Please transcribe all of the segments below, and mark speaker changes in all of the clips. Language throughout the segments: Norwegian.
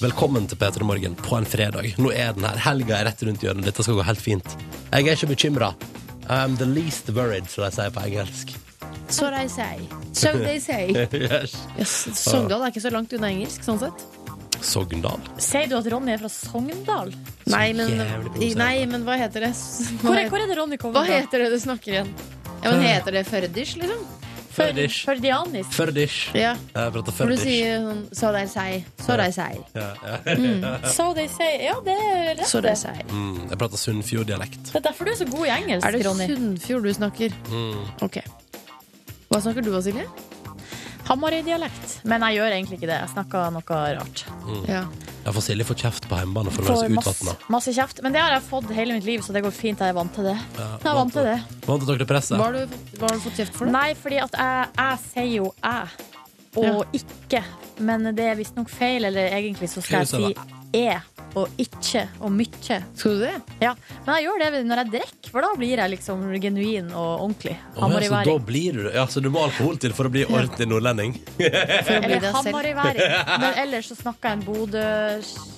Speaker 1: Velkommen til P3 Morgen på en fredag. Nå er den her. Helga er rett rundt hjørnet. Dette skal gå helt fint. Jeg er ikke bekymra. I'm the least worried, som de sier på engelsk.
Speaker 2: So they say. So they say.
Speaker 1: yes.
Speaker 2: Yes, Sogndal er ikke så langt unna engelsk, sånn sett.
Speaker 1: Sogndal.
Speaker 3: Sier du at Ronny er fra Sogndal?
Speaker 2: Nei, men,
Speaker 1: jævlig provoserende.
Speaker 2: nei, men hva heter det?
Speaker 3: Hvor
Speaker 2: Hva,
Speaker 3: er, hvor er det Ronny kommer
Speaker 2: hva heter det du snakker igjen? Ja, men Heter det førdish, liksom?
Speaker 1: Førdish.
Speaker 3: Førdianisk.
Speaker 1: Førdish.
Speaker 2: Ja.
Speaker 1: Jeg prater
Speaker 2: Når du
Speaker 1: førdish.
Speaker 2: sier sånn So they say. So they say.
Speaker 1: Ja, ja.
Speaker 2: Mm.
Speaker 3: So they say. Ja, det er rett.
Speaker 2: So they say.
Speaker 1: Mm, jeg prater Sunnfjord-dialekt.
Speaker 3: Det er derfor du er så god i engelsk,
Speaker 2: Er det
Speaker 3: Ronny.
Speaker 2: Sunnfjord du snakker?
Speaker 1: Mm.
Speaker 2: Ok. Hva snakker du, Silje?
Speaker 3: Hamarøy-dialekt. Men jeg gjør egentlig ikke det. Jeg snakker noe rart.
Speaker 1: Mm.
Speaker 2: Ja.
Speaker 1: Jeg får Silje får kjeft på hjemmebane for å
Speaker 3: Får
Speaker 1: være så
Speaker 3: masse,
Speaker 1: utvatna.
Speaker 3: masse kjeft. Men det har jeg fått hele mitt liv, så det går fint. Jeg er vant til det. Jeg er vant til det.
Speaker 1: Vant til dere presset?
Speaker 2: Hva har du, hva har du fått kjeft for? da?
Speaker 3: Nei, fordi at jeg, jeg sier jo jeg, og ikke. Men det er visstnok feil, eller egentlig så skal jeg si er og ikke og mykje.
Speaker 2: Skal du det?
Speaker 3: Ja, men jeg gjør det når jeg drikker, for da blir jeg liksom genuin og ordentlig.
Speaker 1: Å, ja, så da
Speaker 3: Hamarøyværing.
Speaker 1: blir du det. Ja, så du må ha alkohol til for å bli ordentlig nordlending?
Speaker 2: For å bli
Speaker 3: Eller
Speaker 2: deg selv?
Speaker 3: hamarøyværing. Men ellers så snakker jeg en Bodø,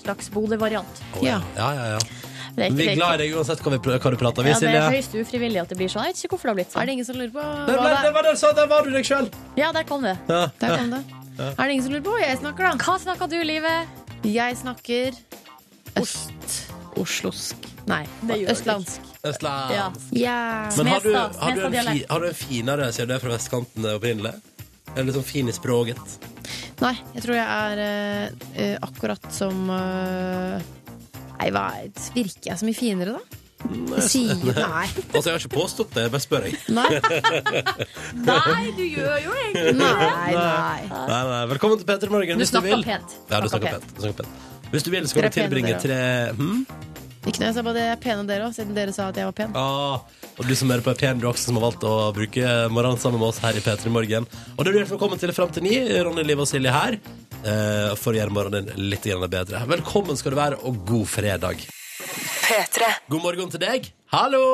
Speaker 3: slags Bodø-variant.
Speaker 1: Å, ja. ja, ja, ja.
Speaker 3: Det
Speaker 1: Vi
Speaker 3: er ikke- det er
Speaker 1: er
Speaker 3: ikke-
Speaker 1: glad i deg uansett hva, vi, pr- hva du prater. Vi,
Speaker 3: Ja, det
Speaker 1: Silje.
Speaker 3: er høyst ufrivillig at det blir sånn. Jeg vet ikke hvorfor det har blitt
Speaker 2: Er
Speaker 3: sånn.
Speaker 2: det ingen som lurer på
Speaker 1: Der,
Speaker 2: hva
Speaker 1: ble-
Speaker 2: det
Speaker 1: der,
Speaker 2: er?
Speaker 1: var det du sa, der var du deg sjøl!
Speaker 3: Ja, der kom det.
Speaker 1: Ja.
Speaker 2: Der kom det. Er det ingen som lurer på hva jeg snakker, da?
Speaker 3: Hva snakka du, Livet?
Speaker 2: Jeg snakker øst... Oslosk. Nei,
Speaker 3: Det gjør du
Speaker 2: østlandsk.
Speaker 1: Østland.
Speaker 3: Ja.
Speaker 2: Ja.
Speaker 1: Men har du, har, du
Speaker 3: Smestad.
Speaker 1: en fi,
Speaker 3: Smestad-dialekt.
Speaker 1: har du en finere, siden du er fra vestkanten opprinnelig? Er du litt sånn fin i språket?
Speaker 2: Nei, jeg tror jeg er eh, eh, akkurat som eh, Nei, hva er- virker jeg så mye finere, da? Sier Nei.
Speaker 1: Altså, jeg har ikke påstått det, jeg bare spør jeg.
Speaker 2: Nei,
Speaker 3: Nei, du gjør jo egentlig
Speaker 2: nei. nei.
Speaker 1: Nei, nei. Velkommen til P3 Morgen,
Speaker 3: Du
Speaker 1: hvis du
Speaker 3: snakker
Speaker 1: vil.
Speaker 3: pent.
Speaker 1: Ja, du
Speaker 3: Snakker
Speaker 1: snakker pent. Du snakker pent. Hvis du vil, skal
Speaker 2: Dere
Speaker 1: du
Speaker 2: er pene,
Speaker 1: tilbringe
Speaker 2: dere.
Speaker 1: tre hm?
Speaker 2: Ikke noe, jeg sa bare det er pene dere òg, siden dere sa at jeg var pen.
Speaker 1: ah, Og du som hører på, er pen, du også, som har valgt å bruke morgenen sammen med oss her i P3 Morgen. Og det blir velkommen til fram til ni. Ronny, Liv og Silje her eh, for å gjøre morgenen din litt grann bedre. Velkommen skal du være, og god fredag.
Speaker 4: P3.
Speaker 1: God morgen til deg. Hallo!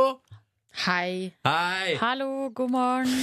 Speaker 2: Hei.
Speaker 1: Hei!
Speaker 3: Hallo, god morgen.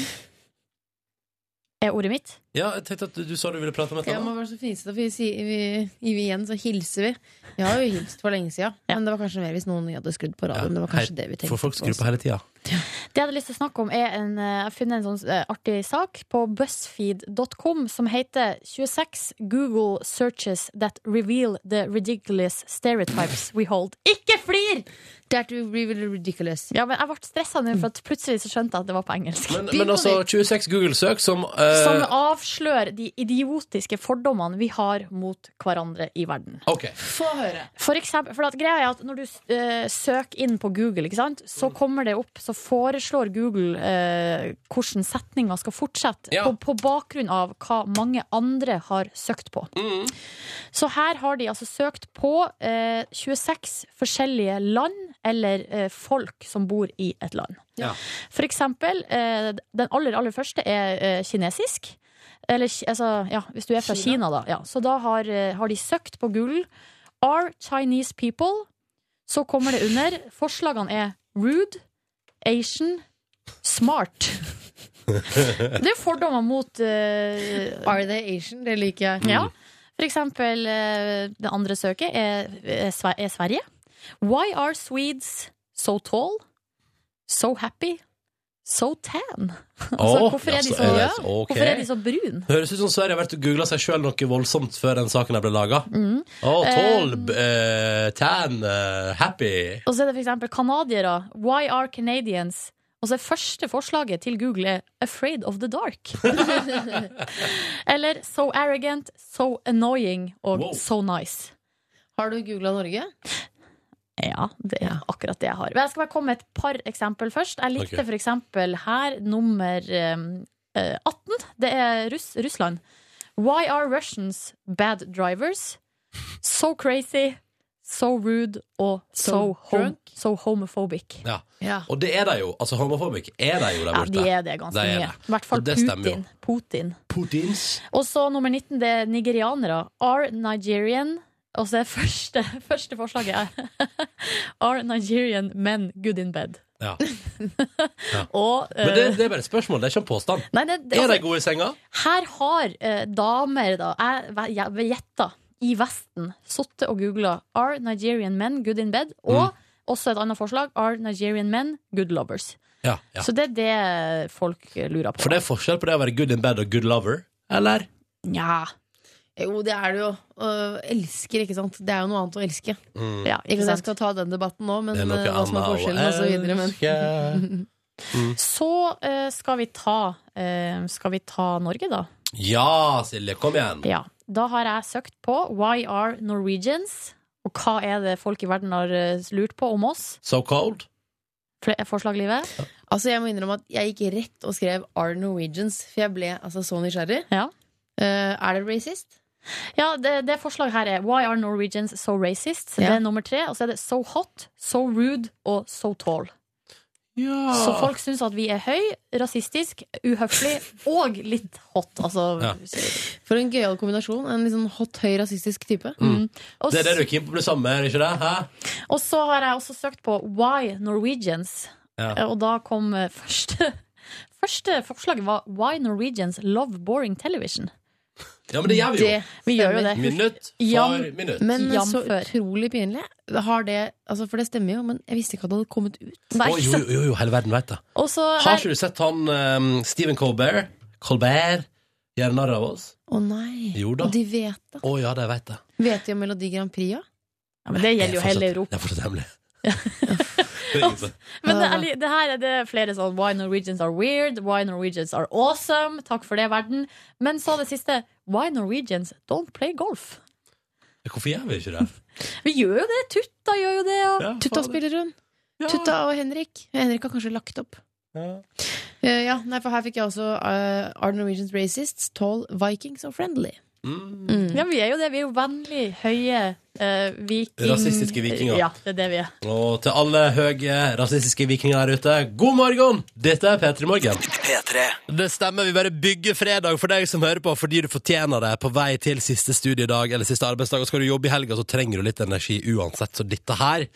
Speaker 3: Er ordet mitt?
Speaker 1: Ja, jeg tenkte at du, du sa du ville prate om et
Speaker 2: Jeg
Speaker 1: eller
Speaker 2: må
Speaker 1: annet.
Speaker 2: være så fnisete, for vi sier vi, gir vi igjen, så hilser vi. Vi har jo hilst for lenge siden, men det var kanskje mer hvis noen hadde skrudd på radioen. Det var kanskje
Speaker 1: Hei,
Speaker 2: det vi tenkte
Speaker 1: For folk
Speaker 2: på
Speaker 1: skrur
Speaker 2: også.
Speaker 1: på hele tida.
Speaker 3: Det jeg hadde lyst til å snakke om, er en, eh, jeg har funnet en sånn eh, artig sak på BuzzFeed.com som heter 26 Google searches that reveal the ridiculous stereotypes we hold. Ikke flir!
Speaker 2: That will be really ridiculous.
Speaker 3: Ja, men jeg ble stressa nå, for at plutselig så skjønte jeg at det var på engelsk.
Speaker 1: Men,
Speaker 2: Begynn
Speaker 1: men
Speaker 2: på
Speaker 1: altså, 26 Google-søk som, eh,
Speaker 3: Som avslører de idiotiske fordommene vi har mot hverandre i verden.
Speaker 1: OK.
Speaker 2: Få høre.
Speaker 3: For eksempel, for at greia er at når du eh, søker inn på Google, ikke sant? så kommer det opp, så foreslår Google eh, hvordan setninga skal fortsette,
Speaker 1: Ja.
Speaker 3: på, på bakgrunn av hva mange andre har søkt på. Så her har de altså søkt på eh, 26 forskjellige land eller eh, folk som bor i et land.
Speaker 1: Ja.
Speaker 3: For eksempel, eh, den aller, aller første er eh, kinesisk. Eller, ki- altså, ja, hvis du er fra Kina, da. Ja. Så da har, eh, har de søkt på Google. Are Chinese people? Så kommer det under. Forslagene er rude, Asian, smart. Det er fordommer mot eh, Mm.
Speaker 2: Are they Asian? Det liker jeg.
Speaker 3: ja. For eksempel, eh, det andre søket er, er, Sve- er Sverige. Why are Swedes so tall? So happy? So tan? Altså,
Speaker 1: Åh,
Speaker 3: hvorfor, er de
Speaker 1: altså,
Speaker 3: så,
Speaker 1: er det- ok.
Speaker 3: hvorfor er de så brune?
Speaker 1: Høres ut som Sverige har vært og googla seg sjøl noe voldsomt før den saken her ble laga.
Speaker 3: Mm.
Speaker 2: Mhm.
Speaker 1: Å, tolv,
Speaker 2: Ehm.
Speaker 1: eh, tan, eh, happy
Speaker 3: Og så er det for eksempel kanadiere. Why are Canadians? Og så er første forslaget til Google er 'Afraid of the dark'. Eller 'So arrogant', 'So annoying' og
Speaker 1: Wow.
Speaker 3: 'So nice'.
Speaker 2: Har du googla Norge?
Speaker 3: Ja, det er akkurat det jeg har. Men jeg skal bare komme med et par eksempel først. Jeg likte
Speaker 1: Ok.
Speaker 3: for eksempel her nummer eh, eh, 18. Det er Russ, Russland. Why are Russians bad drivers? So crazy, so rude og so,
Speaker 2: So
Speaker 3: hom
Speaker 2: drunk?
Speaker 3: so homophobic.
Speaker 1: Ja.
Speaker 2: Ja.
Speaker 1: Og det er de jo. Altså, homofobik er de jo der
Speaker 3: Ja,
Speaker 1: borte.
Speaker 3: de er det ganske
Speaker 1: De er
Speaker 3: mye.
Speaker 1: det.
Speaker 3: I hvert fall
Speaker 1: Og det stemmer jo.
Speaker 3: Putin. Putin.
Speaker 1: Putins.
Speaker 3: Og så nummer 19, det er nigerianere. Are Nigerian Og så er første, første forslaget er Are Nigerian men good in bed?
Speaker 1: Ja.
Speaker 3: Og eh,
Speaker 1: Men det, det er bare et spørsmål, det er ikke en påstand.
Speaker 3: nei, det, altså, det,
Speaker 1: Er de
Speaker 3: altså,
Speaker 1: gode i senga?
Speaker 3: Her har eh, damer, da Jeg ve- jeg gjetter i Vesten sittet og googla 'Are Nigerian men good in bed?'
Speaker 1: Mm.
Speaker 3: og også et annet forslag 'Are Nigerian men good lovers?'
Speaker 1: Ja, ja.
Speaker 3: Så det er det folk lurer på.
Speaker 1: For det er forskjell på det å være good in bed og good lover, eller?
Speaker 3: Nja.
Speaker 2: Jo, det er det jo. Og elsker, ikke sant. Det er jo noe annet å elske.
Speaker 1: Mm.
Speaker 3: Ja,
Speaker 2: Ikke
Speaker 3: ikke
Speaker 2: at jeg
Speaker 3: sant?
Speaker 2: skal ta den debatten nå, men
Speaker 1: Det er noe
Speaker 2: eh, hva som er forskjellen, og så videre. Men
Speaker 1: annet å elske.
Speaker 3: Så eh, skal vi ta eh, Skal vi ta Norge, da?
Speaker 1: Ja, Silje, kom igjen.
Speaker 3: Ja. Da har jeg søkt på Why are Norwegians? Og hva er det folk i verden har eh, lurt på om oss?
Speaker 1: So cold.
Speaker 3: Fle- eh, Forslag, Livet?
Speaker 2: altså, jeg må innrømme at jeg gikk rett og skrev 'Are Norwegians', for jeg ble altså så nysgjerrig.
Speaker 3: Ja.
Speaker 2: Eh, er det racist?
Speaker 3: Ja, det, det forslaget her er Why are Norwegians so racist?
Speaker 2: Ja.
Speaker 3: Det er nummer tre. Og så er det so hot, so rude og so tall.
Speaker 1: Ja.
Speaker 3: Så folk syns at vi er høy, rasistisk, uhøflig og litt hot. Altså
Speaker 1: Ja.
Speaker 2: For en gøyal kombinasjon. En litt sånn hot, høy, rasistisk type.
Speaker 1: Mm.
Speaker 3: og,
Speaker 1: Det er det du er keen på å bli sammen med, er det ikke det? Hæ?
Speaker 3: og så har jeg også søkt på Why Norwegians,
Speaker 1: Ja.
Speaker 3: Eh, og da kom eh, første Første forslaget var Why Norwegians love boring television.
Speaker 1: ja, men det gjør vi jo.
Speaker 2: Det
Speaker 3: Vi gjør jo
Speaker 2: stemmer.
Speaker 3: det.
Speaker 1: Minutt
Speaker 3: Ja.
Speaker 1: for minutt.
Speaker 2: Men
Speaker 3: Jam
Speaker 2: så
Speaker 3: før.
Speaker 2: utrolig pinlig. Har det, altså for det stemmer jo, men jeg visste ikke at det hadde kommet ut.
Speaker 3: Det er
Speaker 1: Å,
Speaker 3: ikke
Speaker 1: jo,
Speaker 3: så-
Speaker 1: jo, jo, jo, hele verden vet det.
Speaker 3: Og så
Speaker 1: Har
Speaker 3: her-
Speaker 1: ikke du sett han ehm, Stephen Colbert? Colbert gjør narr av oss?
Speaker 2: Å nei.
Speaker 1: Jo da.
Speaker 2: Og de vet det.
Speaker 1: Å ja, de vet det.
Speaker 2: Vet de om Melodi Grand Prix, ja?
Speaker 3: ja, men Det
Speaker 1: Det er
Speaker 3: gjelder jo
Speaker 1: fortsatt-
Speaker 3: hele Europa.
Speaker 1: Det er fortsatt hemmelig. Det er ingen som-
Speaker 3: Men
Speaker 1: Eh.
Speaker 3: det, er, li- det her er det flere sånn Why Norwegians are weird, why Norwegians are awesome. Takk for det, verden. Men så det siste. Why Norwegians don't play golf.
Speaker 1: Hvorfor gjør vi ikke det?
Speaker 3: Vi gjør jo det. Tutta gjør jo det. Og...
Speaker 1: Ja,
Speaker 2: Tutta
Speaker 1: faen.
Speaker 2: spiller hun.
Speaker 1: Ja.
Speaker 2: Tutta og Henrik. Henrik har kanskje lagt opp.
Speaker 1: Ja.
Speaker 2: Eh, ja, nei, for her fikk jeg også eh, Are Norwegians Racists, Tall Vikings og Friendly.
Speaker 1: Mm.
Speaker 3: Ja, vi er jo det. Vi er jo vennlig høye eh, viking...
Speaker 1: Rasistiske vikinger.
Speaker 3: Ja, det er det vi er.
Speaker 1: Og til alle høye rasistiske vikinger der ute, god morgen! Dette er P3 Morgen. Det stemmer, vi bare bygger fredag for deg som hører på, fordi du fortjener det på vei til siste studiedag eller siste arbeidsdag. Og skal du jobbe i helga, så trenger du litt energi uansett, så dette her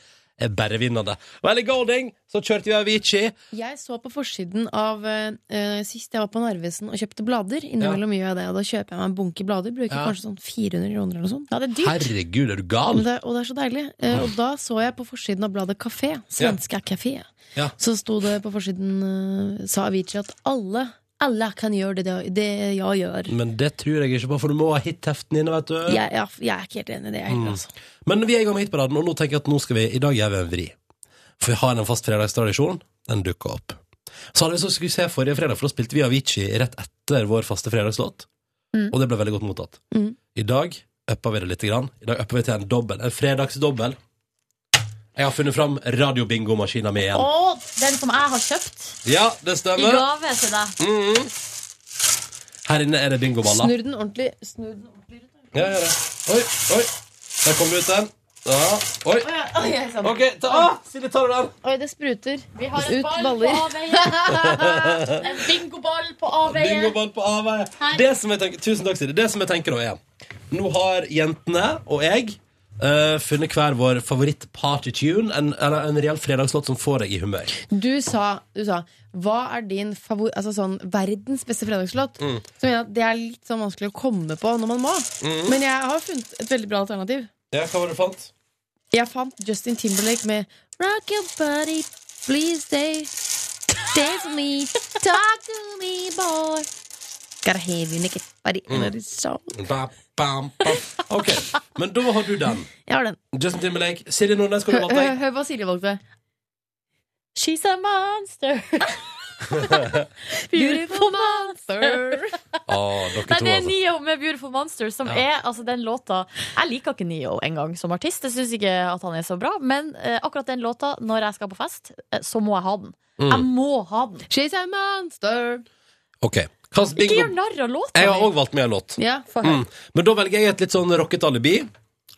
Speaker 1: er bare vinnende. Og Ellie Golding, så kjørte vi Avicii.
Speaker 2: Jeg så på forsiden av eh, eh, Sist jeg var på Narvesen og kjøpte blader. Innimellom gjør jeg det, og da kjøper jeg meg en bunke blader. Bruker
Speaker 1: Ja.
Speaker 2: kanskje sånn 400 kroner eller noe sånt.
Speaker 3: Ja, det er dyrt.
Speaker 1: Herregud, er du
Speaker 2: Men
Speaker 1: gal?
Speaker 2: det, og det er så deilig. Eh, og da så jeg på forsiden av bladet Kafé, Svenska Kafé,
Speaker 1: Ja.
Speaker 2: så sto det på forsiden eh, sa Avicii at alle, alle kan gjøre det, det, det jeg gjør.
Speaker 1: Men det tror jeg ikke på, for du må ha hit-heften inne, vet du.
Speaker 2: Jeg, jeg, jeg er ikke helt enig i det, jeg
Speaker 1: Mm.
Speaker 2: heller. Altså.
Speaker 1: Men vi er i gang med hitparaden, og nå tenker jeg at nå skal vi, i dag gjør vi en vri. For vi har en fast fredagstradisjon. Den dukker opp. Så hadde vi så skulle vi se forrige fredag, for da spilte vi Avicii rett etter vår faste fredagslåt.
Speaker 3: Mm.
Speaker 1: Og det ble veldig godt mottatt.
Speaker 2: Mm.
Speaker 1: I dag upper vi det litt. Grann. I dag upper vi til en dobbel. En fredagsdobbel. Jeg har funnet fram radiobingomaskina mi igjen.
Speaker 3: Og den som jeg har kjøpt
Speaker 1: Ja, det
Speaker 3: i
Speaker 1: stemmer. Mm.
Speaker 3: gave til deg.
Speaker 1: Her inne er det bingoballer.
Speaker 2: Snurr den ordentlig. Snurr den ordentlig.
Speaker 1: Ja, gjør det. Oi, oi. Der kom det ut en. Ja. Oi.
Speaker 2: Å ja, å, jeg sa det.
Speaker 1: OK, ta, ah, Silje, tar du den?
Speaker 2: Oi, det spruter.
Speaker 3: Vi har en
Speaker 2: Ut
Speaker 3: ball
Speaker 2: baller.
Speaker 3: på avveie. En bingoball på avveie.
Speaker 1: Bingo ball på avveie.
Speaker 3: Her.
Speaker 1: Det som jeg tenker, tusen takk, Siri. Det som jeg tenker nå, er Nå har jentene og jeg eh, funnet hver vår favoritt-partytune. En, en, en reell fredagslåt som får deg i humør.
Speaker 2: Du sa, du sa Hva er din favor... Altså sånn verdens beste fredagslåt?
Speaker 1: Mm.
Speaker 2: Så mener jeg at det er litt sånn vanskelig å komme på når man må.
Speaker 1: Mm.
Speaker 2: Men jeg har funnet et veldig bra alternativ.
Speaker 1: Ja, hva var det du fant?
Speaker 2: Jeg fant Justin Timberlake med Rock your body, please stay Dance with me, talk to me, boy Gotta have you naked body
Speaker 1: Mm.
Speaker 2: under the soul.
Speaker 1: Ba, bam, bam. OK, men da har du den.
Speaker 2: Jeg har den.
Speaker 1: Justin Timberlake. Silje Nordnes, hva har du valgt deg?
Speaker 2: Hør hva Silje valgte.
Speaker 3: She's a monster. Beautiful monster.
Speaker 1: Ah, dere to,
Speaker 3: Nei, det er
Speaker 1: altså.
Speaker 3: Neo med Beautiful Monster, som
Speaker 1: Ja.
Speaker 3: er altså, den låta Jeg liker ikke Neo engang som artist. Jeg syns ikke at han er så bra. Men eh, akkurat den låta, når jeg skal på fest, eh, så må jeg ha den. Jeg må ha den.
Speaker 2: She's a monster.
Speaker 1: Mm. OK. Hvilken
Speaker 3: Ikke gjør
Speaker 1: Altså, bingo?
Speaker 3: narr av låta
Speaker 1: Jeg har
Speaker 3: mi.
Speaker 1: òg valgt meg en låt.
Speaker 2: Ja.
Speaker 1: Mm. Men da velger jeg et litt sånn rocket alibi.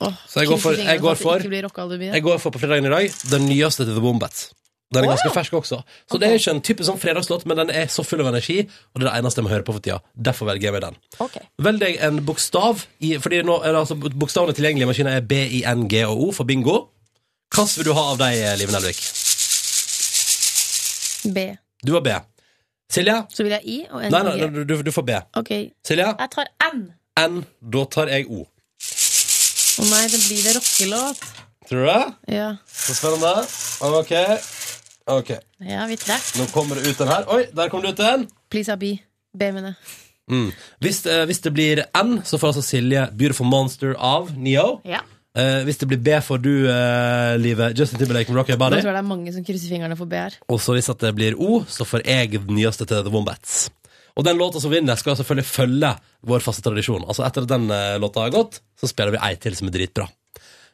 Speaker 2: Åh,
Speaker 1: Så jeg går for-
Speaker 2: kryss fingrene
Speaker 1: jeg går
Speaker 2: at det
Speaker 1: for-
Speaker 2: altså, ikke blir rockealibi.
Speaker 1: Jeg går for på fredagen i dag den nyeste til The Wombats. Den er ganske fersk også. Så det er ikke en typisk sånn fredagslåt, men den er så full av energi, og det er det eneste jeg må høre på for tida. Derfor velger jeg meg den.
Speaker 3: Ok.
Speaker 1: Velg deg en bokstav, i, fordi nå er det altså bokstavene tilgjengelige i maskinen er B, I, N, G og O for bingo. Hva vil du ha av deg, eh, Liven Elvik?
Speaker 2: B.
Speaker 1: Du har B. Silje?
Speaker 2: Så vil jeg I og N.
Speaker 1: Nei, nei,
Speaker 2: og G.
Speaker 1: nei du, du får B.
Speaker 2: Ok.
Speaker 1: Silje?
Speaker 3: Jeg tar N.
Speaker 1: N. Da tar jeg O.
Speaker 2: Å nei, det blir det rockelåt.
Speaker 1: Tror du det?
Speaker 2: Ja.
Speaker 1: Så spennende. OK. Ok,
Speaker 3: Ja, vi trekker.
Speaker 1: Nå kommer det ut en her. Oi, der kom det ut en.
Speaker 2: Please have be. Be med det.
Speaker 1: Mm. Hvis, eh, hvis det blir N, så får altså Silje 'Beautiful Monster' av Neo.
Speaker 3: Ja.
Speaker 1: Eh, hvis det blir B, får du eh, livet Justin Timberlake med 'Rock Your
Speaker 2: Nå
Speaker 1: Body'.
Speaker 2: tror jeg det er mange som krysser fingrene for BR.
Speaker 1: Og så hvis at det blir O, så får jeg den nyeste til The Wombats. Og den låta som vinner, skal selvfølgelig følge vår faste tradisjon. Altså Etter at den eh, låta har gått, så spiller vi ei til som er dritbra.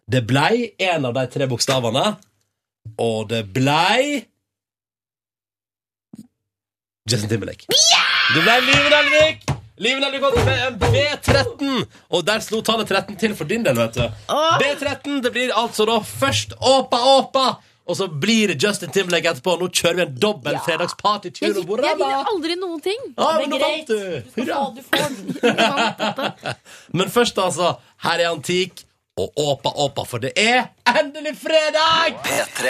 Speaker 1: Det blei en av de tre bokstavene, og det blei Justin Timberlake. Det blei Liven Elvik! Liven Elvik vant med en B13, og der slo tallet 13 til for din del, vet du. B13, det blir altså da først Åpa Åpa, og så blir det Justin Timberlake etterpå. Nå kjører vi en dobbel fredagsparty.
Speaker 3: Jeg,
Speaker 1: Tjur og
Speaker 3: jeg vinner
Speaker 1: borada!
Speaker 3: aldri noen ting.
Speaker 1: Ja,
Speaker 3: Det er
Speaker 1: men nå
Speaker 3: greit.
Speaker 1: vant du! Hurra!
Speaker 3: Å, du får den.
Speaker 1: Men først, altså. Her er Antik og Åpa Åpa, for det er endelig fredag!
Speaker 4: P3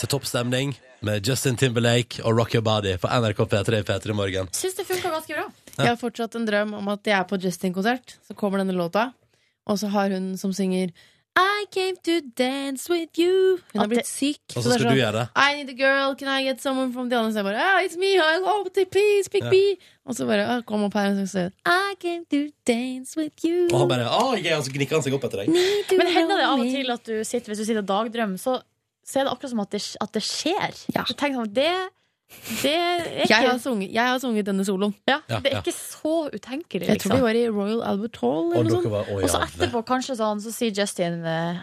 Speaker 1: Til toppstemning med Justin Timberlake og Rock Your Body på NRK P3 i P3 Morgen.
Speaker 3: Syns det funka ganske bra.
Speaker 2: Jeg har fortsatt en drøm om at jeg er på Justin-konsert. Så kommer denne låta, og så har hun som synger I came to dance with you. Hun
Speaker 3: At
Speaker 2: har blitt
Speaker 3: det-
Speaker 2: syk.
Speaker 1: Og
Speaker 2: Så det
Speaker 1: så
Speaker 2: er
Speaker 1: skal
Speaker 2: sånn,
Speaker 1: du gjøre det.
Speaker 2: I need a girl, can I get someone from the other side? Bare, ah, it's me, I hope they please pick me. Og så bare ah, kom opp her og så sier hun, I came to dance with you.
Speaker 1: Og han bare Å, jeg, og så gnikker han seg opp etter deg.
Speaker 2: Need to
Speaker 3: Men hender det
Speaker 2: know
Speaker 3: av og
Speaker 2: me.
Speaker 3: til at du sitter Hvis du sitter og dagdrømmer, så, så er det akkurat som at det, at det skjer.
Speaker 2: Ja.
Speaker 3: Du tenker sånn, det, det, er ikke,
Speaker 2: jeg har, sunget, jeg har sunget denne soloen.
Speaker 3: ja,
Speaker 1: Ja,
Speaker 3: det
Speaker 1: ja.
Speaker 3: er ikke så utenkelig,
Speaker 2: Jeg tror vi
Speaker 3: liksom.
Speaker 2: var i Royal Albert Hall.
Speaker 1: Og
Speaker 2: Eller noe
Speaker 1: dere
Speaker 2: sånt.
Speaker 1: var Å,
Speaker 3: Og så
Speaker 1: ja.
Speaker 3: etterpå kanskje sånn, så sier Justin eh,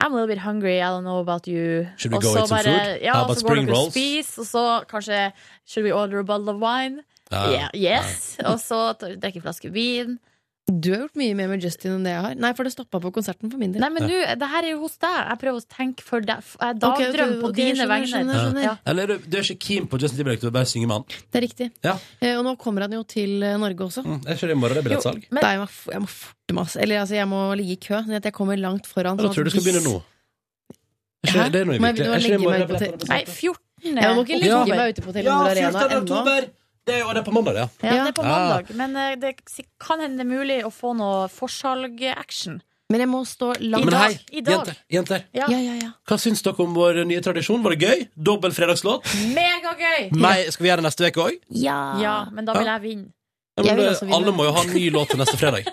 Speaker 3: I'm a little bit hungry, I don't know about you.
Speaker 1: Should we
Speaker 3: Og
Speaker 1: go
Speaker 3: så
Speaker 1: eat some
Speaker 3: bare-
Speaker 1: food?
Speaker 3: Ja,
Speaker 1: How
Speaker 3: og
Speaker 1: about
Speaker 3: så går
Speaker 1: spring
Speaker 3: dere og
Speaker 1: rolls?
Speaker 3: spiser, og så kanskje Should we order a bottle of wine?
Speaker 1: Ja, ja.
Speaker 3: Yeah, yes. Og så tar- drikker en flaske vin.
Speaker 2: Du har gjort mye mer med Justin enn det jeg har. Nei, for det stoppa på konserten for min del.
Speaker 3: Nei, men nå, det her er jo hos deg. Jeg prøver å tenke for deg.
Speaker 2: Ok,
Speaker 3: Jeg
Speaker 2: ok,
Speaker 3: dagdrømmer på
Speaker 2: ok,
Speaker 3: dine
Speaker 2: skjønner,
Speaker 3: vegne.
Speaker 2: skjønner, skjønner.
Speaker 3: Ja.
Speaker 1: Eller er du, du er ikke keen på Justin Timberlake, du vil bare synge med han.
Speaker 2: Det er riktig.
Speaker 1: Ja.
Speaker 2: Eh, og nå kommer han jo til eh, Norge også.
Speaker 1: Mm, jeg kjører i morgen, det er
Speaker 3: Jo,
Speaker 1: billettsalg.
Speaker 3: men-
Speaker 2: Nei, jeg må, f- jeg må forte meg, altså. Eller altså, jeg må ligge i kø, sånn at jeg kommer langt foran.
Speaker 1: Jeg
Speaker 2: sånn
Speaker 1: tror du
Speaker 2: at
Speaker 1: skal
Speaker 2: hvis-
Speaker 1: begynne nå. Er ikke-
Speaker 2: Hæ?
Speaker 1: Det er noe i
Speaker 2: Må jeg begynne
Speaker 1: virkelig.
Speaker 2: å
Speaker 1: Er ikke det i
Speaker 2: legge
Speaker 1: morgen
Speaker 2: meg på
Speaker 1: billettsalg?
Speaker 3: Nei, eh, 14.
Speaker 2: Jeg må ikke legge
Speaker 1: Ja.
Speaker 2: meg ute på
Speaker 1: Ja,
Speaker 2: Telenor Arena
Speaker 1: 14.
Speaker 2: ennå.
Speaker 1: oktober! Det er jo det er på mandag, det, ja.
Speaker 3: Ja, det er på
Speaker 1: Ja.
Speaker 3: mandag. Men eh, det kan hende det er mulig å få noe forsalg-action.
Speaker 2: Men jeg må stå langt
Speaker 3: I
Speaker 1: Men
Speaker 3: dag.
Speaker 1: hei,
Speaker 3: I dag.
Speaker 1: jenter, jenter.
Speaker 3: Ja.
Speaker 2: Ja, ja, ja.
Speaker 1: Hva syns dere om vår nye tradisjon? Var det gøy? Dobbel fredagslåt?
Speaker 3: Megagøy!
Speaker 1: Meg, skal vi gjøre det neste uke òg?
Speaker 3: Ja, men da vil jeg vinne.
Speaker 2: Jeg vil også vinne.
Speaker 1: Alle må jo ha en ny låt til neste fredag.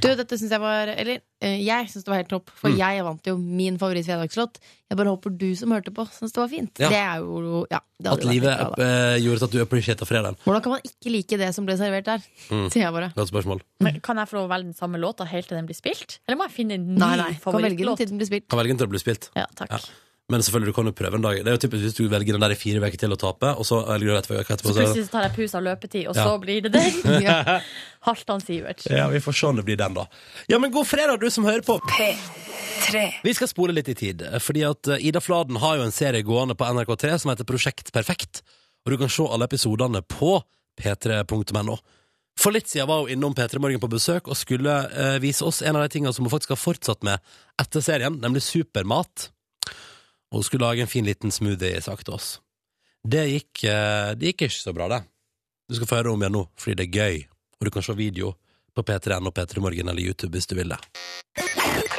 Speaker 2: Du, dette syns jeg var Eller eh, jeg syns det var helt topp, for
Speaker 1: Mm.
Speaker 2: jeg vant jo min favorittfredagslåt. Jeg bare håper du som hørte på, syns det var fint.
Speaker 1: Ja.
Speaker 2: Det er jo ja, det hadde
Speaker 1: At
Speaker 2: jo vært
Speaker 1: livet
Speaker 2: bra, da.
Speaker 1: eh, gjorde at du appreciata fredagen.
Speaker 2: Hvordan kan man ikke like det som ble servert der?
Speaker 1: Mm.
Speaker 2: Sier jeg bare.
Speaker 1: Godt spørsmål.
Speaker 3: Men Kan jeg få lov å velge den samme låta helt til den blir spilt? Eller må jeg finne en ny
Speaker 2: Nei, nei. Kan velge den
Speaker 3: favorittlåt?
Speaker 2: til den blir spilt.
Speaker 1: Kan velge den til å bli spilt.
Speaker 3: Ja, takk.
Speaker 1: Ja. Men selvfølgelig, du kan jo prøve en dag. Det er jo typisk hvis du velger den der i fire uker til å tape, og så velger du rett før etterpå.
Speaker 3: Så
Speaker 1: så er det-
Speaker 3: plutselig så tar jeg pus av løpetid, og
Speaker 1: Ja.
Speaker 3: så blir det den.
Speaker 2: Ja.
Speaker 3: Halvdan Sivert.
Speaker 1: Ja, Vi får se om det blir den, da. Ja, men God fredag, du som hører på. Vi skal spole litt i tid, fordi at eh, Ida Fladen har jo en serie gående på NRK3 som heter Prosjekt Perfekt. Og du kan se alle episodene på p3.no. For litt siden var hun innom P3 Morgen på besøk og skulle eh, vise oss en av de tingene som hun faktisk har fortsatt med etter serien, nemlig supermat. Og hun skulle lage en fin liten smoothie, sa hun til oss. Det gikk, eh, det gikk ikke så bra, det. Du skal få høre om igjen nå, fordi det er gøy. Og du kan se video på P3N og P3 Morgen eller YouTube hvis du vil det.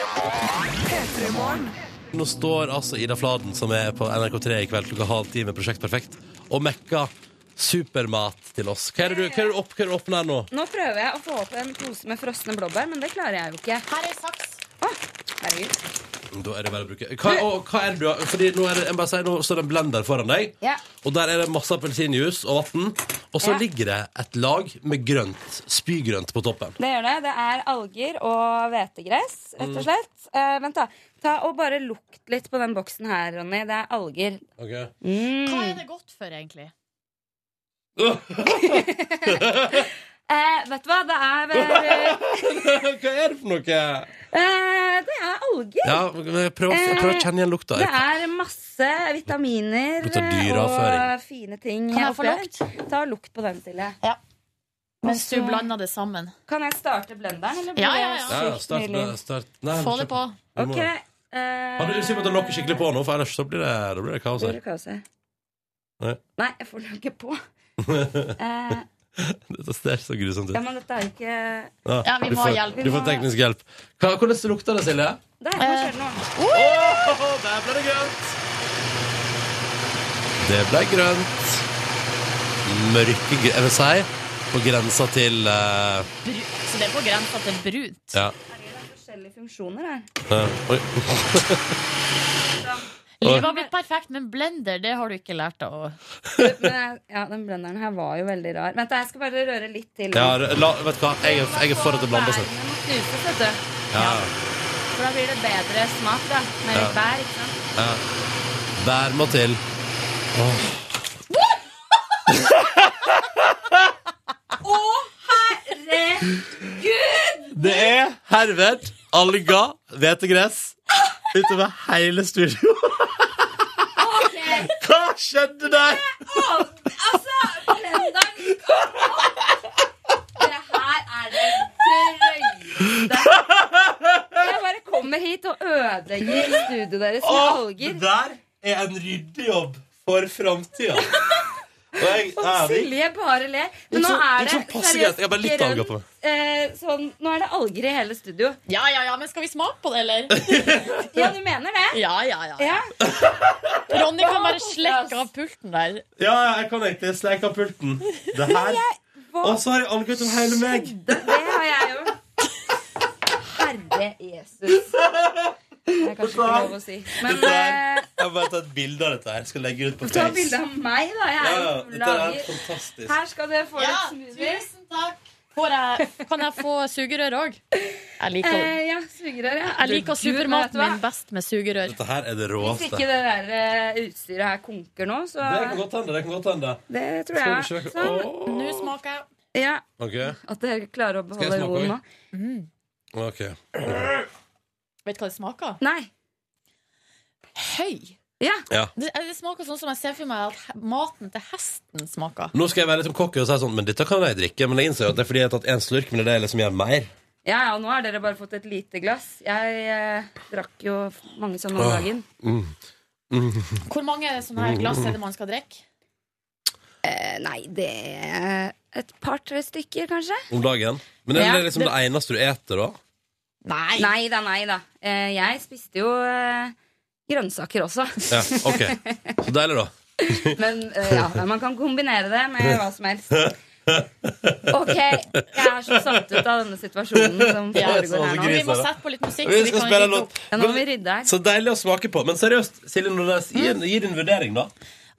Speaker 1: Nå står altså Ida Fladen, som er på NRK3 i kveld klokka halv ti med Prosjekt Perfekt, og mekka supermat til oss. Hva er det du, hva er det du, opp, hva er det du åpner her nå?
Speaker 5: Nå prøver jeg å få opp en pose med frosne blåbær, men det klarer jeg jo ikke.
Speaker 3: Her er saks.
Speaker 5: Å, herregud.
Speaker 1: Mm, Da er det bare å bruke Hva, og, hva er det du har Fordi nå, er det, jeg må bare si, nå står det en blender foran deg,
Speaker 5: Ja.
Speaker 1: og der er det masse appelsinjuice og vann, og så
Speaker 5: Ja.
Speaker 1: ligger det et lag med grønt, spygrønt, på toppen.
Speaker 5: Det gjør det. Det er alger og hvetegress, rett
Speaker 1: Mm.
Speaker 5: og slett. Eh, vent, da. Ta og bare lukt litt på den boksen her, Ronny. Det er alger.
Speaker 1: Okay.
Speaker 5: Mm.
Speaker 3: Hva er det godt for, egentlig?
Speaker 5: Eh, vet du hva? Det er vel
Speaker 1: hva er det for noe?
Speaker 5: eh, Det er alger. Eh,
Speaker 1: Ja, men prøv, å- prøv å kjenne igjen lukta.
Speaker 5: Det er masse vitaminer
Speaker 1: Lukter
Speaker 5: eh,
Speaker 1: dyreavføring.
Speaker 5: og fine ting.
Speaker 3: Kan jeg få
Speaker 5: oppi her.
Speaker 3: lukt?
Speaker 5: Ta og lukt på den, Silje.
Speaker 3: Mens du
Speaker 5: Altså-
Speaker 3: blander det sammen.
Speaker 5: Kan jeg starte blenderen, eller
Speaker 3: Ja, ja, ja.
Speaker 1: Ja, ja, start, med- start. Nei,
Speaker 3: Få
Speaker 1: men
Speaker 3: det
Speaker 1: kjør
Speaker 3: på.
Speaker 1: Du må-
Speaker 5: Ok. eh,
Speaker 1: Hadde du lyst til å lokke skikkelig på nå, for ellers så blir det, da blir det kaos
Speaker 5: Blir
Speaker 1: her.
Speaker 5: det kaos her?
Speaker 1: Nei.
Speaker 5: Nei, jeg får den ikke på. Eh,
Speaker 1: Dette ser så grusomt ut.
Speaker 5: Ja, men dette er jo ikke
Speaker 3: Ja, vi
Speaker 1: du
Speaker 3: må ha
Speaker 1: får,
Speaker 3: hjelp.
Speaker 1: Du får teknisk hjelp. Hva, hvordan lukter det, Silje?
Speaker 5: Der, nå skjer det noe.
Speaker 3: Eh,
Speaker 1: Åh,
Speaker 3: oh!
Speaker 1: der ble det grønt! Det ble grønt. Mørke grønt, jeg vil si. På grensa til eh,
Speaker 3: Bru- Så det er på grensa til brunt.
Speaker 1: Ja.
Speaker 5: Herregud, det er forskjellige funksjoner her.
Speaker 1: eh, oi.
Speaker 3: Livet har blitt perfekt, men blender, det har du ikke lært deg å
Speaker 5: Men jeg, ja, den blenderen her var jo veldig rar. Vent, da, jeg skal bare røre litt til.
Speaker 1: ja, la, vet du hva? Jeg er, jeg er for at det blander seg.
Speaker 5: Bærene må knuses, vet du.
Speaker 1: Ja.
Speaker 5: For da blir det bedre smak, da. Med litt
Speaker 1: Ja.
Speaker 5: bær, ikke sant.
Speaker 1: Vær må til. Åh. Det er herved alga, hvetegress, utover hele studio. Hva skjedde der?
Speaker 5: Altså, blenderen Det her er det drøyeste Jeg bare kommer hit og ødelegger studioet deres med
Speaker 1: Åh,
Speaker 5: alger.
Speaker 1: det der er en ryddejobb for framtida. Og jeg
Speaker 5: Og
Speaker 1: er
Speaker 5: Silje bare ler. Men
Speaker 1: Litt
Speaker 5: nå
Speaker 1: sånn-
Speaker 5: er
Speaker 1: litt
Speaker 5: det
Speaker 1: sånn passe greit. Jeg har bare litt alger på meg.
Speaker 5: eh, sånn, Nå er det alger i hele studio.
Speaker 3: Ja, ja, ja, men skal vi smake på det, eller?
Speaker 5: Ja, du mener det?
Speaker 3: Ja, ja, ja.
Speaker 5: Ja.
Speaker 3: Ronny kan bare slekke av pulten der.
Speaker 1: Ja, jeg kan egentlig sleike av pulten. Det her.
Speaker 5: Hva
Speaker 1: Og så har jeg alger utover hele meg.
Speaker 5: Det har jeg gjort. Herre Jesus. Det er kanskje ikke lov å si. Men
Speaker 1: Dette
Speaker 5: eh,
Speaker 1: er- Jeg må bare ta et bilde av dette her. Skal legge ut på
Speaker 5: ta
Speaker 1: Face.
Speaker 5: bilde av meg, da. Jeg
Speaker 1: Ja,
Speaker 5: er
Speaker 1: ja,
Speaker 5: jo
Speaker 1: dette er
Speaker 5: lager.
Speaker 1: fantastisk.
Speaker 5: Her skal dere få litt smoothies.
Speaker 3: takk. kan jeg få sugerør òg? Jeg liker,
Speaker 5: Eh, ja, sugerør, ja.
Speaker 3: jeg
Speaker 5: Gud, men vet
Speaker 3: liker
Speaker 5: du
Speaker 3: supermaten
Speaker 5: hva?
Speaker 3: min best med sugerør.
Speaker 1: Dette her er det
Speaker 5: Hvis
Speaker 1: råeste.
Speaker 5: ikke det der eh, utstyret her konker nå, så
Speaker 1: Det kan godt hende. det kan godt hende
Speaker 5: Det tror
Speaker 1: Skal vi
Speaker 5: jeg.
Speaker 1: sjekke
Speaker 5: Sånn.
Speaker 1: Åh.
Speaker 3: Nå smaker jeg.
Speaker 5: Ja,
Speaker 1: Ok,
Speaker 5: At dere klarer å
Speaker 1: jeg
Speaker 5: beholde
Speaker 1: smake
Speaker 5: roen nå.
Speaker 1: også? ok
Speaker 3: Vet du hva det smaker?
Speaker 5: Nei.
Speaker 3: Høy.
Speaker 5: Ja.
Speaker 1: Ja.
Speaker 3: Det, eh, det smaker sånn som jeg ser for meg at he- maten til hesten smaker.
Speaker 1: Nå skal jeg være litt som cocky og si sånn Men dette kan jeg drikke. Men jeg innser jo at det er fordi jeg har tatt én slurk. Men det er det jeg liksom gjør mer.
Speaker 5: ja, ja, nå har dere bare fått et lite glass. Jeg eh, drakk jo mange sånne om
Speaker 1: Åh.
Speaker 5: dagen.
Speaker 6: Mm.
Speaker 3: Hvor mange sånne her glass er det man skal drikke?
Speaker 5: Eh, nei, det er et par-tre stykker, kanskje.
Speaker 1: Om dagen. Men er
Speaker 5: Ja,
Speaker 1: det liksom det,
Speaker 5: det-
Speaker 1: eneste du eter, da?
Speaker 3: Nei.
Speaker 5: Nei da, nei da. Eh, jeg spiste jo eh, grønnsaker også.
Speaker 1: Ja, ok Så deilig, da.
Speaker 5: Men eh, ja, men man kan kombinere det med hva som helst. Ok, jeg er så satt ut av denne situasjonen som
Speaker 3: Ja,
Speaker 1: så
Speaker 5: foregår her
Speaker 3: Vi
Speaker 5: nå.
Speaker 1: gris.
Speaker 3: må sette på litt musikk.
Speaker 1: Vi
Speaker 3: så
Speaker 1: skal
Speaker 3: kan
Speaker 1: spille en
Speaker 3: rydde opp.
Speaker 1: låt.
Speaker 5: Ja, nå må vi rydde her.
Speaker 1: Så deilig å smake på. Men seriøst, Silje Nordnes, gi, en- gi din vurdering, da.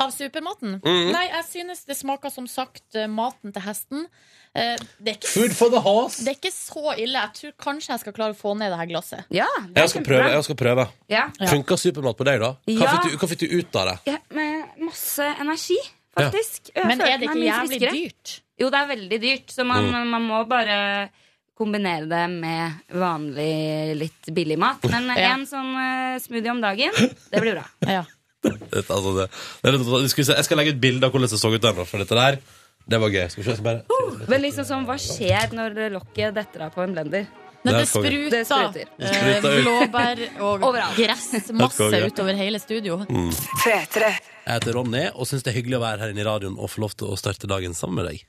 Speaker 3: Av supermaten?
Speaker 1: Mhm.
Speaker 3: Nei, jeg synes det smaker som sagt eh, maten til hesten. Eh, Det er, ikke,
Speaker 1: Food for the horse.
Speaker 3: det er ikke så ille. Jeg tror kanskje jeg skal klare å få ned det her glasset.
Speaker 5: Ja, det
Speaker 1: Jeg
Speaker 5: er
Speaker 1: skal prøve.
Speaker 5: kjempebra.
Speaker 1: jeg skal prøve
Speaker 5: Ja.
Speaker 3: Ja.
Speaker 1: Funka supermat på deg, da? Hva,
Speaker 5: Ja.
Speaker 1: fikk du, hva fikk du ut av det?
Speaker 5: Ja, med masse energi, faktisk. Jeg
Speaker 3: Men
Speaker 5: følte
Speaker 3: er det
Speaker 5: meg
Speaker 3: ikke
Speaker 5: mye
Speaker 3: jævlig
Speaker 5: friskere.
Speaker 3: dyrt?
Speaker 5: Jo, det er veldig dyrt, så man,
Speaker 1: Mm.
Speaker 5: man må bare kombinere det med vanlig, litt billig mat. Men
Speaker 3: Ja.
Speaker 5: en sånn eh, smoothie om dagen, det blir bra.
Speaker 3: Ja.
Speaker 1: Dette, altså, det, det, er litt- du skal vi se, jeg skal legge ut bilde av hvordan det så ut der nå, for dette der, det var gøy. Skal vi se, jeg skal bare...
Speaker 5: Men liksom sånn, hva skjer når lokket detter av på en blender?
Speaker 3: Når
Speaker 1: Det er
Speaker 3: det spruter,
Speaker 5: Det spruter.
Speaker 3: eh,
Speaker 1: Spruter ut.
Speaker 3: blåbær og
Speaker 5: Overalt.
Speaker 3: gress
Speaker 1: Det er
Speaker 3: masse
Speaker 1: konge.
Speaker 3: utover hele studio.
Speaker 1: Jeg heter Ronny, og syns det er hyggelig å være her inne i radioen og få lov til å starte dagen sammen med deg.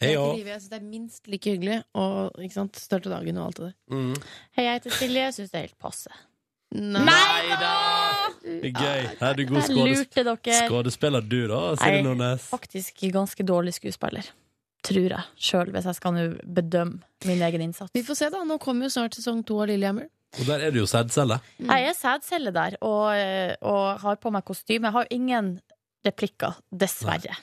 Speaker 1: Hei
Speaker 2: Jeg
Speaker 1: og
Speaker 2: syns det er minst like hyggelig å ikke sant, starte dagen og alt det der.
Speaker 1: Mm.
Speaker 3: Hei, jeg heter Silje. Jeg syns det er helt passe.
Speaker 1: Nei da! Det er gøy. Er du god
Speaker 3: Jeg
Speaker 1: skådes
Speaker 3: lurte dere.
Speaker 1: skådespiller, du da, Silje
Speaker 3: Nei.
Speaker 1: Nordnes?
Speaker 3: Faktisk ganske dårlig skuespiller. Tror jeg sjøl, hvis jeg skal nå bedømme min egen innsats.
Speaker 2: Vi får se, da. Nå kommer jo snart sesong to av Lillehammer.
Speaker 1: Og der er du jo sædcelle.
Speaker 3: Mm. Jeg er sædcelle der og, og har på meg kostyme. Jeg har ingen replikker, dessverre.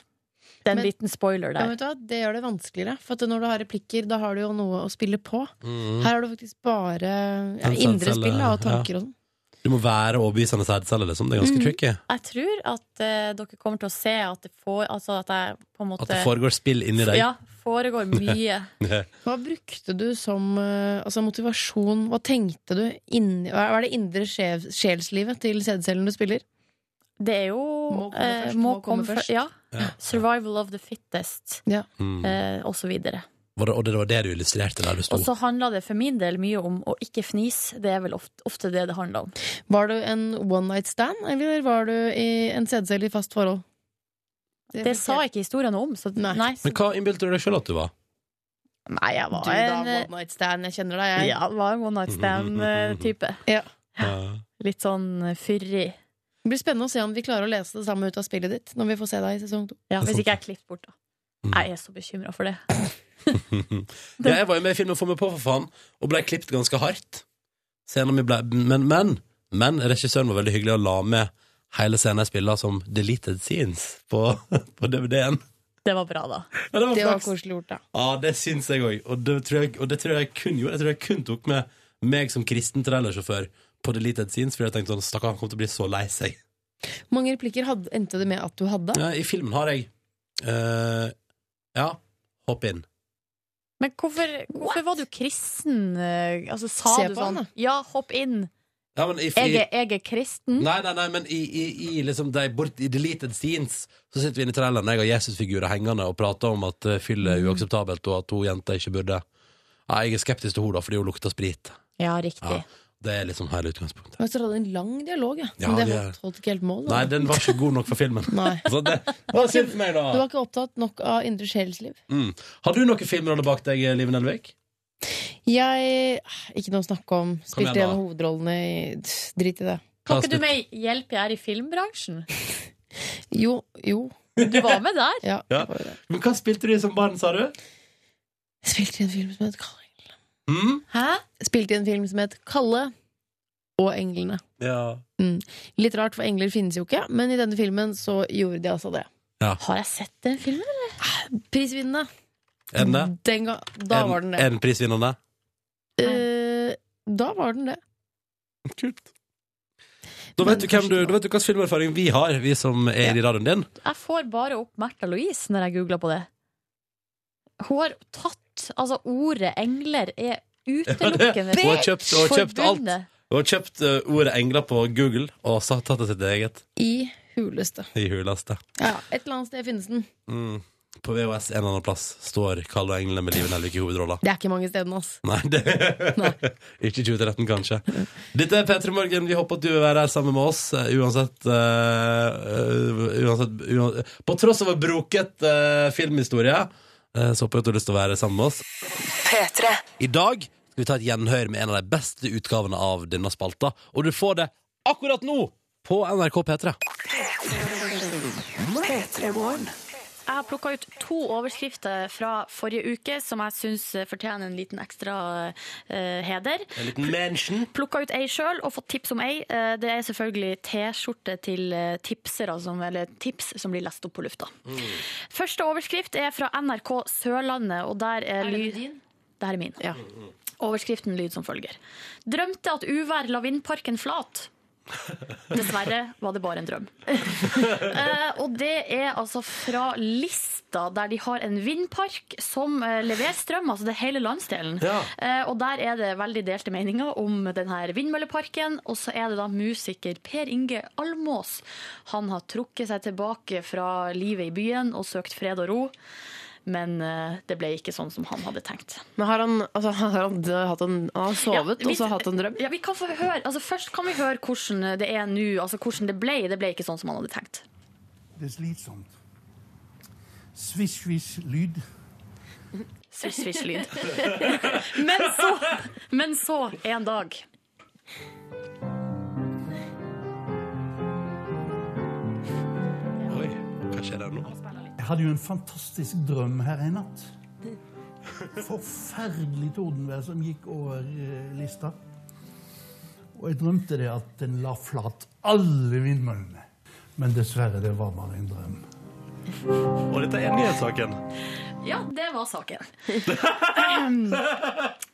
Speaker 3: Det er en
Speaker 2: Men-
Speaker 3: liten spoiler
Speaker 2: Ja,
Speaker 3: der.
Speaker 2: vet du hva? Det gjør det vanskeligere, for at når du har replikker, da har du jo noe å spille på.
Speaker 1: Mm.
Speaker 2: Her har du faktisk bare ja,
Speaker 1: En
Speaker 2: indre
Speaker 1: samtale,
Speaker 2: spill da, og tanker og sånn.
Speaker 1: Du må være overbevisende sædcelle, liksom. Det er
Speaker 3: Mm.
Speaker 1: ganske
Speaker 2: Mhm.
Speaker 1: tricky.
Speaker 3: Jeg tror at eh, dere kommer til å se at det, får, altså at jeg på en måte,
Speaker 1: At det foregår spill inni deg.
Speaker 3: ja, foregår mye.
Speaker 2: Hva brukte du som eh, altså motivasjon? Hva tenkte du inni Hva er det indre sjev, sjelslivet til sædcellen du spiller?
Speaker 3: Det er jo
Speaker 2: Må komme
Speaker 3: eh,
Speaker 2: først,
Speaker 3: må
Speaker 2: må komme
Speaker 3: komme
Speaker 2: først.
Speaker 3: før- Ja.
Speaker 1: Ja.
Speaker 3: Survival of the fittest,
Speaker 1: Mm.
Speaker 3: eh, og så videre.
Speaker 1: Var det- Og det var det du illustrerte der du sto.
Speaker 3: Og så handler det for min del mye om å ikke fnise. Det er vel ofte, ofte det det handler om.
Speaker 2: Var du en one night stand, eller var du i en sædcelle i fast forhold?
Speaker 3: Det sa ikke historien noe om, så
Speaker 2: Nei.
Speaker 3: nei.
Speaker 1: Men hva innbilte du deg sjøl at du var?
Speaker 3: Nei, jeg
Speaker 2: Du
Speaker 3: var
Speaker 2: da,
Speaker 3: en
Speaker 2: one night stand, jeg kjenner deg, jeg.
Speaker 3: Ja, var en eh, one night stand-type.
Speaker 1: Ja.
Speaker 3: Litt sånn fyrig.
Speaker 2: Det blir spennende å se om vi klarer å lese det samme ut av spillet ditt når vi får se deg i sesong to.
Speaker 3: Ja,
Speaker 1: Det er
Speaker 3: hvis
Speaker 1: sant,
Speaker 3: ikke jeg klipper bort, da.
Speaker 1: Mm.
Speaker 3: Nei, jeg er så bekymra for det.
Speaker 1: ja, jeg var jo med i filmen Få meg på, for faen, og ble klippet ganske hardt. Scenen min ble, men, men, men regissøren var veldig hyggelig og la med hele scenen jeg spilla som deleted scenes på, på DVD-en.
Speaker 3: Det var bra, da.
Speaker 1: Ja, det var
Speaker 2: Det var
Speaker 1: flaks.
Speaker 2: koselig gjort, da.
Speaker 1: Ja, det syns jeg òg, og, det tror jeg- og det tror jeg kun gjorde. Jeg tror jeg kun tok med meg som kristen trailersjåfør på deleted scenes, fordi jeg tenkte sånn, stakkar, han kommer til å bli så lei seg.
Speaker 2: Hvor mange replikker hadde, endte det med at du hadde?
Speaker 1: Ja, I filmen har jeg eh, Ja, hopp inn.
Speaker 3: Men hvorfor, hvorfor var du kristen? eh, Altså, sa
Speaker 2: Se
Speaker 3: du
Speaker 2: på han,
Speaker 3: sånn
Speaker 2: da.
Speaker 3: Ja, hopp inn!
Speaker 1: Ja, men i, i,
Speaker 3: Jeg er, jeg er
Speaker 2: Mm.
Speaker 3: kristen.
Speaker 1: Nei, nei, nei, men i, i, i, liksom, de, bort, i deleted scenes Så sitter vi inne i traileren Jeg har Jesusfigurer hengende og prater om at eh, fyll
Speaker 2: Mm.
Speaker 1: er uakseptabelt Og at to jenter ikke burde Nei, jeg er skeptisk til henne da, fordi hun lukter sprit
Speaker 3: Ja,
Speaker 1: ja,
Speaker 3: riktig.
Speaker 1: Det er liksom hele utgangspunktet
Speaker 2: Og så hadde du en lang dialog, ja.
Speaker 1: Ja,
Speaker 2: Men det
Speaker 1: det-
Speaker 2: holdt, holdt ikke helt mål. Da.
Speaker 1: Nei, den var ikke god nok for filmen
Speaker 2: Nei.
Speaker 1: Så det, det var synd for meg
Speaker 2: Du
Speaker 1: da
Speaker 2: var ikke opptatt nok av indre sjelsliv.
Speaker 1: mm. Har du noen filmer bak deg, Liven Elvik?
Speaker 2: Jeg ah, Ikke noe å snakke om.
Speaker 1: igjen,
Speaker 2: Spilte
Speaker 1: da.
Speaker 2: en av hovedrollene i Drit i det.
Speaker 3: Kan ikke du med hjelp jeg er i filmbransjen?
Speaker 2: Jo, jo.
Speaker 3: Du var med der.
Speaker 2: Ja.
Speaker 1: Ja.
Speaker 2: det var jo det.
Speaker 1: Men hva spilte du som barn, sa du?
Speaker 2: Jeg spilte i en film som het Kalle.
Speaker 1: Mm?
Speaker 3: Hæ?
Speaker 2: Jeg Spilte i en film som het Kalle og englene.
Speaker 1: Ja
Speaker 2: Mm. Litt rart, for engler finnes jo ikke, men i denne filmen så gjorde de altså det.
Speaker 3: Har jeg sett den filmen?
Speaker 2: Prisvinnende.
Speaker 1: Er den det?
Speaker 2: Den ga, da
Speaker 1: Er-
Speaker 2: var den det.
Speaker 1: Er den prisvinnende?
Speaker 2: Eh, da var den det.
Speaker 1: Kult. Da
Speaker 2: Men
Speaker 1: vet, du hvem
Speaker 2: kanskje
Speaker 1: du,
Speaker 2: det var-
Speaker 1: da vet du hvilken filmerfaring vi har, vi som er i radioen din.
Speaker 3: Jeg får bare opp Märtha Louise når jeg googler på det. Hun har tatt Altså, ordet engler er utelukkende
Speaker 1: Hun har kjøpt, hun har kjøpt alt.
Speaker 3: forbundet.
Speaker 1: Hun har kjøpt eh, ordet engler på Google og sa- tatt det sitt eget
Speaker 2: I huleste.
Speaker 1: i huleste.
Speaker 2: Ja, et eller annet sted finnes den.
Speaker 1: Mm. På VHS en eller annen plass står Karl og englene med Liven Elvik i hovedrolla.
Speaker 2: Det er ikke mange stedene, ass.
Speaker 1: Nei, det Ikke 2013, kanskje. Dette er P3 Morgen. Vi håper at du vil være her sammen med oss, eh, uansett, eh, uansett, uansett På tross av en broket eh, filmhistorie, eh, så håper jeg at du har lyst til å være sammen med oss. I dag skal vi ta et gjenhør med en av de beste utgavene av denne spalta, og du får det akkurat nå på NRK P3.
Speaker 3: Jeg har plukka ut to overskrifter fra forrige uke som jeg syns fortjener en liten ekstra eh, heder.
Speaker 1: En liten mention.
Speaker 3: Plukka ut ei sjøl og fått tips om ei. Eh, Det er selvfølgelig T-skjorte til eh, tipsere, som, eller tips som blir lest opp på lufta. Første overskrift er fra NRK Sørlandet, og der er, lyd... Det her er min. Overskriften lyd som følger. Drømte at uvær la vindparken flat. Dessverre var det bare en drøm. Eh, og det er altså fra Lista, der de har en vindpark som eh, leverer strøm, altså det er hele landsdelen.
Speaker 1: Ja.
Speaker 3: Eh, og der er det veldig delte meninger om denne vindmølleparken. Og så er det da musiker Per Inge Almås. Han har trukket seg tilbake fra livet i byen og søkt fred og ro. Men eh, det ble ikke sånn som han hadde tenkt.
Speaker 2: Men har han, altså, har han, d- hatt en, han har sovet
Speaker 3: Ja, vi-
Speaker 2: og så hatt en drøm?
Speaker 3: Ja, vi kan få høre, altså Først kan vi høre hvordan det er nå. Altså hvordan det ble. Det ble ikke sånn som han hadde tenkt.
Speaker 4: Det er slitsomt. Svisj-svisj-lyd.
Speaker 3: Svisj-svisj-lyd. men så Men så en dag
Speaker 1: Oi, hva skjer der nå?
Speaker 4: Jeg hadde jo en fantastisk drøm her i natt. Forferdelig tordenvær som gikk over eh, lista. Og jeg drømte det at den la flat alle vindmøllene. Men dessverre, det var bare en drøm.
Speaker 1: Og dette er nyhetssaken.
Speaker 3: Ja, det var saken. Ehm,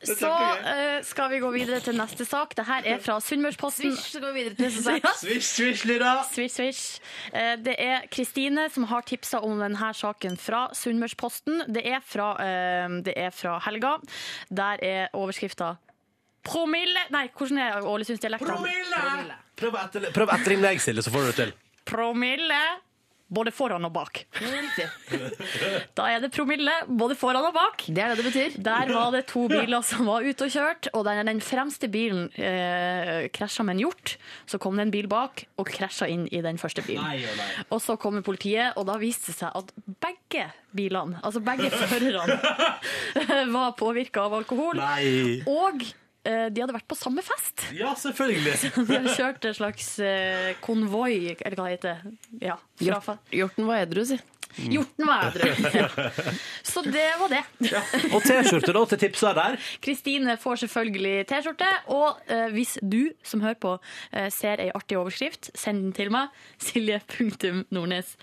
Speaker 3: så eh, skal vi gå videre til neste sak. Det her er fra Sunnmørsposten.
Speaker 2: Så går vi videre til neste sak.
Speaker 1: Svisj, svisj, lyda.
Speaker 3: Swish, swish. Eh, Det er Kristine som har tipsa om denne saken fra Sunnmørsposten. Det er fra, eh, det er fra helga. Der er overskrifta Promille Nei, hvordan er Ålesundsdialekten?
Speaker 1: Promille! Prøv å etterligne deg, Silje, så får du det til.
Speaker 3: Promille
Speaker 6: Både foran og bak.
Speaker 2: Riktig.
Speaker 3: Da er det promille, både foran og bak.
Speaker 2: Det er det det betyr.
Speaker 3: Der var det to biler som var ute og kjørt, og den, den fremste bilen eh, krasja med en hjort. Så kom det en bil bak og krasja inn i den første bilen. Og så kommer politiet, og da viste det seg at begge bilene, altså begge førerne, var påvirka av alkohol.
Speaker 1: Nei.
Speaker 3: Og eh, de hadde vært på samme fest.
Speaker 1: Ja, selvfølgelig.
Speaker 3: De hadde kjørt en slags eh, konvoi, eller hva det heter. Ja, fra fe-
Speaker 2: Hjorten var edru, si.
Speaker 3: Hjorten var edru. Ja. Så det var det.
Speaker 1: Og T-skjorte da, til tipsa der.
Speaker 3: Kristine får selvfølgelig T-skjorte. Og eh, hvis du som hører på eh, ser ei artig overskrift, send den til meg. Silje.nordnes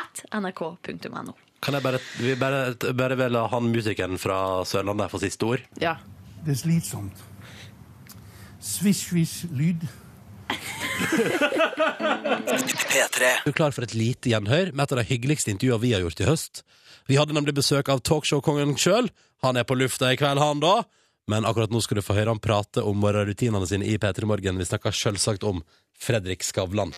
Speaker 3: at nrk.no.
Speaker 1: Kan jeg bare, vi bare, bare vel ha han musikeren fra Sørlandet for siste ord?
Speaker 2: Ja.
Speaker 4: Det er slitsomt. Svisj-visj-lyd.
Speaker 1: Er du klar for et lite gjenhør med et av de hyggeligste intervjuene vi har gjort i høst? Vi hadde nemlig besøk av talkshow-kongen sjøl. Han er på lufta i kveld, han da. Men akkurat nå skal du få høre han prate om morgenrutinene sine i P3 Morgen. Vi snakker selvsagt om Fredrik Skavlan.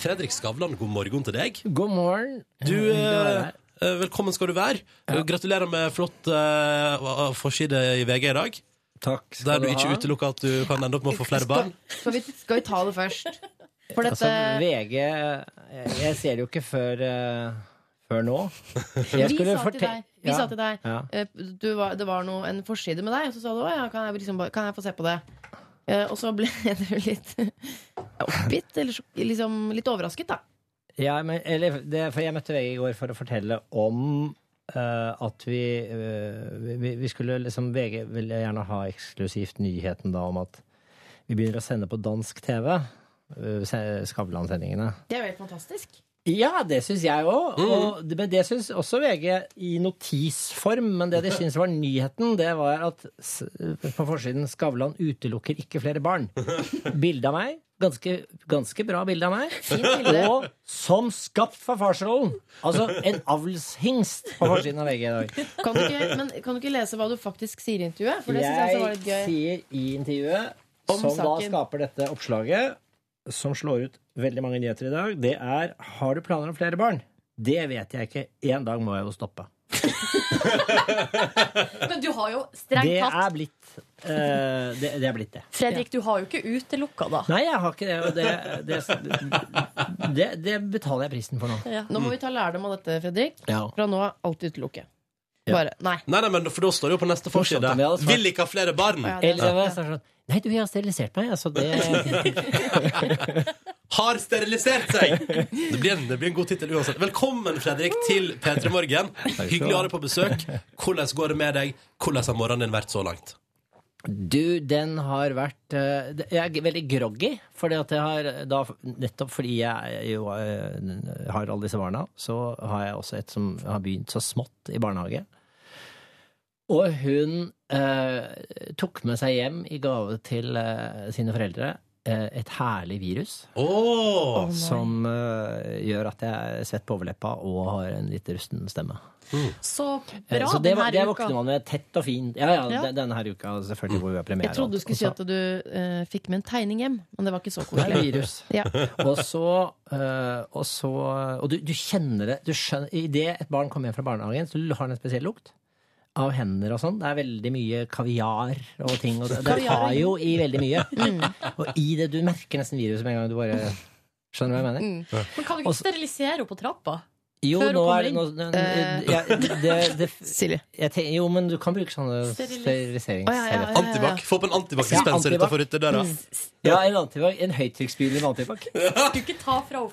Speaker 1: Fredrik Skavlan, god morgen til deg.
Speaker 7: God morgen.
Speaker 1: Du,
Speaker 7: Hyggelig å være
Speaker 1: eh,
Speaker 7: her.
Speaker 1: eh, velkommen skal du være. Eh, Gratulerer med flott eh, hva- forside i VG i dag.
Speaker 7: Takk
Speaker 1: Der du
Speaker 7: ha.
Speaker 1: ikke utelukker at du kan ende opp med å få flere barn.
Speaker 2: Skal vi, skal vi ta det først? For
Speaker 7: Altså,
Speaker 2: dette
Speaker 7: VG eh, Jeg ser det jo ikke før, eh, før nå. Jeg
Speaker 2: Vi, sa
Speaker 7: skulle
Speaker 2: til,
Speaker 7: fortel-
Speaker 2: deg, vi
Speaker 7: Ja.
Speaker 2: sa til deg
Speaker 7: Ja.
Speaker 2: eh, du var, Det var noe, en forside med deg, og så sa du å ja, kan jeg, liksom, bare- kan jeg få se på det? Eh, og så ble du litt oppgitt, eller så- liksom litt overrasket, da.
Speaker 7: Ja, men, eller, det, for jeg møtte VG i går for å fortelle om eh, at vi, eh, vi Vi skulle liksom VG ville gjerne ha eksklusivt nyheten da om at vi begynner å sende på dansk TV. eh, se- Skavlan-sendingene.
Speaker 2: Det er jo helt fantastisk.
Speaker 7: Ja, det syns jeg òg. Og, men det syns også VG i notisform. Men det de syns var nyheten, det var at s- på forsiden 'Skavlan utelukker ikke flere barn'. Bilde av meg. Ganske, ganske bra bilde av meg. Og som skapt for farsrollen! Altså en avlshingst på forsiden av VG i dag.
Speaker 2: Kan du ikke, men kan du ikke lese hva du faktisk sier i intervjuet? For det synes jeg også var
Speaker 7: Jeg
Speaker 2: litt gøy.
Speaker 7: sier i intervjuet,
Speaker 2: Om
Speaker 7: som da
Speaker 2: saken.
Speaker 7: skaper dette oppslaget, som slår ut veldig mange nyheter i dag, det er 'Har du planer om flere barn?' Det vet jeg ikke. En dag må jeg jo stoppe.
Speaker 3: Men du har jo
Speaker 7: Det
Speaker 3: strengt
Speaker 7: er
Speaker 3: tatt
Speaker 7: blitt eh, det, det er blitt det.
Speaker 3: Fredrik, du har jo ikke utelukka, da.
Speaker 7: Nei, jeg har ikke det. Og det, det, det, det betaler jeg prisen for nå.
Speaker 2: Nå må vi ta lærdom av dette, Fredrik. Fra nå av alltid utelukke.
Speaker 7: Ja.
Speaker 2: Bare nei.
Speaker 1: Nei, nei, men for da står det jo på neste
Speaker 7: skjønte
Speaker 1: forside.
Speaker 7: vi alle svart.
Speaker 1: Vil ikke ha flere barn.
Speaker 2: Å, ja, det er
Speaker 7: Eller
Speaker 2: sant,
Speaker 7: så er det sånn Nei, du, jeg har sterilisert meg. Altså, det,
Speaker 1: Har sterilisert seg! Det blir en, det blir en god tittel uansett. Velkommen, Fredrik, til P3 Morgen. Hyggelig å ha deg på besøk. Hvordan går det med deg? Hvordan har morgenen din vært så langt?
Speaker 7: Du, den har vært eh, det- Jeg er g- veldig groggy, fordi at jeg har da Nettopp fordi jeg jo eh, har alle disse barna, så har jeg også et som har begynt så smått i barnehage. Og hun eh, tok med seg hjem i gave til eh, sine foreldre eh, et herlig virus
Speaker 1: Åh,
Speaker 7: som eh, gjør at jeg er svett på overleppa og har en litt rusten stemme.
Speaker 3: Så
Speaker 7: Eh,
Speaker 3: bra
Speaker 7: så det, var- det
Speaker 3: denne
Speaker 7: våkner
Speaker 3: uka.
Speaker 7: man med tett og fint. Ja, ja,
Speaker 3: Ja.
Speaker 7: den- denne her uka selvfølgelig hvor vi har premiere.
Speaker 2: Jeg trodde du skulle si
Speaker 7: og alt.
Speaker 2: at du eh, fikk med en tegning hjem, men det var ikke så
Speaker 7: Det er
Speaker 2: koselig.
Speaker 7: virus.
Speaker 2: Ja.
Speaker 7: Og så, eh, og så Og du, du kjenner det. Du skjønner, I det et barn kommer hjem fra barnehagen, så har den en spesiell lukt. Av hender og sånn. Det er veldig mye kaviar og ting. Og det, det tar jo i veldig mye. Og i det du merker nesten viruset med en gang du bare Skjønner du hva jeg mener?
Speaker 3: Mm. Men kan du ikke
Speaker 7: Også-
Speaker 3: sterilisere henne på trappa?
Speaker 7: Jo,
Speaker 3: Før du
Speaker 7: nå
Speaker 3: kommer
Speaker 7: er det, nå, nå, ja, det, det
Speaker 2: Eh, Silje.
Speaker 7: jeg tenker, Jo, men du kan bruke sånne
Speaker 3: Steriliser-
Speaker 7: steriliserings...
Speaker 2: Å, ja, ja, ja.
Speaker 1: Antibac. Få på en antibac-dispenser
Speaker 7: Ja, antibac. Mm.
Speaker 1: utenfor ytterdøra.
Speaker 7: Ja, en antibac. En høytrykksspyler med antibac.
Speaker 3: Kan du ikke ta fra henne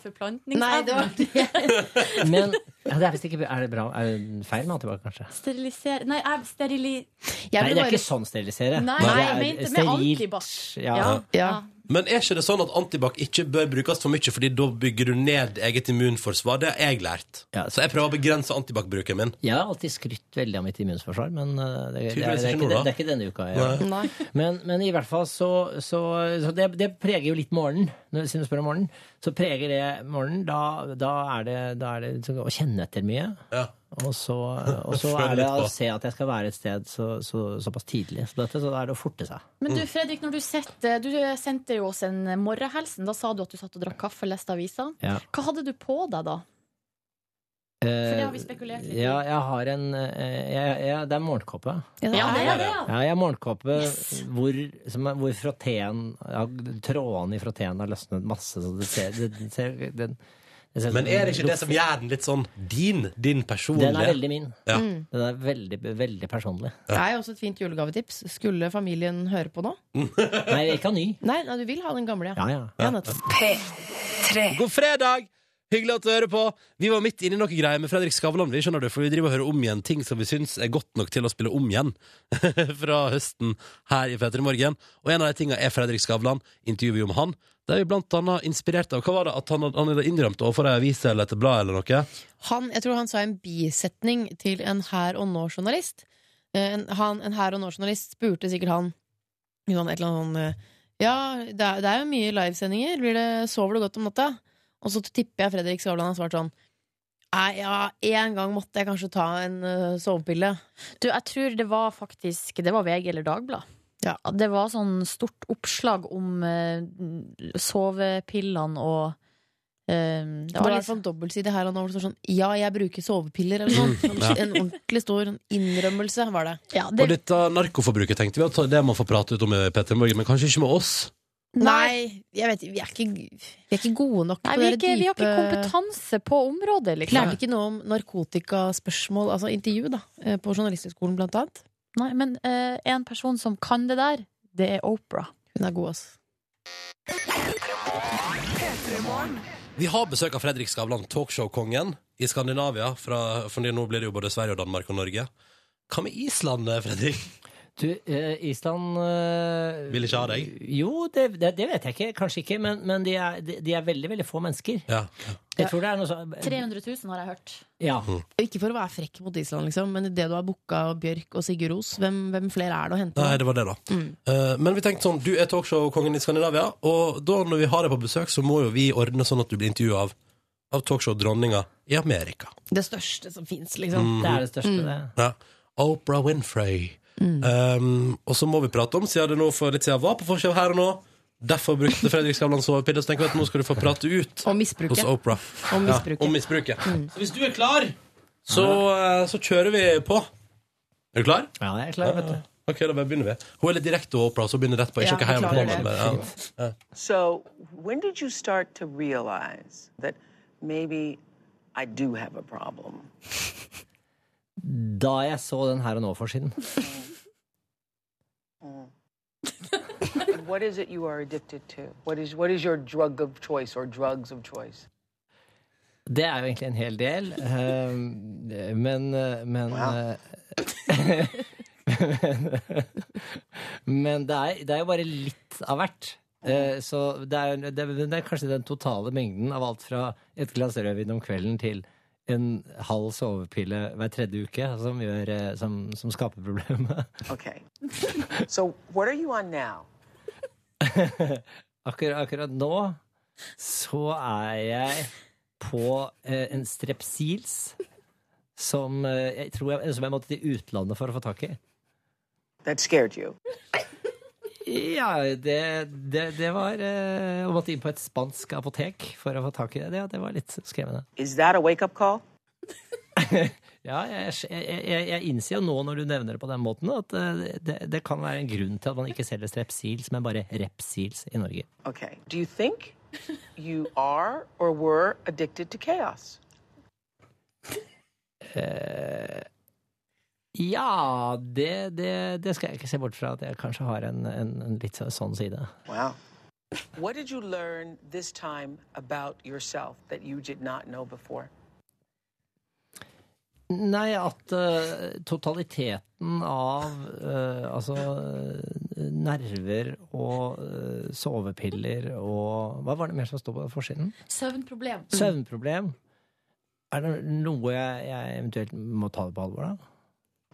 Speaker 2: Nei, det
Speaker 3: forplantningsevnen?
Speaker 2: var det.
Speaker 7: Men ja, det er visst ikke Er det bra? Er det feil med antibac, kanskje?
Speaker 3: Sterilisere Nei, jeg sterili...
Speaker 2: Jeg
Speaker 7: Nei,
Speaker 2: vil
Speaker 7: det er
Speaker 2: bare
Speaker 7: ikke sånn sterilisere.
Speaker 3: Nei,
Speaker 7: Det
Speaker 3: jeg
Speaker 7: er
Speaker 3: mente med
Speaker 7: sterilt.
Speaker 3: antibac.
Speaker 7: Ja.
Speaker 2: ja.
Speaker 1: Men er ikke det sånn at antibac ikke bør brukes for mye, fordi da bygger du ned eget immunforsvar? Det har jeg lært.
Speaker 7: Ja.
Speaker 1: Så jeg prøver å begrense antibac-bruken min.
Speaker 7: Jeg har alltid skrytt veldig av mitt immunforsvar, men uh, det, det, er,
Speaker 1: Tydeligvis
Speaker 7: det, er,
Speaker 1: ikke
Speaker 7: ikke,
Speaker 1: noe, da.
Speaker 7: det er ikke denne uka. Jeg.
Speaker 2: Nei.
Speaker 7: Men, men i hvert fall så, så, så det, det preger jo litt morgenen. Når- Siden du spør om morgenen, så preger det morgenen. Da, da er det, da er det liksom å kjenne etter mye.
Speaker 1: Ja.
Speaker 7: Og så, og så
Speaker 1: Følg
Speaker 7: er
Speaker 1: litt
Speaker 7: det å
Speaker 1: på.
Speaker 7: se at jeg skal være et sted så, så, såpass tidlig. Så, dette, så da er det å forte seg.
Speaker 3: Men du,
Speaker 2: Mm.
Speaker 1: Mm.
Speaker 3: Fredrik, når du, sette, du eh, sendte jo oss en morgenhelsen. Da sa du at du satt og drakk kaffe og leste aviser.
Speaker 7: Ja.
Speaker 3: Hva hadde du på deg da? For det har vi spekulert litt i.
Speaker 7: Eh, Ja, jeg har en eh, jeg, jeg, Det er morgenkåpe.
Speaker 3: Ja, det er
Speaker 1: det,
Speaker 3: det, ja.
Speaker 7: Ja, jeg har morgenkåpe
Speaker 3: Yes.
Speaker 7: hvor, som er- hvor frotteen ja, Trådene i frotteen har løsnet masse, så det ser, det, det ser, den, det ser
Speaker 1: Men er det ikke det som gjør den litt sånn din? Din personlige?
Speaker 7: Den er veldig min.
Speaker 1: Ja.
Speaker 3: Mm.
Speaker 7: Den er veldig, veldig personlig.
Speaker 2: Det er jo også et fint julegavetips. Skulle familien høre på nå?
Speaker 7: Nei, jeg ikke ha ny.
Speaker 2: Nei, nei du vil ha den gamle, ja.
Speaker 7: Ja, ja.
Speaker 2: ja nettopp.
Speaker 1: God fredag! Hyggelig at du hører på. Vi var midt inne i noe greier med Fredrik Skavlan. Vi skjønner det, for vi driver og hører om igjen ting som vi syns er godt nok til å spille om igjen fra høsten her i P3 Morgen. Og en av de tinga er Fredrik Skavlan. Intervjuet vi om han. Der vi blant annet inspirert av Hva var det at han, han hadde innrømt overfor ei avis eller et blad eller noe?
Speaker 2: Han, jeg tror han sa en bisetning til en her og nå-journalist. Eh, En, han- en her og nå-journalist spurte sikkert han gjorde han et eller annet sånn eh, Ja, det er, det er jo mye livesendinger. Blir det, sover du godt om natta? Og så tipper jeg Fredrik Skavlan har svart sånn Nei, ja, en gang måtte jeg kanskje ta en eh, sovepille.
Speaker 3: Du, jeg tror det var faktisk Det var VG eller Dagbladet.
Speaker 2: Ja.
Speaker 3: Det var sånn stort oppslag om eh, sovepillene og eh,
Speaker 2: Det var i hvert fall en dobbeltside her og nå. hvor det står Sånn, ja, jeg bruker sovepiller, eller noe. sånt.
Speaker 1: ja.
Speaker 2: En ordentlig stor innrømmelse var det.
Speaker 3: ja,
Speaker 1: Og
Speaker 3: det,
Speaker 1: dette narkoforbruket tenkte vi at det må få prate ut om i P3 Morgen, men kanskje ikke med oss.
Speaker 3: Nei.
Speaker 2: Nei, jeg vet, vi, er ikke, vi er ikke gode nok
Speaker 3: Nei,
Speaker 2: til å
Speaker 3: vi, er
Speaker 2: være
Speaker 3: ikke, vi har ikke
Speaker 2: dype-
Speaker 3: kompetanse på området, liksom.
Speaker 2: Lærte ikke noe om narkotikaspørsmål, altså intervju, da, eh, på Journalisthøgskolen blant annet.
Speaker 3: Nei, men eh, en person som kan det der, det er Opera.
Speaker 2: Hun er god, ass.
Speaker 1: Vi har besøk av Fredrik Skavlan, talkshow-kongen i Skandinavia. Fra, for nå blir det jo både Sverige og Danmark og Norge. Hva med Island, eh, Fredrik?
Speaker 7: Du, eh, Island eh,
Speaker 1: Vil ikke ha deg?
Speaker 7: Jo, det, det, det vet jeg ikke. Kanskje ikke. Men, men de, er, de, de er veldig, veldig få mennesker.
Speaker 1: Ja.
Speaker 7: Jeg tror det er noe sånn
Speaker 3: 300 000 har jeg hørt.
Speaker 7: Ja.
Speaker 2: Ikke for å være frekk mot Island, liksom, men det du har booka av Bjørk og Sigurd Ros, hvem, hvem flere er det å hente?
Speaker 1: Nei, det var det, da. Eh, men vi tenkte sånn, du er talkshow-kongen i Skandinavia, og da når vi har deg på besøk, så må jo vi ordne sånn at du blir intervjua av, av talkshow-dronninga i Amerika.
Speaker 2: Det største som fins, liksom.
Speaker 1: Mm.
Speaker 7: Det er det største, det.
Speaker 1: Mhm. Ja. Oprah Winfrey.
Speaker 2: Mm.
Speaker 1: Um, og så må vi prate om, siden det nå for litt siden var på forskjell her og nå. Derfor brukte Fredrik Skavlan sovepille, så tenker vi at nå skal du få prate ut.
Speaker 2: Og misbruket.
Speaker 1: Hos Oprah.
Speaker 2: Om misbruket.
Speaker 1: Ja, om misbruket.
Speaker 2: Mm.
Speaker 1: Så hvis du er klar, så, eh, så kjører vi på. Er du klar? Eh,
Speaker 7: Ja, jeg er klar, vet du.
Speaker 1: Ok, da bare begynner vi. Hun er litt direkte og Oprah, så begynner rett på. Ikke
Speaker 2: Ja,
Speaker 1: noe hjemme på
Speaker 2: beklager
Speaker 1: men, ja.
Speaker 6: So, when did you start to realize that maybe I do have a problem?
Speaker 7: Da jeg så den her og nå-forsiden.
Speaker 6: And what is it you are addicted to? What is what is your drug of choice or drugs of choice?
Speaker 7: Det er jo egentlig en hel del. eh, men eh, men, eh, men det, er, det er jo bare litt av hvert. Eh, så det er, det, er- det er kanskje den totale mengden av alt fra et glass rødvin om kvelden til en halv sovepille hver tredje uke som, gjør, eh, som, som skaper problemet.
Speaker 6: Okay. so, what are you on now?
Speaker 7: Akkurat, akkurat nå så er jeg på eh, en strepsils som eh, jeg tror jeg, som jeg måtte til utlandet for å få tak i.
Speaker 6: That scared you.
Speaker 7: Ja, det, det, det var eh, Jeg måtte inn på et spansk apotek for å få tak i det. Det, det var litt skremmende.
Speaker 6: Is that a wake up call?
Speaker 7: Ja, jeg, jeg, jeg, jeg innser jo nå når du nevner det på den måten, at eh, det, det kan være en grunn til at man ikke selger strepsils, men bare repsils i Norge.
Speaker 6: Okay. Do you think you are or were addicted to chaos?
Speaker 7: Eh, Ja, det, det, det skal jeg ikke se bort fra at jeg kanskje har en, en, en litt sånn side.
Speaker 6: Wow. What did you learn this time about yourself that you did not know before?
Speaker 7: Nei, at eh, totaliteten av eh, altså eh, nerver og eh, sovepiller og Hva var det mer som sto på forsiden?
Speaker 3: Søvnproblem.
Speaker 7: Søvnproblem. Er det noe jeg, jeg eventuelt må ta det på alvor, da?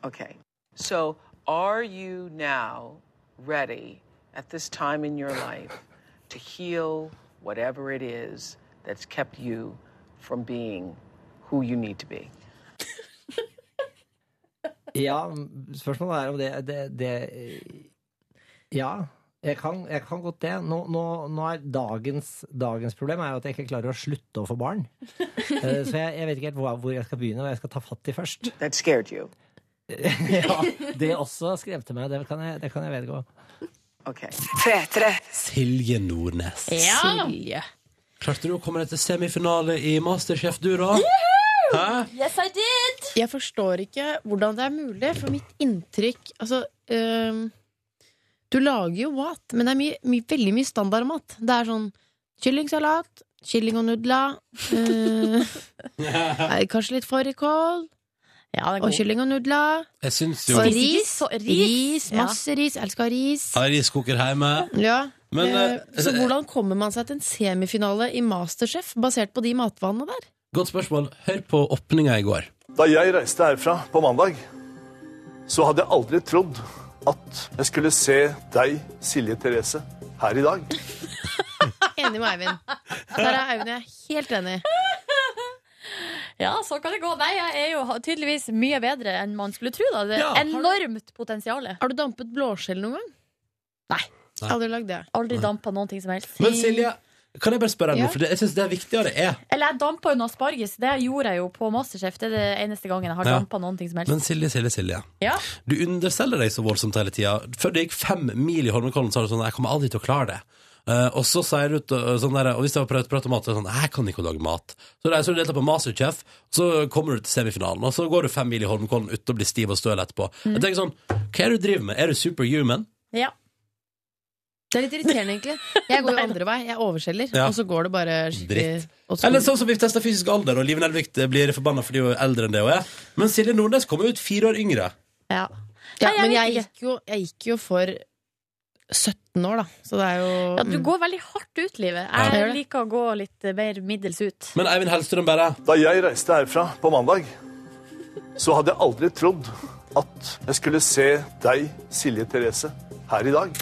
Speaker 6: Okay. So, are you now ready at this time in your life to heal whatever it is that's kept you from being who you need to be?
Speaker 7: Ja, spørsmålet er om det, det, det Ja, jeg kan, jeg kan godt det. Nå, nå, nå er dagens, dagens problem er jo at jeg ikke klarer å slutte å få barn. Eh, Så jeg, jeg vet ikke helt hvor, hvor jeg skal begynne, hva jeg skal ta fatt i først.
Speaker 6: That scared you.
Speaker 7: Ja, det også skremte meg. Det kan jeg, det kan jeg vedgå.
Speaker 6: Okay.
Speaker 1: Silje Nordnes.
Speaker 2: Silje.
Speaker 1: Klarte du å komme deg til semifinale i Masterchef, du, da? Hæ?
Speaker 2: Jeg forstår ikke hvordan det er mulig, for mitt inntrykk Altså øhm, Du lager jo mat, men det er mye, mye, veldig mye standardmat. Det er sånn kyllingsalat, kylling og nudler øh, nei, Kanskje litt fårikål
Speaker 3: Ja, den er
Speaker 2: og
Speaker 3: god.
Speaker 2: kylling og nudler.
Speaker 1: Jeg syns jo
Speaker 2: Og
Speaker 3: Spiser
Speaker 1: Jeg
Speaker 3: ikke
Speaker 2: ris.
Speaker 3: så- ris?
Speaker 2: Ris,
Speaker 3: Ja.
Speaker 2: masse ris. Jeg elsker ris.
Speaker 1: har riskoker hjemme.
Speaker 2: Ja.
Speaker 1: Men
Speaker 2: eh,
Speaker 1: eh,
Speaker 2: så hvordan kommer man seg til en semifinale i Masterchef basert på de matvanene der?
Speaker 1: godt spørsmål. Hør på åpninga i går.
Speaker 8: Da jeg reiste herfra på mandag, så hadde jeg aldri trodd at jeg skulle se deg, Silje Therese, her i dag.
Speaker 2: Enig med Eivind. Der er Eivind og jeg helt enig.
Speaker 3: Ja, sånn kan det gå. Nei, jeg er jo tydeligvis mye bedre enn man skulle tro. Da. Det er
Speaker 1: Ja, har du-
Speaker 3: enormt potensial.
Speaker 2: Har du dampet blåskjell noen gang?
Speaker 3: Nei.
Speaker 2: Aldri lagd det.
Speaker 3: Aldri dampa noen ting som helst.
Speaker 1: Men Silje, kan jeg bare spørre deg
Speaker 2: Ja.
Speaker 1: noe? For det, jeg syns det er viktigere er.
Speaker 3: Eller jeg dampa jo noe asparges. Det gjorde jeg jo på Masterchef. Det er det eneste gangen jeg har
Speaker 1: Ja.
Speaker 3: dampa noen ting som helst.
Speaker 1: Men Silje, Silje, Silje.
Speaker 3: Ja.
Speaker 1: Du underselger deg så voldsomt hele tida. Før det gikk fem mil i Holmenkollen, sa du sånn Jeg kommer aldri til å klare det. Eh, og så sier du ut, eh, sånn der, og hvis jeg har prøvd å prate om mat, så er det sånn Jeg kan ikke lage mat. Så reiser du og deltar på Masterchef, så kommer du til semifinalen, og så går du fem mil i Holmenkollen uten å bli stiv og støl etterpå.
Speaker 3: Mm.
Speaker 1: Jeg tenker sånn Hva er det du driver med? Er du superhuman?
Speaker 3: Ja.
Speaker 2: Det er litt irriterende, egentlig. Jeg går jo andre vei. Jeg overskjeller,
Speaker 1: Ja.
Speaker 2: og så går det bare
Speaker 3: Eh,
Speaker 2: skikkelig åt skogen.
Speaker 1: Eller sånn som vi testa fysisk alder, og Liven Elvik blir forbanna fordi hun er eldre enn det hun er. Men Silje Nordnes kommer ut fire år yngre.
Speaker 3: ja.
Speaker 2: ja,
Speaker 3: Nei, jeg
Speaker 2: Men
Speaker 3: vet
Speaker 2: jeg
Speaker 3: ikke.
Speaker 2: gikk, jo, jeg gikk jo for 17 år, da. Så det er jo
Speaker 3: Ja, du går veldig hardt ut livet. Jeg
Speaker 2: Ja.
Speaker 3: liker å gå litt mer middels ut.
Speaker 1: Men Eivind Hellstrøm bare
Speaker 8: Da jeg reiste herfra på mandag, så hadde jeg aldri trodd at jeg skulle se deg, Silje Therese, her i dag.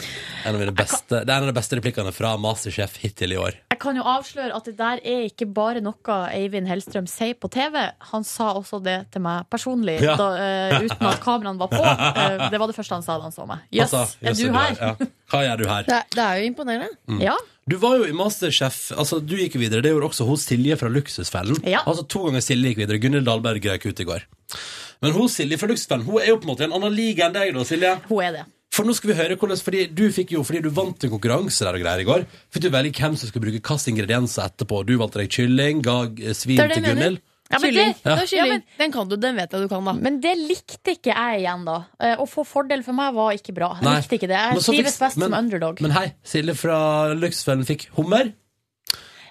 Speaker 1: en av mine beste, Det er en av de beste replikkene fra Masterchef hittil i år.
Speaker 3: Jeg kan jo avsløre at det der er ikke bare noe Eivind Hellstrøm sier på TV. Han sa også det til meg personlig,
Speaker 1: Ja.
Speaker 3: da, eh, uten at kameraene var på. Eh, det var det første han sa da han så meg. Jøss,
Speaker 1: Altså,
Speaker 3: er
Speaker 1: jøss,
Speaker 3: du her? Ja.
Speaker 1: Ja. Hva gjør du her?
Speaker 2: det, er, det er jo imponerende.
Speaker 3: Ja.
Speaker 1: Mm. Du var jo i Masterchef, altså du gikk jo videre, det gjorde også hos Silje fra Luksusfellen.
Speaker 3: Ja.
Speaker 1: Altså to ganger Silje gikk videre, Gunnhild Dahlberg gikk ut i går. Men hos Silje fra Luksusfellen, hun er jo på en måte i en annen liga enn deg da, Silje.
Speaker 3: Hun er det.
Speaker 1: For nå skal vi høre hvordan, fordi du fikk jo, fordi du vant en konkurranse der og greier i går, fikk du velge hvem som skulle bruke hvilke ingredienser etterpå. Du valgte deg kylling, ga eh, svin
Speaker 2: Det er det jeg
Speaker 1: til
Speaker 2: mener.
Speaker 1: Gunnhild.
Speaker 3: Ja, men
Speaker 2: Kylling.
Speaker 3: det-
Speaker 2: Det er kylling.
Speaker 3: Ja, men-
Speaker 2: Den kan du, den vet jeg du kan, da.
Speaker 3: Men det likte ikke jeg igjen, da. Eh, Å få fordel for meg var ikke bra. Jeg
Speaker 1: Nei.
Speaker 3: likte ikke det.
Speaker 1: Men
Speaker 3: Jeg
Speaker 1: så fikk-
Speaker 3: trives best
Speaker 1: men-
Speaker 3: som underdog.
Speaker 1: Men hei, Silje fra Luksusfellen fikk hummer.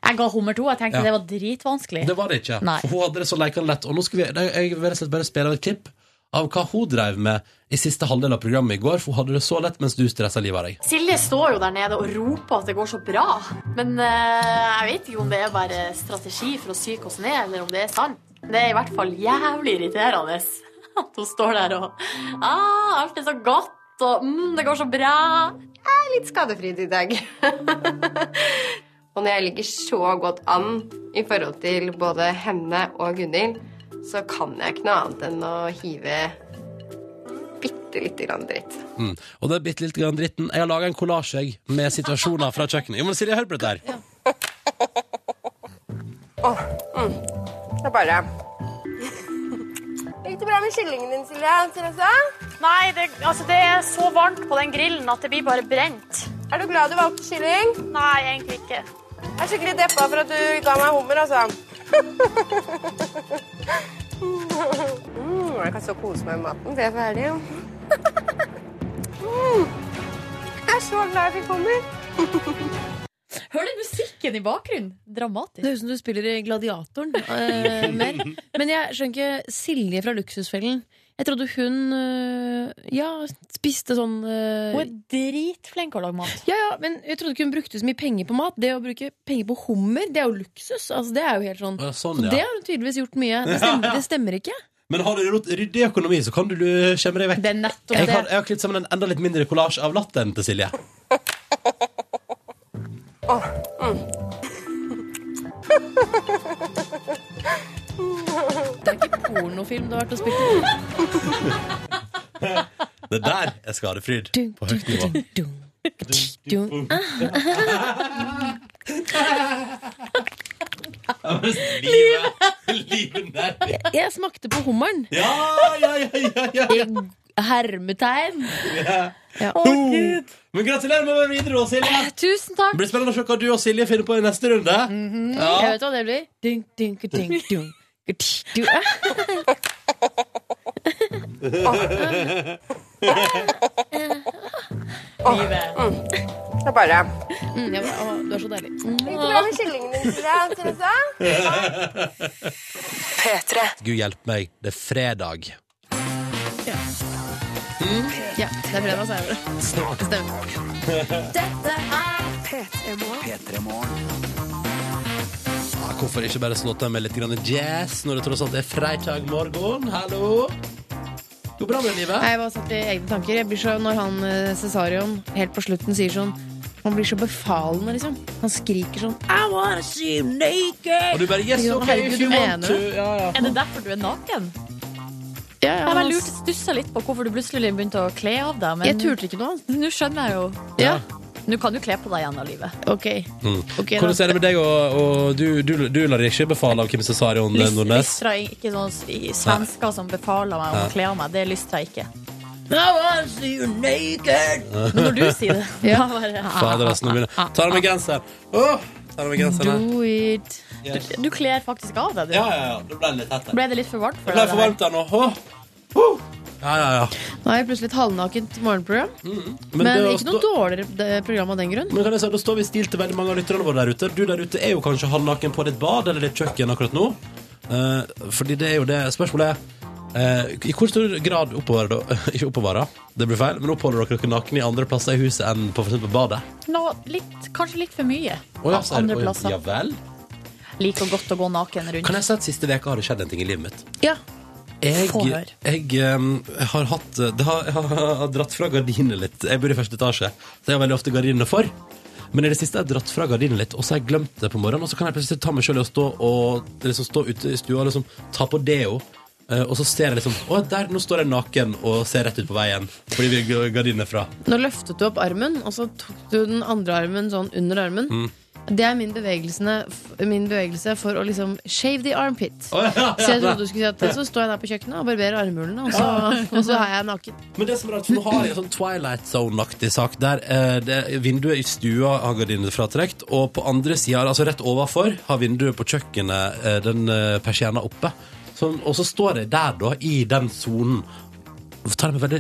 Speaker 3: Jeg ga hummer to. Jeg tenkte
Speaker 1: Ja.
Speaker 3: det var dritvanskelig.
Speaker 1: Det var det ikke.
Speaker 3: Nei.
Speaker 1: For hun hadde det så leikende lett. Og nå skal vi, nei, jeg vil rett og slett bare spille av et klipp av hva hun drev med i siste halvdel av programmet i går. For hun hadde det så lett mens du stressa livet av deg.
Speaker 3: Silje står jo der nede og roper at det går så bra. Men eh, jeg vet ikke om det er bare strategi for å psyke oss ned, eller om det er sant. Det er i hvert fall jævlig irriterende at hun står der og ah, Alt er så godt, og mm, det går så bra.
Speaker 9: litt skadefritt i dag. og når jeg ligger så godt an i forhold til både henne og Gunhild, så kan jeg ikke noe annet enn å hive bitte lite grann dritt.
Speaker 1: Mm. Og det er bitte litt grann dritten. Jeg har laga en kollasj jeg, med situasjoner fra kjøkkenet. Jo, men Silje, hør på dette her.
Speaker 9: Det er bare Gikk det bra med kyllingen din, Silje? Therese?
Speaker 3: Nei, det, altså, det er så varmt på den grillen at det blir bare brent.
Speaker 9: Er du glad du valgte kylling?
Speaker 3: Nei, egentlig ikke.
Speaker 9: Jeg er skikkelig deppa for at du ga meg hummer, altså. mm, jeg kan så kose meg med maten til jeg er ferdig. mm, jeg er så glad jeg fikk hummer.
Speaker 3: Hører du musikken i bakgrunnen?
Speaker 2: Det
Speaker 3: Dramatisk.
Speaker 2: høres ut som du spiller i Gladiatoren eh, mer. Men jeg skjønner ikke Silje fra Luksusfellen. Jeg trodde hun eh, ja, spiste sånn eh,
Speaker 3: Hun er dritflink til å lage mat.
Speaker 2: ja, ja, men Jeg trodde ikke hun brukte så mye penger på mat. Det å bruke penger på hummer, det er jo luksus. Altså, det er jo helt sånn
Speaker 1: Å, ja,
Speaker 2: Så
Speaker 1: Sånn,
Speaker 2: det
Speaker 1: ja.
Speaker 2: har hun tydeligvis gjort mye. Det stemmer, det stemmer ikke.
Speaker 1: Men har du rot- ryddig økonomi, så kan du lu- skjemme deg vekk.
Speaker 3: Det er nettopp
Speaker 1: Jeg
Speaker 3: det.
Speaker 1: har, jeg har klitt sammen en enda litt mindre kollasj av latteren til Silje.
Speaker 2: Det er ikke pornofilm du har vært og spilt i.
Speaker 1: Det der er skadefryd på høyt nivå. Livet! Livet der.
Speaker 2: Jeg smakte på hummeren.
Speaker 1: Ja, ja, ja, ja, ja.
Speaker 2: I hermetegn. Ja.
Speaker 1: Men gratulerer med veien videre, da, Silje.
Speaker 3: Tusen
Speaker 1: Det
Speaker 3: takk!
Speaker 1: blir spennende å se hva du og Silje finner på i neste runde.
Speaker 2: Mhm. Jeg
Speaker 1: Ja.
Speaker 2: vet hva det blir. Dun, dun, dun, dun. Du, ah, Mm.
Speaker 9: Det er bare
Speaker 2: jeg bare, ah, du er så deilig.
Speaker 9: Hvordan er det kyllingen din til deg, Therese?
Speaker 1: Gud hjelpe meg, det er fredag.
Speaker 2: Ja, det er fredag, så er det det. Stemmer.
Speaker 1: Ja, Ah, hvorfor ikke bare snotte med litt grann jazz når det tross alt er fredag morgen? Hallo! Går bra med
Speaker 2: Nei,
Speaker 1: livet?
Speaker 2: Jeg bare satt i egne tanker. Jeg blir så, når han eh, Cesarion helt på slutten sier sånn Han blir så befalende, liksom. Han skriker sånn I wanna see you
Speaker 1: Og
Speaker 2: naked!
Speaker 1: du bare Yes,
Speaker 2: Ja,
Speaker 1: OK,
Speaker 2: herregud,
Speaker 1: if you
Speaker 2: du
Speaker 1: want
Speaker 2: mener
Speaker 1: to.
Speaker 2: det.
Speaker 1: Ja, ja.
Speaker 3: Er det derfor du er naken?
Speaker 2: Ja, ja,
Speaker 3: Jeg bare
Speaker 2: han-
Speaker 3: lurte stussa litt på hvorfor du plutselig begynte å kle av deg. Men
Speaker 2: Jeg turte ikke noe annet.
Speaker 3: nå skjønner jeg jo.
Speaker 2: Ja.
Speaker 3: Nå kan du kle på deg igjen av livet.
Speaker 2: Ok. Ok, da.
Speaker 1: Mm. Hvordan er det med deg og, og du, du, du lar deg ikke befale av Kim Cesarion eh, Nordnes?
Speaker 3: Lystra ikke sånn s- i- svensker som befaler meg om å kle av meg. Det lystrer jeg ikke.
Speaker 2: I wanna see you naked!
Speaker 3: Men når du sier det
Speaker 2: Ja.
Speaker 3: da bare,
Speaker 1: Fader, altså, nå begynner Ta deg med genseren. Åh, ta deg med genseren her.
Speaker 2: Do it.
Speaker 1: Yes.
Speaker 3: Du kler faktisk av deg, du.
Speaker 1: Ja, ja, ja. Det ble litt tett her.
Speaker 3: Ble det litt for varmt
Speaker 1: Det
Speaker 3: for
Speaker 1: ble
Speaker 3: deg?
Speaker 1: for varmt der nå. Åh. Åh. Ja, ja, ja.
Speaker 2: Nå er jeg plutselig et halvnakent morgenprogram.
Speaker 1: Men,
Speaker 2: Men
Speaker 1: det å
Speaker 2: ikke noe
Speaker 1: stå-
Speaker 2: dårligere eh, program av den grunn.
Speaker 1: Men kan jeg si, Da står vi i stil til veldig mange av lytterne våre der ute. Du der ute er jo kanskje halvnaken på ditt bad eller ditt kjøkken akkurat nå. Eh, fordi det er jo det Spørsmålet er eh, I hvor stor grad oppbevarer dere Ikke oppbevarer, det blir feil, men oppholder dere dere nakne i andre plasser i huset enn på for eksempel badet?
Speaker 3: Nå, litt, kanskje litt for mye.
Speaker 1: Å ja,
Speaker 3: Av
Speaker 1: sier-
Speaker 3: andre
Speaker 1: å ja,
Speaker 3: plasser.
Speaker 1: Ja vel?
Speaker 3: Liker godt å gå naken rundt.
Speaker 1: Kan jeg si at siste veka har det skjedd en ting i livet mitt?
Speaker 2: Ja.
Speaker 1: Jeg,
Speaker 3: Få høre.
Speaker 1: jeg em, har hatt eh, det har, Jeg har dratt fra gardinene litt. Jeg bor i første etasje, så jeg har veldig ofte gardinene for. Men i det siste har jeg dratt fra gardinene litt, og så har jeg glemt det på morgenen. Og så kan jeg plutselig ta meg sjøl i å stå, og liksom stå ute i stua og liksom ta på deo. eh, Og så ser jeg liksom Å, der, nå står jeg naken og ser rett ut på veien fordi vi har gardinene fra.
Speaker 2: Nå løftet du opp armen, og så tok du den andre armen sånn under armen.
Speaker 1: Mm.
Speaker 2: Det er min, bevegelsene- f- min bevegelse for å liksom shave the armpit.
Speaker 1: Å, ja,
Speaker 2: Så jeg
Speaker 1: ja.
Speaker 2: trodde du skulle si at så står jeg der på kjøkkenet og barberer armhulene, og så, og så er jeg naken.
Speaker 1: Ah. Men det som er rart, for nå har jeg en sånn Twilight Zone-aktig sak der eh, det, vinduet i stua har gardinene fratrekt, og på andre sida, altså rett overfor, har vinduet på kjøkkenet eh, den eh, persienna oppe. Sånn, og så står jeg der, da, i den sonen. Hver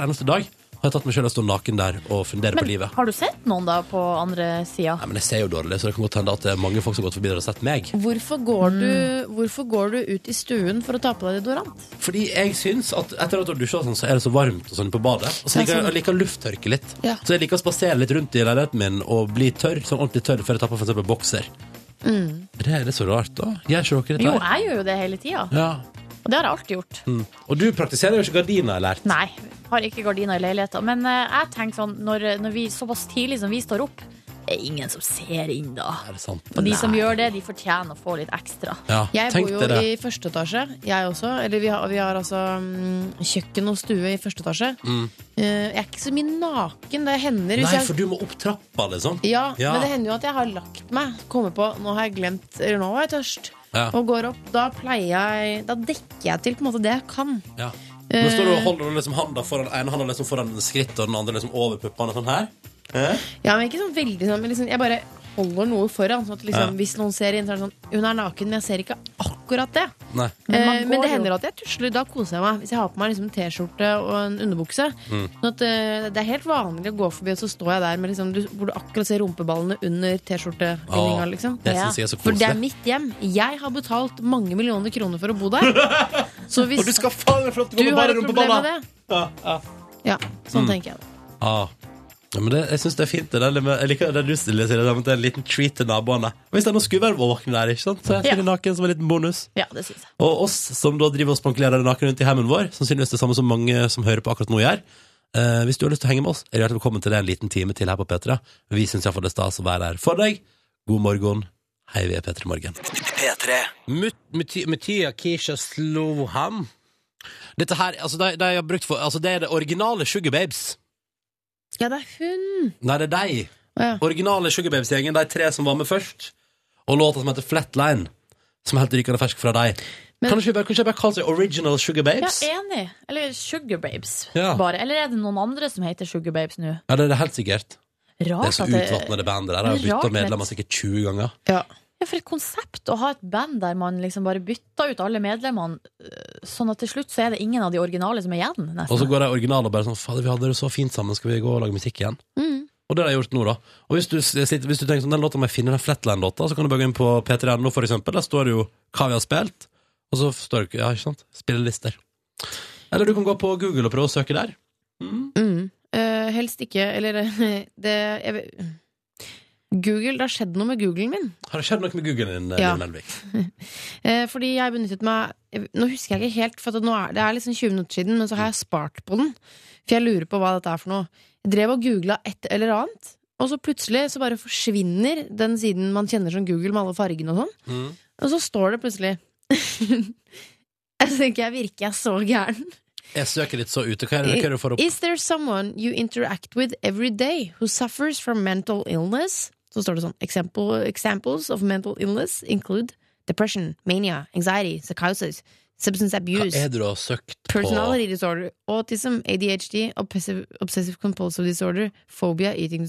Speaker 1: eneste dag har jeg tatt meg sjøl og stå naken der og fundere på
Speaker 3: Men
Speaker 1: livet.
Speaker 3: har du sett noen da på andre sida?
Speaker 1: Nei, men jeg ser jo dårlig, så det kan godt hende at det er mange folk som har gått forbi der og sett meg.
Speaker 2: Hvorfor går, du,
Speaker 1: Mm.
Speaker 2: hvorfor går du ut i stuen for å ta på deg deodorant?
Speaker 1: Fordi jeg syns at etter at du har dusja, og sånn, så er det så varmt og sånn på badet. Og så
Speaker 2: Ja,
Speaker 1: liker jeg,
Speaker 2: sånn.
Speaker 1: jeg liker lufttørke litt.
Speaker 2: Ja.
Speaker 1: Så jeg liker å spasere litt rundt i leiligheten min og bli tørr, sånn ordentlig tørr før jeg tar på for eksempel bokser.
Speaker 2: Mm.
Speaker 1: Det er det så rart, da. Gjør ikke dere
Speaker 3: Jo,
Speaker 1: dette? her?
Speaker 3: jeg gjør jo det hele tida.
Speaker 1: Ja.
Speaker 3: Og det har jeg alltid gjort.
Speaker 1: Mm. Og du praktiserer jo ikke gardiner, eller?
Speaker 3: Nei, har ikke gardiner i leiligheten. Men eh, jeg tenker sånn, når, når vi såpass tidlig som vi står opp, er ingen som ser inn da.
Speaker 1: Er det sant?
Speaker 3: Og de som gjør det, de fortjener å få litt ekstra.
Speaker 1: Ja,
Speaker 2: Jeg
Speaker 1: Ah, tenk
Speaker 2: bor jo
Speaker 1: dere.
Speaker 2: i første etasje, jeg også. Eller vi har, vi har altså mm, kjøkken og stue i første etasje. Eh, Jeg er ikke så mye naken. Det hender hvis
Speaker 1: Mm. Nei,
Speaker 2: jeg
Speaker 1: for du må opp trappa, liksom.
Speaker 2: Ja,
Speaker 1: Ja.
Speaker 2: men det hender jo at jeg har lagt meg. Kommer på nå har jeg glemt Eller nå var jeg tørst.
Speaker 1: Ja.
Speaker 2: Og går opp. Da pleier jeg Da dekker jeg til på en måte det jeg kan.
Speaker 1: Ja. Men står du
Speaker 2: Eh.
Speaker 1: og holder liksom handa foran ene handa liksom foran skrittet, og den andre liksom over puppene sånn her?
Speaker 2: Ja, men ikke sånn veldig sånn, men liksom, Jeg bare holder noe foran. Sånn at liksom, Hvis noen ser inn, så er det sånn Hun er naken, men jeg ser ikke akkurat det.
Speaker 1: Nei.
Speaker 2: Men,
Speaker 3: man
Speaker 2: eh,
Speaker 3: går
Speaker 2: men det
Speaker 3: jo-
Speaker 2: hender at jeg tusler. Da koser jeg meg. Hvis jeg har på meg liksom, en T-skjorte og en underbukse.
Speaker 1: Mm.
Speaker 2: Sånn at, eh, det er helt vanlig å gå forbi, og så står jeg der med, liksom, du, hvor du akkurat ser rumpeballene under T-skjortebindinga.
Speaker 1: Åh,
Speaker 2: Liksom.
Speaker 1: det synes jeg er så
Speaker 2: For det er
Speaker 1: koselig.
Speaker 2: mitt hjem. Jeg har betalt mange millioner kroner for å bo der. Så hvis
Speaker 1: Og du skal faen meg få lov til å
Speaker 2: du
Speaker 1: gå med
Speaker 2: har
Speaker 1: bare
Speaker 2: et problem med
Speaker 1: rumpeballa!
Speaker 2: det Ja, sånn tenker jeg. det.
Speaker 1: Ah. Ja, men det, jeg synes det er fint det der med, Jeg liker det du stiller sier det der med at det er en liten treat til naboene Og Hvis det er noen skuvervåkne der, ikke sant? Så er jeg
Speaker 3: Ja.
Speaker 1: ja. naken som en liten bonus
Speaker 3: Ja, det synes jeg.
Speaker 1: Og oss som da driver og spankulerer naken rundt i heimen vår Sannsynligvis det samme som mange som hører på akkurat nå gjør eh, Hvis du har lyst til å henge med oss Er du hjertelig velkommen til det en liten time til her på Petra Vi synes i hvert fall det er stas å være her for deg God morgen, hei vi er Petra Morgen Mutia Kisha Sloham Dette her, altså de, de har brukt for Altså det er det originale Sugar Babes
Speaker 2: Ja, det er hun.
Speaker 1: Nei, det er de
Speaker 2: Å, ja.
Speaker 1: Originale Sugar Babes-gjengen, de tre som var med først Og låta som heter Flatline Som er helt rykende fersk fra deg
Speaker 2: Men-
Speaker 1: Kan du ikke bare, kan du ikke bare kalle seg Original Sugar
Speaker 3: Ja,
Speaker 1: Babes? Ja,
Speaker 3: enig. Eller Sugar Babes,
Speaker 1: Ja.
Speaker 3: bare. Eller er det noen andre som heter Sugar Babes nå?
Speaker 1: det er det helt sikkert Det
Speaker 3: Rart
Speaker 1: er så
Speaker 3: at
Speaker 1: utvattnet det bandet der Jeg har
Speaker 3: Det er rart,
Speaker 1: byttet
Speaker 3: men-
Speaker 1: medlemmer sikkert 20 ganger
Speaker 2: Ja.
Speaker 3: Ja, for et konsept å ha et band der man liksom bare bytter ut alle medlemmene, øh, sånn at til slutt så er det ingen av de originale som er igjen. nesten.
Speaker 1: Og så går de originale og bare sånn Fader, vi hadde det så fint sammen, skal vi gå og lage musikk igjen?
Speaker 2: Mm.
Speaker 1: Og det har jeg gjort nå, da. Og hvis du, s- sitter, hvis du tenker sånn, den låta må jeg finne, den Flatland-låta, så kan du bare gå inn på p3.no, for eksempel. Der står det jo hva vi har spilt, og så står det ikke- Ja, ikke sant? Spillelister. Eller du kan gå på Google og prøve å søke der.
Speaker 2: Mm. Eh, helst ikke. Eller det jeg, vet- Google, Det har skjedd noe med googlen min.
Speaker 1: Har det skjedd noe med Google din,
Speaker 2: Ja.
Speaker 1: Liv Nelvik?
Speaker 2: Eh, fordi jeg benyttet meg jeg- Nå husker jeg ikke helt, for at nå er, det er liksom 20 minutter siden, men så har jeg spart på den. For jeg lurer på hva dette er for noe. Jeg drev og googla et eller annet, og så plutselig så bare forsvinner den siden man kjenner som Google med alle fargene og sånn.
Speaker 1: Mm.
Speaker 2: Og så står det plutselig Jeg tenker jeg virker jeg så gæren.
Speaker 1: Jeg søker litt så ute. Hva er det, hva er det du får opp?
Speaker 2: Is there someone you interact with every day who suffers from mental illness? Så står det sånn example, Examples of mental illness include depression, mania, anxiety, psychosis, substance
Speaker 1: Hva
Speaker 2: abuse,
Speaker 1: er det du har søkt på?
Speaker 2: personality disorder, autism, ADHD, obsessive, obsessive compulsive disorder, phobia, eating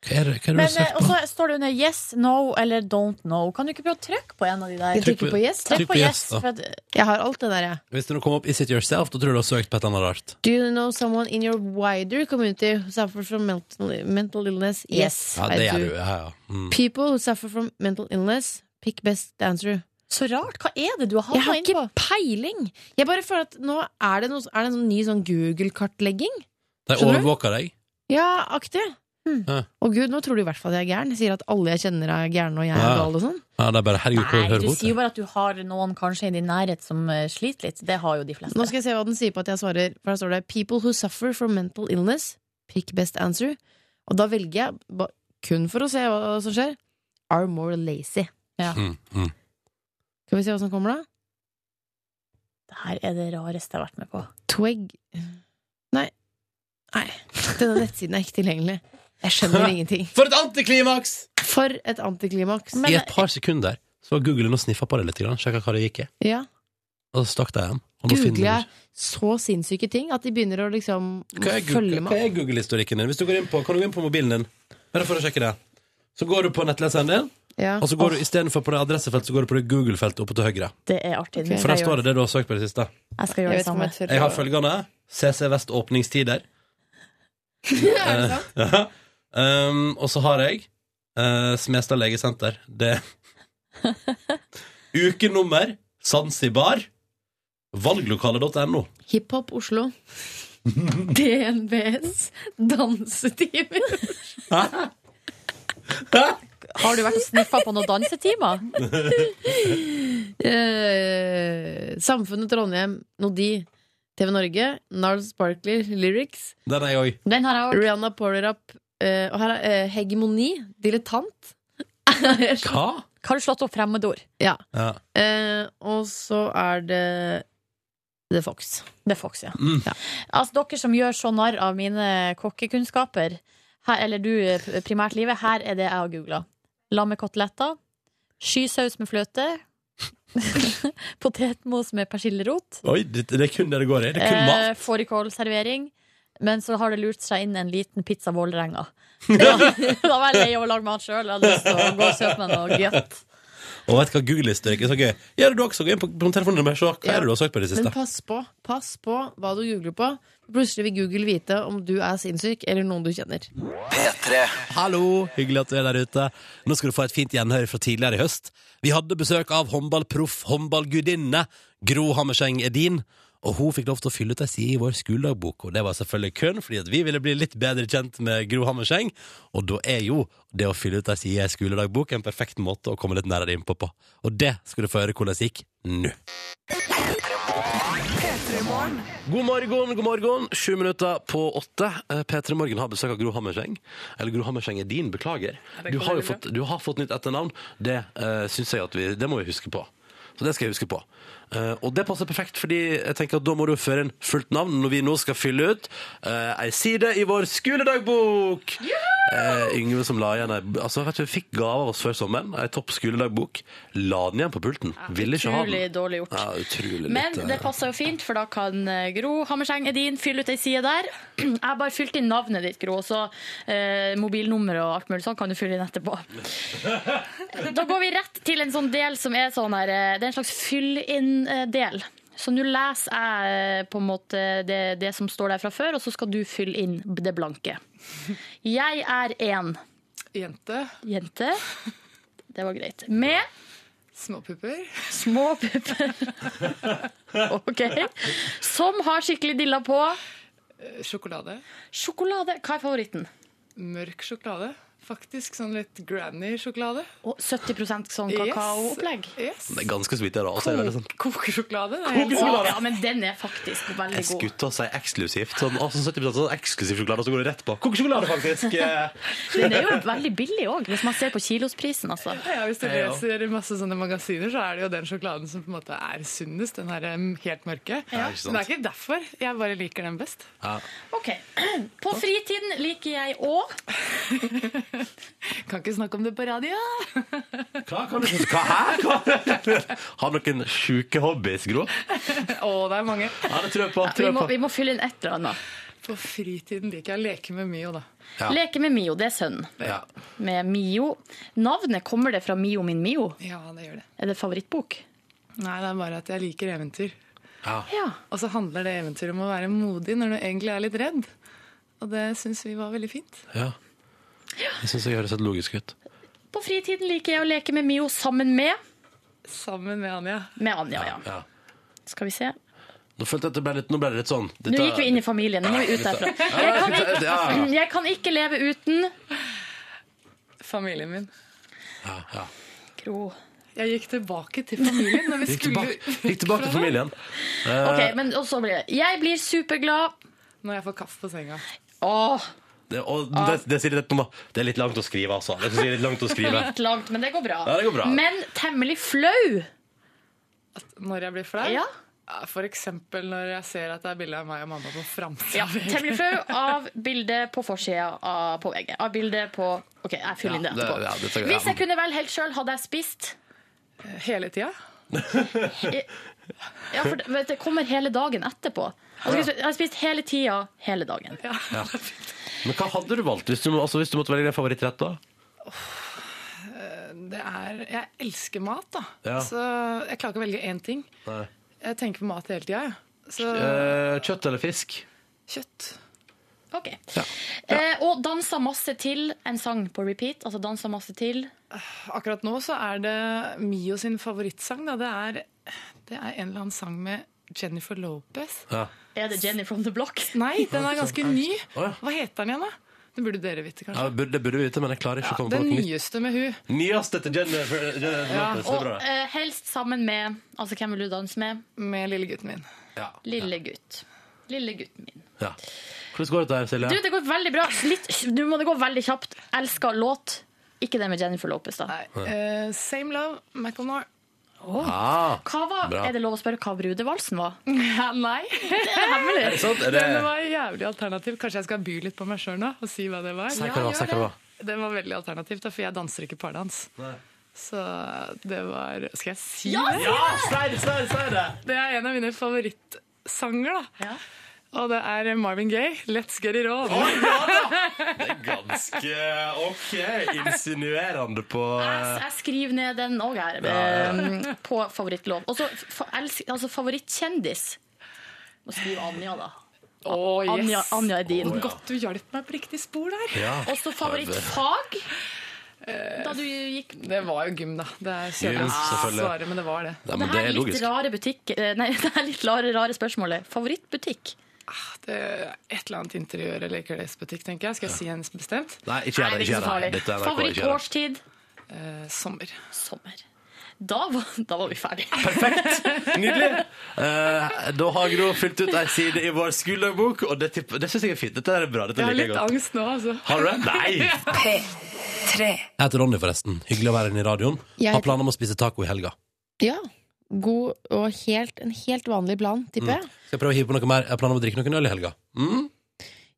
Speaker 1: Hva er det, hva er det du har
Speaker 3: Men, eh,
Speaker 1: søkt
Speaker 3: og
Speaker 1: på?
Speaker 3: så står det under yes, no eller don't know. Kan du ikke prøve å trykke på en av de der?
Speaker 2: Jeg
Speaker 1: Trykk
Speaker 2: trykker
Speaker 1: på-
Speaker 2: på yes.
Speaker 1: trykk
Speaker 3: Trykk på
Speaker 1: på
Speaker 3: yes.
Speaker 1: yes, da.
Speaker 3: For at,
Speaker 2: Jeg har alt det der, jeg.
Speaker 1: Hvis det nå kom opp Is It Yourself, da tror jeg du har søkt på et eller annet rart.
Speaker 2: Do you know someone in your wider community who suffers from mental, mental illness? Yes,
Speaker 1: Ja, det
Speaker 2: I
Speaker 1: gjør
Speaker 2: do.
Speaker 1: du. Ja, ja. Mm.
Speaker 2: People who suffer from mental illness, pick best answer.
Speaker 3: så rart. Hva er det du har
Speaker 2: Jeg har
Speaker 3: havna inn på?
Speaker 2: ikke peiling. Jeg bare føler at nå er det, noe, er det en sånn ny sånn Google-kartlegging.
Speaker 1: De
Speaker 2: Skjønner du?
Speaker 1: overvåker deg.
Speaker 2: Ja, aktig.
Speaker 3: Hmm.
Speaker 1: Ja.
Speaker 2: Og gud, nå tror du i hvert fall jeg er gæren. Jeg sier at alle jeg kjenner er gærne, og jeg er
Speaker 1: Ja.
Speaker 2: gal og sånn.
Speaker 1: Ja, det er bare Herregud, hvor
Speaker 3: Nei,
Speaker 1: hører
Speaker 3: du
Speaker 1: hun
Speaker 3: sier jo
Speaker 1: til?
Speaker 3: bare at du har noen kanskje i din nærhet som eh, sliter litt. Det har jo de fleste.
Speaker 2: Nå skal jeg se hva den sier på at jeg svarer. For her står det 'People who suffer from mental illness, pick best answer'. Og da velger jeg, ba- kun for å se hva som skjer, 'are more lazy'. Hmm,
Speaker 6: Hmm.
Speaker 1: Mm, mm.
Speaker 2: Skal vi se hva som kommer, da?
Speaker 3: Det her er det rareste jeg har vært med på.
Speaker 2: Tweg Nei. Nei. Denne nettsiden er ikke tilgjengelig. Jeg skjønner ingenting.
Speaker 1: For et antiklimaks!
Speaker 2: For et antiklimaks.
Speaker 1: I et par sekunder så var Google inne og sniffa på det litt, grann, sjekka hva det gikk i,
Speaker 2: Ja.
Speaker 1: og så stakk de igjen. Og nå
Speaker 2: googler
Speaker 1: finner
Speaker 2: jeg så sinnssyke ting at de begynner å liksom
Speaker 1: du- Hva er
Speaker 2: følge
Speaker 1: Google- hva
Speaker 2: meg.
Speaker 1: er Google-historikken din? Hvis du går inn på, kan du gå inn på mobilen din? Bare for å sjekke det. Så går du på nettleseren din,
Speaker 2: Ja.
Speaker 1: og så går du istenfor på det adressefeltet, så går du på det Google-feltet oppe til høyre.
Speaker 3: Det er artig.
Speaker 2: Ok.
Speaker 3: Nå
Speaker 1: For der
Speaker 3: skal jeg,
Speaker 1: står
Speaker 3: gjøre,
Speaker 1: det det du har søkt på i det siste.
Speaker 3: jeg
Speaker 2: Jeg
Speaker 3: skal gjør det
Speaker 2: vet ikke om
Speaker 3: samme.
Speaker 2: jeg tør.
Speaker 1: Jeg har
Speaker 2: å-
Speaker 1: følgende. CC Vest åpningstider.
Speaker 2: Er det sant?
Speaker 1: Ja. Um, og så har jeg eh, Smestad legesenter. Det Ukenummer Zanzibar. Valglokale.no.
Speaker 2: Hiphop Oslo. DNBs dansetimer.
Speaker 3: Har du vært og sniffa på noen dansetimer?
Speaker 2: Eh, Samfunnet Trondheim, Nodi, TV Norge, Narls Barkley, Lyrics,
Speaker 1: Den er jeg òg.
Speaker 3: Den har jeg òg.
Speaker 2: Rihanna Polerup eh, og her er eh, Hegemoni, Dilettant.
Speaker 1: Hva?
Speaker 3: Har du slått opp fremmedord?
Speaker 2: ja.
Speaker 1: Ja.
Speaker 2: Eh, og så er det The Fox.
Speaker 3: Det er Fox, ja.
Speaker 1: Mm.
Speaker 3: ja. Altså, dere som gjør så narr av mine kokkekunnskaper, her, eller du eh, primært livet, her er det jeg har googla. Lammekoteletter, skysaus med fløte, potetmos med persillerot,
Speaker 1: Oi, det, det er kun det det går i. Det er kun
Speaker 3: eh,
Speaker 1: mat.
Speaker 3: fårikålservering. Men så har det lurt seg inn en liten pizza Vålerenga. Da, da var jeg lei av å lage mat sjøl. Hadde lyst til å gå og kjøpe meg noe gøtt.
Speaker 1: Og vet du hva Google-historikk er så gøy? Gjør det du også, gå inn på, på telefonen din og se hva
Speaker 2: Ja.
Speaker 1: er det du har søkt på i det
Speaker 2: Men
Speaker 1: siste.
Speaker 2: pass på, pass på hva du googler på. Plutselig vil Google vite om du er sinnssyk eller noen du kjenner.
Speaker 1: Mm. Hallo, hyggelig at du er der ute. Nå skal du få et fint gjenhør fra tidligere i høst. Vi hadde besøk av håndballproff, håndballgudinne Gro Hammerseng Edin. Og hun fikk lov til å fylle ut ei side i vår skoledagbok, og det var selvfølgelig kun fordi at vi ville bli litt bedre kjent med Gro Hammerseng. Og da er jo det å fylle ut ei side i ei skoledagbok en perfekt måte å komme litt nærmere innpå på. Og det skal du få høre hvordan det gikk nå. God morgen, god morgen. Sju minutter på åtte. Eh, P3 Morgen har besøk av Gro Hammerseng. Eller Gro Hammerseng er din, beklager. Du har jo fått, du har fått nytt etternavn. Det eh, syns jeg at vi Det må vi huske på. Så det skal jeg huske på. Eh, og det passer perfekt, fordi jeg tenker at da må du føre en fullt navn når vi nå skal fylle ut uh, ei side i vår skoledagbok. Eh, Yngve som la igjen ei altså, vet du, vi fikk gave av oss før sommeren, ei topp skoledagbok. La den igjen på pulten. Ville ikke ha
Speaker 3: Utrolig
Speaker 1: den.
Speaker 3: dårlig gjort.
Speaker 1: Ja, utrolig
Speaker 3: Men
Speaker 1: lite.
Speaker 3: det passer jo fint, for da kan eh, Gro Hammerseng Edin fylle ut ei side der. Jeg har bare fylt inn navnet ditt, Gro, så eh, mobilnummeret og alt mulig sånn kan du fylle inn etterpå. Da går vi rett til en sånn del som er sånn her eh, Det er en slags fyll-inn-del. Så nå leser jeg eh, på en måte det, det som står der fra før, og så skal du fylle inn det blanke. Jeg er en
Speaker 10: Jente.
Speaker 3: jente. Det var greit. Med
Speaker 10: Småpupper.
Speaker 3: Små pupper. OK. Sånn Som har skikkelig dilla på.
Speaker 10: eh, Sjokolade.
Speaker 3: Sjokolade. Hva er favoritten?
Speaker 10: Mørk sjokolade. Faktisk sånn litt granny-sjokolade.
Speaker 3: Og 70 sånn kakaoopplegg.
Speaker 10: Yes.
Speaker 1: Det er ganske sweet der, da. Og så er det veldig sånn
Speaker 10: Kokesjokolade. Det er helt
Speaker 3: Å, Ja, men den er faktisk veldig
Speaker 1: Jeg
Speaker 3: god.
Speaker 1: skutta seg eksklusivt. Sånn, altså 70 sånn eksklusiv sjokolade, og så går det rett på. Kokesjokolade, faktisk! Eh,
Speaker 3: Den er jo veldig billig òg, hvis man ser på kilosprisen, altså.
Speaker 10: Ja, Hvis du
Speaker 7: Ja, ja.
Speaker 10: leser masse sånne magasiner, så er det jo den sjokoladen som på en måte er sunnest. Den her um, helt mørke.
Speaker 1: ikke sant.
Speaker 10: Men det er ikke derfor. Jeg bare liker den best.
Speaker 3: OK. På fritiden liker jeg òg
Speaker 10: Kan ikke snakke om det på radio.
Speaker 1: Hva kan du Hva? Hæ? Hva? Har noen sjuke hobbys, Gro?
Speaker 10: Å, det er mange.
Speaker 1: Ja, det tror jeg på.
Speaker 3: vi,
Speaker 1: Tror jeg
Speaker 3: må-
Speaker 1: på.
Speaker 3: vi må fylle inn et eller annet.
Speaker 10: På fritiden liker jeg å leke med Mio, da.
Speaker 1: Ja.
Speaker 3: Leke med Mio. Det er sønnen.
Speaker 1: Ja.
Speaker 3: Med Mio. Navnet kommer det fra Mio min Mio?
Speaker 10: Ja, det gjør det.
Speaker 3: Er det favorittbok?
Speaker 10: Nei, det er bare at jeg liker eventyr.
Speaker 3: Ja.
Speaker 10: Og så handler det eventyret om å være modig når du egentlig er litt redd. Og det syns vi var veldig fint.
Speaker 1: Ja. Jeg syns jeg høres helt logisk ut.
Speaker 3: På fritiden liker jeg å leke med Mio sammen med
Speaker 10: Sammen med Anja.
Speaker 3: Med Anja, ja.
Speaker 1: Ja.
Speaker 3: Skal vi se.
Speaker 1: Nå følte jeg at det ble litt, nå ble det litt sånn. Dette-
Speaker 3: Nå gikk vi inn i familien. Nå må vi ut derfra. Jeg kan ikke,
Speaker 1: Ja, ja,
Speaker 3: jeg kan ikke leve uten
Speaker 10: Familien min.
Speaker 1: ja, ja.
Speaker 3: Gro.
Speaker 10: Jeg gikk tilbake til familien når vi
Speaker 1: Gikk tilbake,
Speaker 10: skulle
Speaker 1: gikk tilbake til familien.
Speaker 3: Ok, men og så blir det Jeg blir superglad.
Speaker 10: Når jeg får kaffe på senga.
Speaker 3: Åh,
Speaker 1: Eh, Det, og det, det, sier litt om- det er litt langt å skrive, altså. Det er litt langt å skrive.
Speaker 3: litt langt, men det går bra.
Speaker 1: Ja, det går bra.
Speaker 3: Men temmelig flau.
Speaker 10: At når jeg blir flau
Speaker 3: Ja.
Speaker 10: Ja, For eksempel når jeg ser at det er bilde av meg og mamma på framtida.
Speaker 3: Ja, temmelig flau Ah. av bildet på forsida av, på VG. Av bildet på OK, jeg fyller inn det
Speaker 1: Ja, det- ja, det tar jeg-
Speaker 3: etterpå. Hvis
Speaker 1: ja.
Speaker 3: jeg kunne velge helt sjøl, hadde jeg spist
Speaker 10: Hele tida.
Speaker 3: Ja, for det, vet du, det kommer hele dagen etterpå. Altså, hvis du- jeg har spist hele tida, hele dagen.
Speaker 1: Men hva hadde du valgt hvis du, må- altså, hvis du måtte velge din favorittrett, da?
Speaker 10: Det er, jeg elsker mat, da.
Speaker 1: Ja.
Speaker 10: Så jeg klarer ikke å velge én ting.
Speaker 1: Nei.
Speaker 10: Jeg tenker på mat hele tida. Så
Speaker 1: Eh, kjøtt eller fisk?
Speaker 10: kjøtt.
Speaker 3: Ok. Eh, og dansa masse til en sang på repeat. Altså dansa masse til.
Speaker 10: Akkurat nå så er det Mio sin favorittsang. Da. Det, er, det er en eller annen sang med Jennifer Lopez.
Speaker 1: Ja.
Speaker 3: Er det Jenny from the Block?
Speaker 10: Nei, den er ganske ny.
Speaker 1: Å, ja.
Speaker 10: Hva heter den igjen, da? Det burde dere vite, kanskje.
Speaker 1: Ja, det burde- det burde vi vite, men jeg klarer ikke å komme på
Speaker 10: Den
Speaker 1: noe nytt.
Speaker 10: nyeste med hun.
Speaker 1: Nyeste til Jennifer Jennifer Lopez. det er
Speaker 3: Og
Speaker 1: bra, det.
Speaker 3: eh, helst sammen med Altså, hvem vil du danse med?
Speaker 10: Med lillegutten min.
Speaker 1: Ja.
Speaker 3: Lille gutt. Lille gutten min.
Speaker 1: Ja. Hvordan går det der, Silje?
Speaker 3: Du, det går veldig bra. Litt, nå må det gå veldig kjapt. Elsker låt. Ikke det med Jennifer Lopez, da.
Speaker 10: Nei. eh, same love, McElnor.
Speaker 1: ah,
Speaker 3: Hva var,
Speaker 1: Bra.
Speaker 3: er det lov å spørre hva brudevalsen var?
Speaker 10: Ja, nei.
Speaker 1: er det sant? Er det...
Speaker 10: Den var jævlig alternativ. Kanskje jeg skal by litt på meg sjøl nå og si hva det var.
Speaker 1: Si hva det var, si hva det var.
Speaker 10: Den var veldig alternativ, da, for jeg danser ikke pardans. Så det var Skal jeg si det?
Speaker 1: Ja, si det, si det, si det!
Speaker 10: Det er en av mine favorittsanger, da.
Speaker 3: Ja.
Speaker 10: Og det er Marvin Gaye, 'Let's Get It On'.
Speaker 1: Det er ganske OK insinuerende på
Speaker 3: Jeg, jeg skriver ned den òg her, eh, på favorittlov. Og så fa, elsk- altså, favorittkjendis. Må skrive Anja, da.
Speaker 10: Å, yes.
Speaker 3: Anja, Anja er din.
Speaker 10: Godt du hjalp meg på riktig spor der. Eh,
Speaker 1: ja.
Speaker 3: Og så favorittfag da du gikk
Speaker 10: Det var jo gym, da. Det er kjedelig
Speaker 1: Gym,
Speaker 10: å
Speaker 1: selvfølgelig.
Speaker 10: svare, men det var det.
Speaker 1: Nei,
Speaker 3: Det
Speaker 1: men det
Speaker 3: her
Speaker 1: er
Speaker 3: litt
Speaker 1: logisk.
Speaker 3: rare butikk eh, Nei, det her litt rare, rare spørsmålet. Favorittbutikk?
Speaker 10: det er et eller annet interiør eller klesbutikk, tenker jeg. Skal jeg si en bestemt?
Speaker 1: Nei, ikke gjør det. Ikke gjør det. Dette er NRK, ikke gjør det.
Speaker 3: Favorittårstid?
Speaker 10: Eh, sommer.
Speaker 3: Sommer. Da var, da var vi ferdige.
Speaker 1: Nydelig! Eh, da har Gro fylt ut ei side i vår skoledagbok, og det, tipp- det syns jeg er fint. Dette er bra. Dette
Speaker 10: Jeg har
Speaker 1: liker jeg
Speaker 10: litt
Speaker 1: godt.
Speaker 10: angst nå, altså.
Speaker 1: Har du det? Nei! Jeg heter Ronny, forresten. Hyggelig å være inne i radioen.
Speaker 2: Jeg
Speaker 1: Har planer om å spise taco i helga.
Speaker 2: Ja. god og helt, en helt vanlig plan, tipper jeg.
Speaker 1: Mm. Skal jeg prøve å hive på noe mer? Jeg har planer om å drikke noen øl i helga. Mm.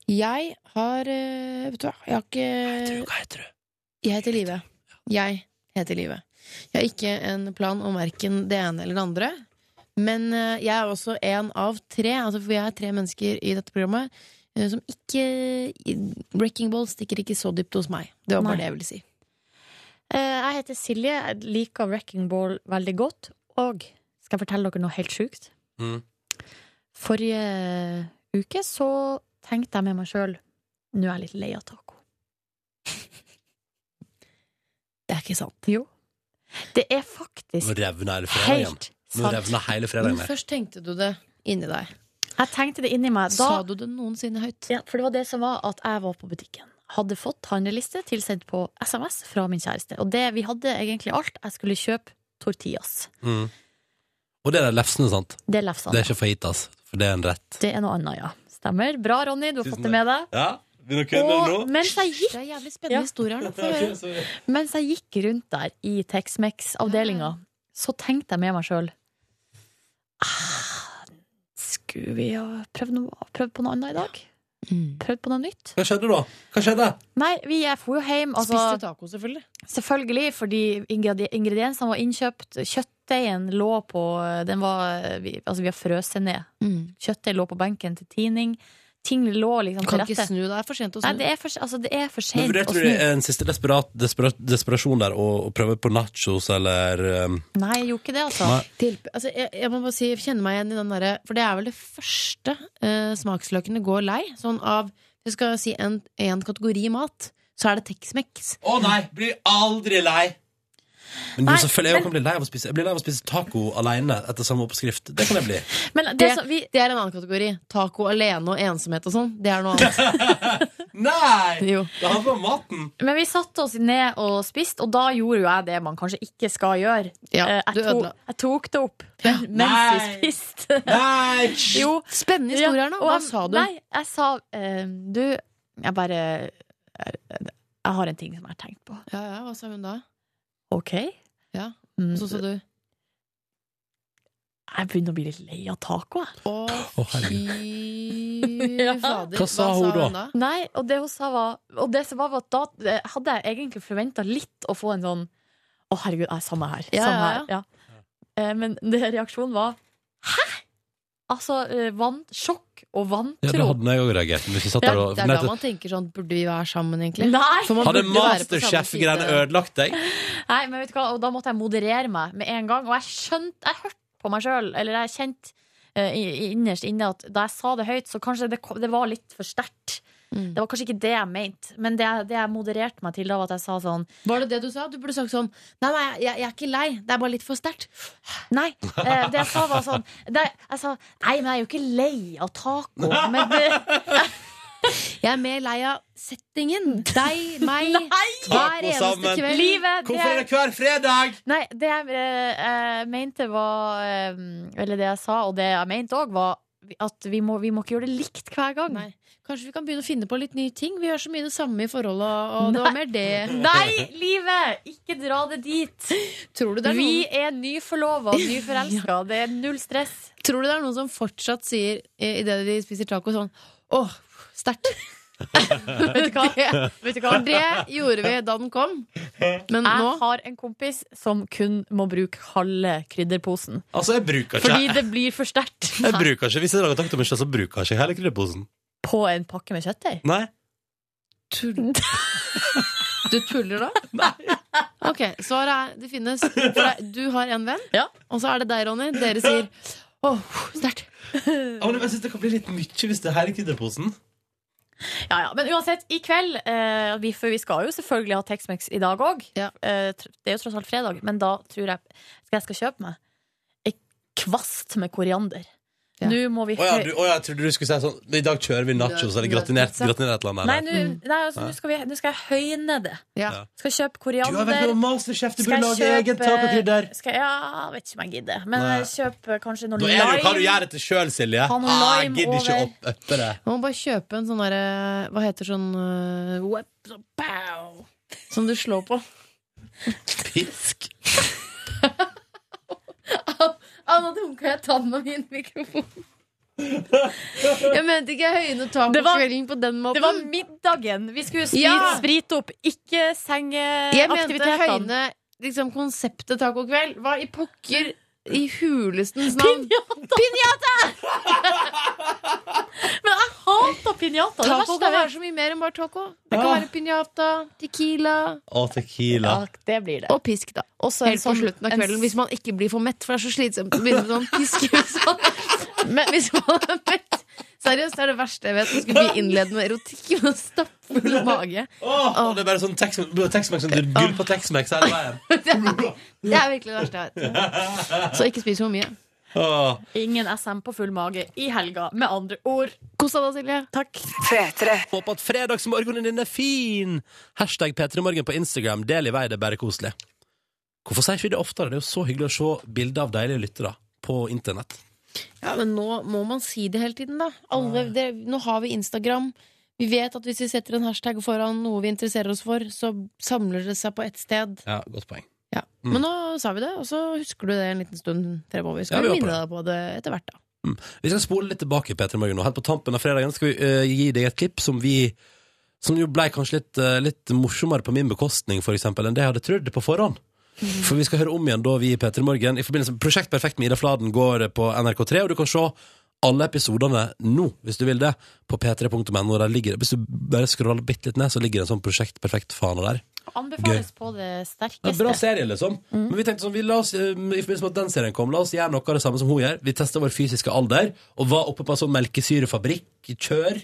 Speaker 2: Jeg har eh, Vet du hva, jeg har ikke
Speaker 1: Hva heter du?
Speaker 2: Jeg heter Live. Jeg heter Live. Jeg har ikke en plan om verken det ene eller det andre. Men eh, jeg er også en av tre, altså for jeg er tre mennesker i dette programmet eh, som ikke Breaking Ball stikker ikke så dypt hos meg. Det var
Speaker 3: Nei.
Speaker 2: bare det jeg ville si.
Speaker 3: Eh, Jeg heter Silje, jeg liker Wrecking Ball veldig godt. Og skal jeg fortelle dere noe helt sjukt?
Speaker 1: Mm.
Speaker 3: Forrige uke så tenkte jeg med meg sjøl Nå er jeg litt lei av taco.
Speaker 2: Det er ikke sant.
Speaker 3: Jo. Det er faktisk
Speaker 1: Nå revner hele fredagen.
Speaker 3: helt
Speaker 1: Nå
Speaker 3: sant.
Speaker 1: revner hele fredagen.
Speaker 2: Men
Speaker 1: her.
Speaker 2: først tenkte du det inni deg.
Speaker 3: Jeg tenkte det inni meg. Da,
Speaker 2: Sa du det noensinne høyt?
Speaker 3: ja, for det var det som var at jeg var på butikken. Hadde fått handleliste tilsendt på SMS fra min kjæreste. Og det, vi hadde egentlig alt. Jeg skulle kjøpe tortillas.
Speaker 1: Mm. Og det er de lefsene, sant?
Speaker 3: Det er lefsene.
Speaker 1: Det er ikke fajitas, for det er en rett.
Speaker 3: Det er noe annet, ja. Stemmer. Bra, Ronny, du har
Speaker 1: Tusen
Speaker 3: fått det med deg.
Speaker 1: Ja, begynner å
Speaker 3: Og mens jeg
Speaker 2: Det
Speaker 3: gikk,
Speaker 2: er jævlig
Speaker 3: Ja.
Speaker 2: spennende historier her nå. Få høre.
Speaker 3: mens jeg gikk rundt der i Tex-Mex-avdelinga, så tenkte jeg med meg sjøl Skulle vi ha prøvd, noe, prøvd på noe annet i dag?
Speaker 2: Mm.
Speaker 3: Prøvd på noe nytt?
Speaker 1: Hva skjedde da? Hva skjedde?
Speaker 3: Nei, vi jeg dro jo hjem.
Speaker 2: Spiste
Speaker 3: Altså,
Speaker 2: taco, selvfølgelig.
Speaker 3: selvfølgelig, fordi ingredi- ingrediensene var innkjøpt. Kjøttdeigen lå på den var, vi, Altså, vi har frøst den ned.
Speaker 2: Mm.
Speaker 3: Kjøttdeig lå på benken til tining. Ting lå liksom
Speaker 2: Du
Speaker 3: til
Speaker 2: kan ikke
Speaker 3: rette.
Speaker 2: snu, det er for sent å
Speaker 3: Nei,
Speaker 2: snu.
Speaker 3: det er for, altså, det er
Speaker 1: Men
Speaker 3: for sent
Speaker 1: vurderte
Speaker 3: å
Speaker 1: du
Speaker 3: snu.
Speaker 1: det en siste desperat, desperat desperasjon der å, å prøve på nachos eller um,
Speaker 3: Nei, jeg gjorde ikke det, altså.
Speaker 1: Nei.
Speaker 2: Til, altså, jeg, jeg må bare si, jeg kjenner meg igjen i den derre For det er vel det første eh, smaksløkene går lei. Sånn av Jeg skal si en, en kategori mat, så er det Tex-Mex.
Speaker 1: Å nei, blir aldri lei! Men
Speaker 3: Nei,
Speaker 1: jo, selvfølgelig, jeg
Speaker 3: men-
Speaker 1: kan bli lei av å spise Jeg blir lei av å spise taco alene etter samme oppskrift. Det kan jeg bli.
Speaker 3: Men det,
Speaker 2: Det-
Speaker 3: som vi
Speaker 2: Det er en annen kategori. Taco alene og ensomhet og sånn. Det er noe annet.
Speaker 1: Nei!
Speaker 2: Jo.
Speaker 1: Det handler om maten.
Speaker 3: Men vi satte oss ned og spiste, og da gjorde jo jeg det man kanskje ikke skal gjøre.
Speaker 2: Ja,
Speaker 3: Eh,
Speaker 2: du
Speaker 3: jeg, to,
Speaker 2: ødela.
Speaker 3: jeg tok det opp men, mens
Speaker 1: Nei.
Speaker 3: vi spiste.
Speaker 1: Nei!
Speaker 3: Jo.
Speaker 2: Spennende historie her nå.
Speaker 3: og
Speaker 2: Hva
Speaker 3: jeg-
Speaker 2: sa du?
Speaker 3: Nei, jeg sa eh, Du, jeg bare eh, Jeg har en ting som jeg har tenkt på.
Speaker 2: Ja, ja, hva sa hun da?
Speaker 3: OK?
Speaker 2: Ja.
Speaker 3: Mm,
Speaker 2: Så sa du
Speaker 3: jeg begynner å bli litt lei av taco, jeg.
Speaker 2: Å,
Speaker 1: Å,
Speaker 2: fy
Speaker 1: herregud.
Speaker 2: fader.
Speaker 1: Hva sa hun da?
Speaker 3: Nei, og det hun sa var Og det som var, var at da eh, hadde jeg egentlig forventa litt å få en sånn Å, herregud, jeg er samme her.
Speaker 2: Ja,
Speaker 3: samme
Speaker 2: ja,
Speaker 3: her. Ja. Eh, Men det, reaksjonen var Hæ?! Altså, eh, van, sjokk og
Speaker 1: Ja,
Speaker 3: vantro.
Speaker 1: det hadde jeg òg reagert. Hvis vi satt
Speaker 3: Ja,
Speaker 1: der og
Speaker 2: Det er da man tenker sånn Burde vi være sammen, egentlig?
Speaker 3: Nei.
Speaker 2: For man
Speaker 1: Hadde
Speaker 2: burde være på samme
Speaker 1: Masterchef-greiene
Speaker 2: side.
Speaker 1: ødelagt deg?
Speaker 3: Nei, men vet du hva, og da måtte jeg moderere meg med en gang. Og jeg skjønte Jeg hørte på meg sjøl, eller jeg kjente eh, i- innerst inne at da jeg sa det høyt, så kanskje det, kom- det var litt for sterkt.
Speaker 2: Mm.
Speaker 3: Det var kanskje ikke det jeg mente, men det, jeg- det jeg modererte meg til da, var at jeg sa sånn
Speaker 2: Var det det du sa? Du burde sagt sånn Nei, nei, jeg, jeg er ikke lei. Det er bare litt for sterkt.
Speaker 3: Nei, eh, det jeg sa var sånn det, Jeg sa, nei, men jeg er jo ikke lei av taco Men det,
Speaker 2: Jeg er mer lei av settingen. Deg, meg, hver
Speaker 1: Taco
Speaker 2: eneste
Speaker 1: sammen.
Speaker 2: kveld.
Speaker 3: livet det, jeg-
Speaker 1: hver fredag?
Speaker 3: Nei, det jeg eh, eh, mente var eh, Eller det jeg sa, og det jeg mente også var At vi må, vi må ikke gjøre det likt hver gang
Speaker 2: Nei. Kanskje vi kan begynne å finne på litt nye ting? Vi gjør så mye det samme i forholdet, og det var mer det.
Speaker 3: Nei, livet! Ikke dra det dit
Speaker 2: Tror du det er
Speaker 3: Vi
Speaker 2: noen,
Speaker 3: er nyforlovet, nyforelsket Det er null stress
Speaker 2: tror du det er noen som fortsatt sier eh, i det de spiser taco sånn Åh, sterkt.
Speaker 3: Vet du hva? Vet du hva?
Speaker 2: For det gjorde vi da den kom. Men
Speaker 3: Jeg
Speaker 2: nå
Speaker 3: har en kompis som kun må bruke halve krydderposen
Speaker 1: Altså, jeg bruker ikke
Speaker 3: Fordi det blir for sterkt
Speaker 1: Jeg bruker ikke, Hvis jeg lager takta med kjøtt, så bruker jeg ikke hele krydderposen.
Speaker 3: På en pakke med kjøttdeig?
Speaker 1: Nei.
Speaker 2: tull- Du tuller da? Ok, svaret er det finnes. For det, du har en venn,
Speaker 3: Ja.
Speaker 2: og så er det deg, Ronny. Dere sier åh, sterkt.
Speaker 3: Mm.
Speaker 1: men jeg synes det kan bli litt mye hvis det er hele krydderposen.
Speaker 3: Ja, ja. Men uansett, i kveld eh, vi, For vi skal jo selvfølgelig ha Tex-Mex i dag òg.
Speaker 2: Ja.
Speaker 3: Eh, tr- det er jo tross alt fredag, men da tror jeg skal jeg skal kjøpe meg ei kvast med koriander.
Speaker 2: Ja.
Speaker 3: Nå må vi
Speaker 1: Å ja, du, å ja, jeg trodde du skulle si sånn men I dag kjører vi nachos eller gratinert, gratinert et eller Mm.
Speaker 3: Nei,
Speaker 1: annet.
Speaker 3: nå nei, altså, nå skal, vi- nå skal jeg høyne det.
Speaker 2: Ja.
Speaker 3: Skal kjøpe
Speaker 1: Du har vært
Speaker 3: koriander.
Speaker 1: med Masterchef, du
Speaker 3: Skal
Speaker 1: burde
Speaker 3: jeg
Speaker 1: lage egen
Speaker 3: kjøpe-
Speaker 1: tacokrydder.
Speaker 3: Skal, ja, vet ikke om jeg gidder. Men
Speaker 1: Nei.
Speaker 3: eh, kjøp eh, kanskje noe
Speaker 1: Da er det jo hva du
Speaker 3: lime.
Speaker 1: gjør dette sjøl, Silje.
Speaker 3: Ha noe
Speaker 1: Ah, jeg
Speaker 3: lime
Speaker 1: gidder ikke
Speaker 3: over.
Speaker 1: opp etter det.
Speaker 2: Man må bare kjøpe en sånn derre Hva heter sånn eh, web, så, pow, Som du slår på.
Speaker 1: Pisk.
Speaker 2: Å, nå dunka jeg tanna mi inn i mikrofonen. Jeg mente ikke høyne tak på
Speaker 3: Det var-
Speaker 2: kvelden på den måten.
Speaker 3: Det var middagen. Vi skulle spri-
Speaker 2: Ja.
Speaker 3: sprite opp, ikke Eh,
Speaker 2: Jeg mente
Speaker 3: sengeaktivitetene.
Speaker 2: høyne liksom, konseptet tacokveld. Hva i pokker i hulestens navn? Pinjata!
Speaker 3: Men jeg hata pinjata! Det
Speaker 2: Taco
Speaker 3: verste
Speaker 2: kan
Speaker 3: jeg
Speaker 2: være
Speaker 3: vet.
Speaker 2: så mye mer enn bare taco. Det kan være pinjata, tequila
Speaker 1: Og tequila.
Speaker 3: Ja, det blir det.
Speaker 2: og pisk, da.
Speaker 3: Også en
Speaker 2: Helt på
Speaker 3: sånn-
Speaker 2: slutten av
Speaker 3: en
Speaker 2: kvelden, hvis man ikke blir for mett, for det er så slitsomt å begynne med sånn pisk. Hvis man, men hvis man er mett Seriøst, det er det verste jeg vet. Å skulle bli innledende med erotikk med en stappfull mage.
Speaker 1: Åh, og Det er bare sånn Tex- Tex-Mex som du- gull på Tex-Mex hele veien.
Speaker 2: Det er, det er virkelig det verste jeg vet. Så ikke spis for mye.
Speaker 1: Åh.
Speaker 3: Ingen SM på full mage i helga, med andre ord.
Speaker 2: Kos deg da, Silje.
Speaker 3: Takk.
Speaker 1: Håper at fredagsmorgenen din er fin! Hashtag P3morgen på Instagram. Del i vei, det er bare koselig. Hvorfor sier ikke vi det oftere? Det er jo så hyggelig å se bilder av deilige lyttere på internett.
Speaker 2: Ja, men nå må man si det hele tiden, da. Alle, det, nå har vi Instagram. Vi vet at hvis vi setter en hashtag foran noe vi interesserer oss for, så samler det seg på ett sted.
Speaker 1: Ja, godt poeng.
Speaker 2: Ja.
Speaker 1: Mm.
Speaker 2: Men nå sa vi det, og så husker du det en liten stund fremover. Skal
Speaker 1: Ja, vi
Speaker 2: vi
Speaker 1: håper
Speaker 2: minne deg på det etter hvert, da.
Speaker 1: Vi skal spole litt tilbake, Peter Morgen, nå. Helt på tampen av fredagen skal vi eh, gi deg et klipp som vi Som jo ble kanskje litt, eh, litt morsommere på min bekostning, for eksempel, enn det jeg hadde trodd på forhånd. For vi skal høre om igjen da vi i P3 Morgen i forbindelse med Prosjekt Perfekt med Ida Fladen går på NRK3, og du kan se alle episodene nå, hvis du vil det, på p3.no. Der ligger, hvis du bare scroller bitte litt ned, så ligger det en sånn Prosjekt Perfekt-fane der.
Speaker 3: Anbefales på det sterkeste.
Speaker 1: Det er en bra serie, liksom. Men vi tenkte sånn, vi la oss, eh, i forbindelse med at den serien kom, la oss gjøre noe av det samme som hun gjør. Vi testa vår fysiske alder, og var oppe på en sånn melkesyrefabrikk, kjør,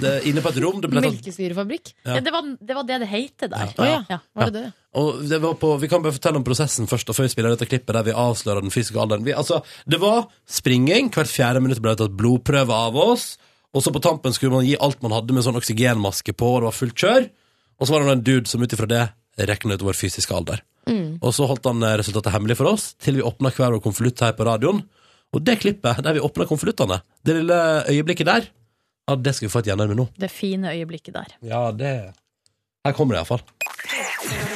Speaker 1: det, inne på et rom. Det ble sånn- tatt,
Speaker 2: Melkesyrefabrikk?
Speaker 3: Ja, det, var, det var det det heter der.
Speaker 2: Å ja.
Speaker 3: Ja.
Speaker 2: Var det det?
Speaker 1: og det var på, vi kan bare fortelle om prosessen først, og før vi spiller dette klippet der vi avslører den fysiske alderen. Vi, altså, det var springing, hvert fjerde minutt ble det tatt blodprøve av oss, og så på tampen skulle man gi alt man hadde med sånn oksygenmaske på, og det var fullt kjør. Og så var det en dude som ut ifra det regnet ut vår fysiske alder.
Speaker 3: Mm.
Speaker 1: Og så holdt han eh, resultatet hemmelig for oss, til vi åpna hver vår konvolutt her på radioen. Og det klippet der vi åpna konvoluttene, det lille øyeblikket der, ja, det skal vi få et gjennom med nå.
Speaker 3: Det fine øyeblikket der.
Speaker 1: Ja, det Her kommer det iallfall.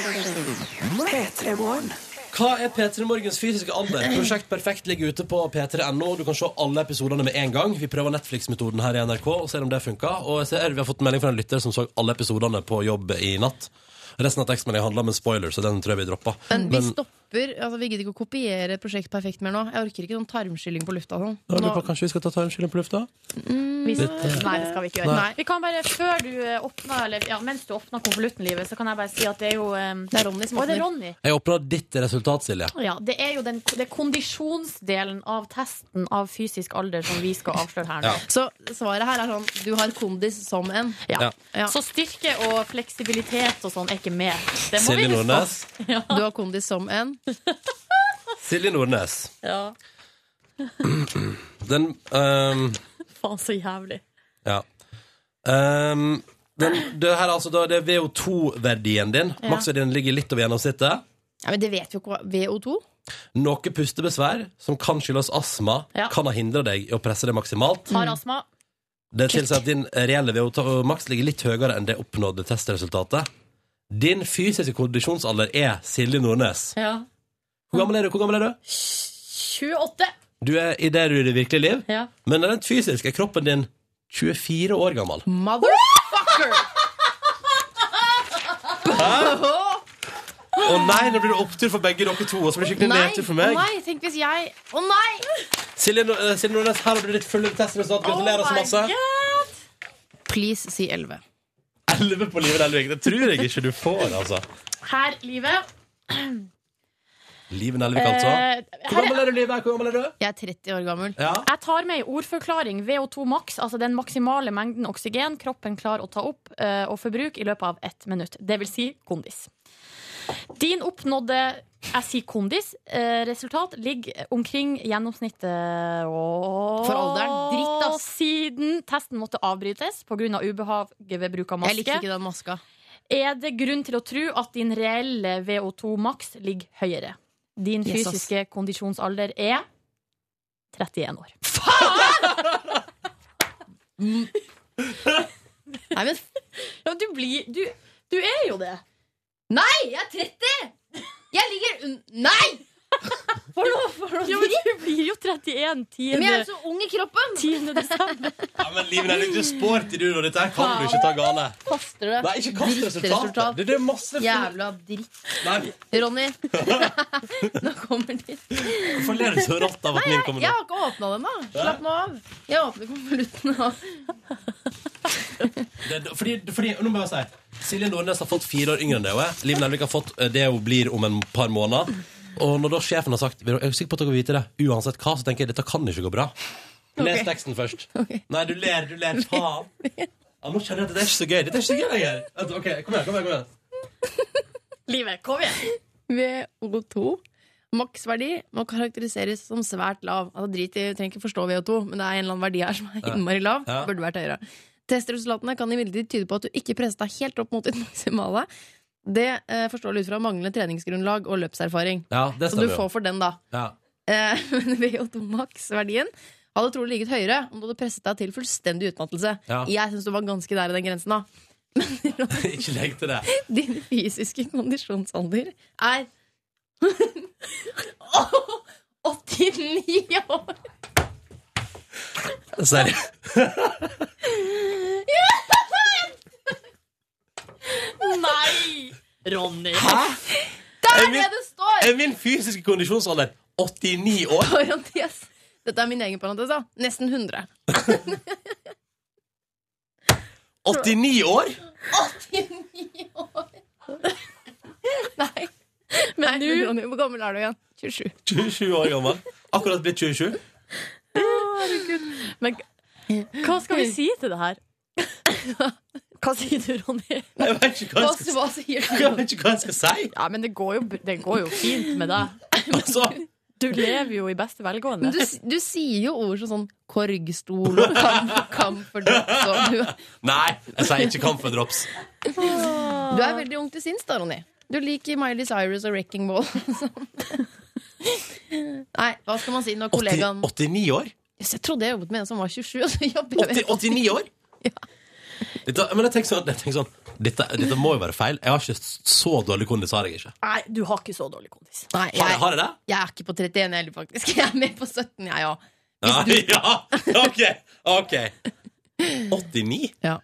Speaker 1: Hva er P3 Morgens fysiske alder? Prosjekt Perfekt ligger ute på p3.no. Du kan se alle episodene med en gang. Vi prøver Netflix-metoden her i NRK og ser om det funker. Og jeg ser, vi har fått melding fra en lytter som så alle episodene på jobb i natt. Resten av tekstmeldingen handler om en spoiler, så den tror jeg vi dropper.
Speaker 2: Men vi stopper. altså Vi gidder ikke å kopiere Prosjekt Perfekt mer nå. Jeg orker ikke sånn tarmskylling på lufta. og Sånn.
Speaker 1: Ja, lurer
Speaker 2: Nå, Mm,
Speaker 1: på, kanskje vi skal ta tarmskylling på lufta?
Speaker 3: Vi,
Speaker 1: Litt, eh,
Speaker 3: nei, det skal vi ikke gjøre.
Speaker 1: Nei.
Speaker 3: Vi kan bare, før du eh, åpner, eller ja, mens du åpner konvolutten, livet, så kan jeg bare si at det er jo eh,
Speaker 2: det er Ronny som
Speaker 3: Å, det
Speaker 2: åpner.
Speaker 3: er Ronny.
Speaker 1: Jeg åpna ditt resultat, Silje.
Speaker 3: Ja, det er jo den, det er kondisjonsdelen av testen av fysisk alder som vi skal avsløre her nå.
Speaker 1: Ja.
Speaker 2: Så svaret her er sånn du har kondis som en.
Speaker 3: Ja.
Speaker 1: Ja.
Speaker 2: Ja.
Speaker 3: Så styrke og fleksibilitet og sånn er ikke med. Det må
Speaker 1: Silje
Speaker 3: vi huske
Speaker 1: Nordnes.
Speaker 3: på.
Speaker 2: Du har kondis som en.
Speaker 1: Silje Nordnes.
Speaker 3: Ja.
Speaker 1: Den ehm,
Speaker 3: Faen, så jævlig.
Speaker 1: Ja. Ehm, den, det her er altså da, det er VO2-verdien din.
Speaker 3: Ja.
Speaker 1: Maksverdien ligger litt over gjennomsnittet.
Speaker 2: Ja, men det vet vi jo ikke hva VO2?
Speaker 1: Noe pustebesvær som kan skyldes astma,
Speaker 3: Ja.
Speaker 1: kan ha hindra deg i å presse det maksimalt.
Speaker 3: Har astma.
Speaker 1: Det tilsier at din reelle VO2 maks ligger litt høyere enn det oppnådde testresultatet. Din fysiske kondisjonsalder er Silje Nordnes.
Speaker 3: Ja.
Speaker 1: Hvor gammel er du? Hvor gammel er du?
Speaker 3: 28.
Speaker 1: Du er i det du er i det virkelige liv,
Speaker 3: Ja.
Speaker 1: men rent fysisk er kroppen din 24 år gammel.
Speaker 2: Motherfucker!
Speaker 1: Å nei, nå blir det opptur for begge dere to, altså, og så blir det skikkelig
Speaker 2: Nei,
Speaker 1: nedtur
Speaker 2: å
Speaker 1: for meg.
Speaker 2: nei, tenk hvis jeg Å nei!
Speaker 1: Silje, Nor- eh, Silje Nordnes, her har du ditt fulle testresultat.
Speaker 3: Oh
Speaker 1: Gratulerer
Speaker 2: Oh
Speaker 1: så masse.
Speaker 2: Please si 11.
Speaker 1: 11 på livet Nelvik. Det tror jeg ikke du får, altså.
Speaker 3: Her, livet.
Speaker 1: Livet Nelvik, altså.
Speaker 3: Eh,
Speaker 1: Hvor
Speaker 3: her
Speaker 1: gammel er du, Livet? Hvor gammel er du?
Speaker 2: Jeg er 30 år gammel.
Speaker 1: Ja.
Speaker 3: Jeg tar med i ordforklaring VO2 maks, altså den maksimale mengden oksygen kroppen klarer å ta opp eh, og forbruke i løpet av ett minutt. Det vil si kondis. Din oppnådde jeg sier kondis. eh, resultat ligger omkring gjennomsnittet og
Speaker 2: For alderen. Dritt, ass.
Speaker 3: Siden testen måtte avbrytes pga. Av ubehaget ved bruk av
Speaker 2: Jeg liker
Speaker 3: maske,
Speaker 2: ikke den maska.
Speaker 3: er det grunn til å tro at din reelle VO2 maks ligger høyere. Din
Speaker 2: Jesus.
Speaker 3: fysiske kondisjonsalder er 31 år.
Speaker 2: Nei, men
Speaker 3: Ja, men du blir du, du er jo det.
Speaker 2: Nei, jeg er 30! Jeg ligger un... Nei!
Speaker 3: Hallo, hallo, vi blir jo 31 10.
Speaker 11: Men jeg er jo så ung i kroppen!
Speaker 3: 10. desember.
Speaker 1: Ja, men livet er litt du sporty, du, og dette her kan du ikke ta gale.
Speaker 2: Kaster det.
Speaker 1: Nei, ikke kast resultatet. Det, det er masse
Speaker 2: Jævla dritt.
Speaker 1: Nei,
Speaker 2: Ronny, nå kommer ditt.
Speaker 1: Hvorfor ler du så rått av at
Speaker 2: Nei,
Speaker 1: min
Speaker 2: jeg, jeg
Speaker 1: kommer nå?
Speaker 2: har ikke åpna den, da. Slapp nå av. Jeg åpner konvolutten nå.
Speaker 1: Det, det- fordi, fordi, nå må jeg bare si Silje Nordnes har fått fire år yngre enn det hun er. Liv Nelvik har fått eh, det hun blir om en par måneder. Og når da sjefen har sagt Jeg er sikker på at dere vil vite det, uansett hva, så tenker jeg dette kan ikke gå bra. Les
Speaker 2: Ok.
Speaker 1: teksten først. Nei, du ler, du ler. Faen. Ja, nå kjenner jeg at dette er ikke så gøy. Dette er ikke så gøy lenger. Vent, Ok, kom igjen, kom igjen, kom igjen.
Speaker 2: Livet, kom igjen! VO2. Maksverdi må karakteriseres som svært lav. Altså drit i, Trenger ikke forstå VO2, men det er en eller annen verdi her som er
Speaker 11: Ja.
Speaker 2: innmari lav.
Speaker 11: Ja.
Speaker 2: Burde vært høyere. Testresultatene kan imidlertid tyde på at du ikke presta helt opp mot ditt maksimale. Det eh, forstår du ut fra manglende treningsgrunnlag og løpserfaring.
Speaker 1: Ja, det
Speaker 2: Så du
Speaker 1: stemmer jo.
Speaker 2: får for den, da.
Speaker 1: Ja.
Speaker 2: Eh, Men VO2 max-verdien hadde trolig ligget høyere om du hadde presset deg til fullstendig utmattelse.
Speaker 1: Ja.
Speaker 2: Jeg syns du var ganske der i den grensen, da.
Speaker 1: Ikke legg til det.
Speaker 2: Din fysiske kondisjonsalder er 89 år!
Speaker 1: Sorry.
Speaker 11: Nei!
Speaker 1: Ronny. Hæ?
Speaker 2: Der
Speaker 1: Er
Speaker 2: er
Speaker 1: min-
Speaker 2: det det står!
Speaker 1: Er min fysiske kondisjonsalder 89 år?
Speaker 2: Parentes. Dette er min egen parentes, da. Nesten 100.
Speaker 1: 89 år?
Speaker 2: 89 år! Nei. Men du, Ronny, hvor gammel er du igjen? 27.
Speaker 1: 27 år gammel. Akkurat blitt 27.
Speaker 3: Men hva skal vi si til det her? Hva sier du, Ronny?
Speaker 1: Jeg vet ikke hva jeg skal, jeg vet ikke hva jeg skal si.
Speaker 3: Ja, men det går, jo, det går jo fint med deg. Du lever jo i beste velgående.
Speaker 2: Men du, du sier jo ord som sånn korgstol og kamp, kamp for drops og du,
Speaker 1: Nei, jeg sier ikke kamp for drops.
Speaker 2: du er veldig ung til sinns, da, Ronny. Du liker Miley Cyrus og Wrecking Ball. Nei, hva skal man si når kollegaen
Speaker 1: 89 år?
Speaker 2: Jøss, Jeg trodde jeg jobbet med en som var 27, og så jobber jeg
Speaker 1: 80, 89 år? Dette, men jeg tenker sånn, jeg tenker sånn dette, dette må jo være feil. Jeg har ikke så dårlig kondis, har jeg ikke.
Speaker 3: Nei, du har ikke så dårlig kondis.
Speaker 2: Nei,
Speaker 1: Har jeg, har jeg det?
Speaker 2: Jeg er ikke på 31 heller, faktisk. Jeg er med på 17, jeg òg.
Speaker 1: Ja, ja, ok, ok. 89?
Speaker 2: Ja.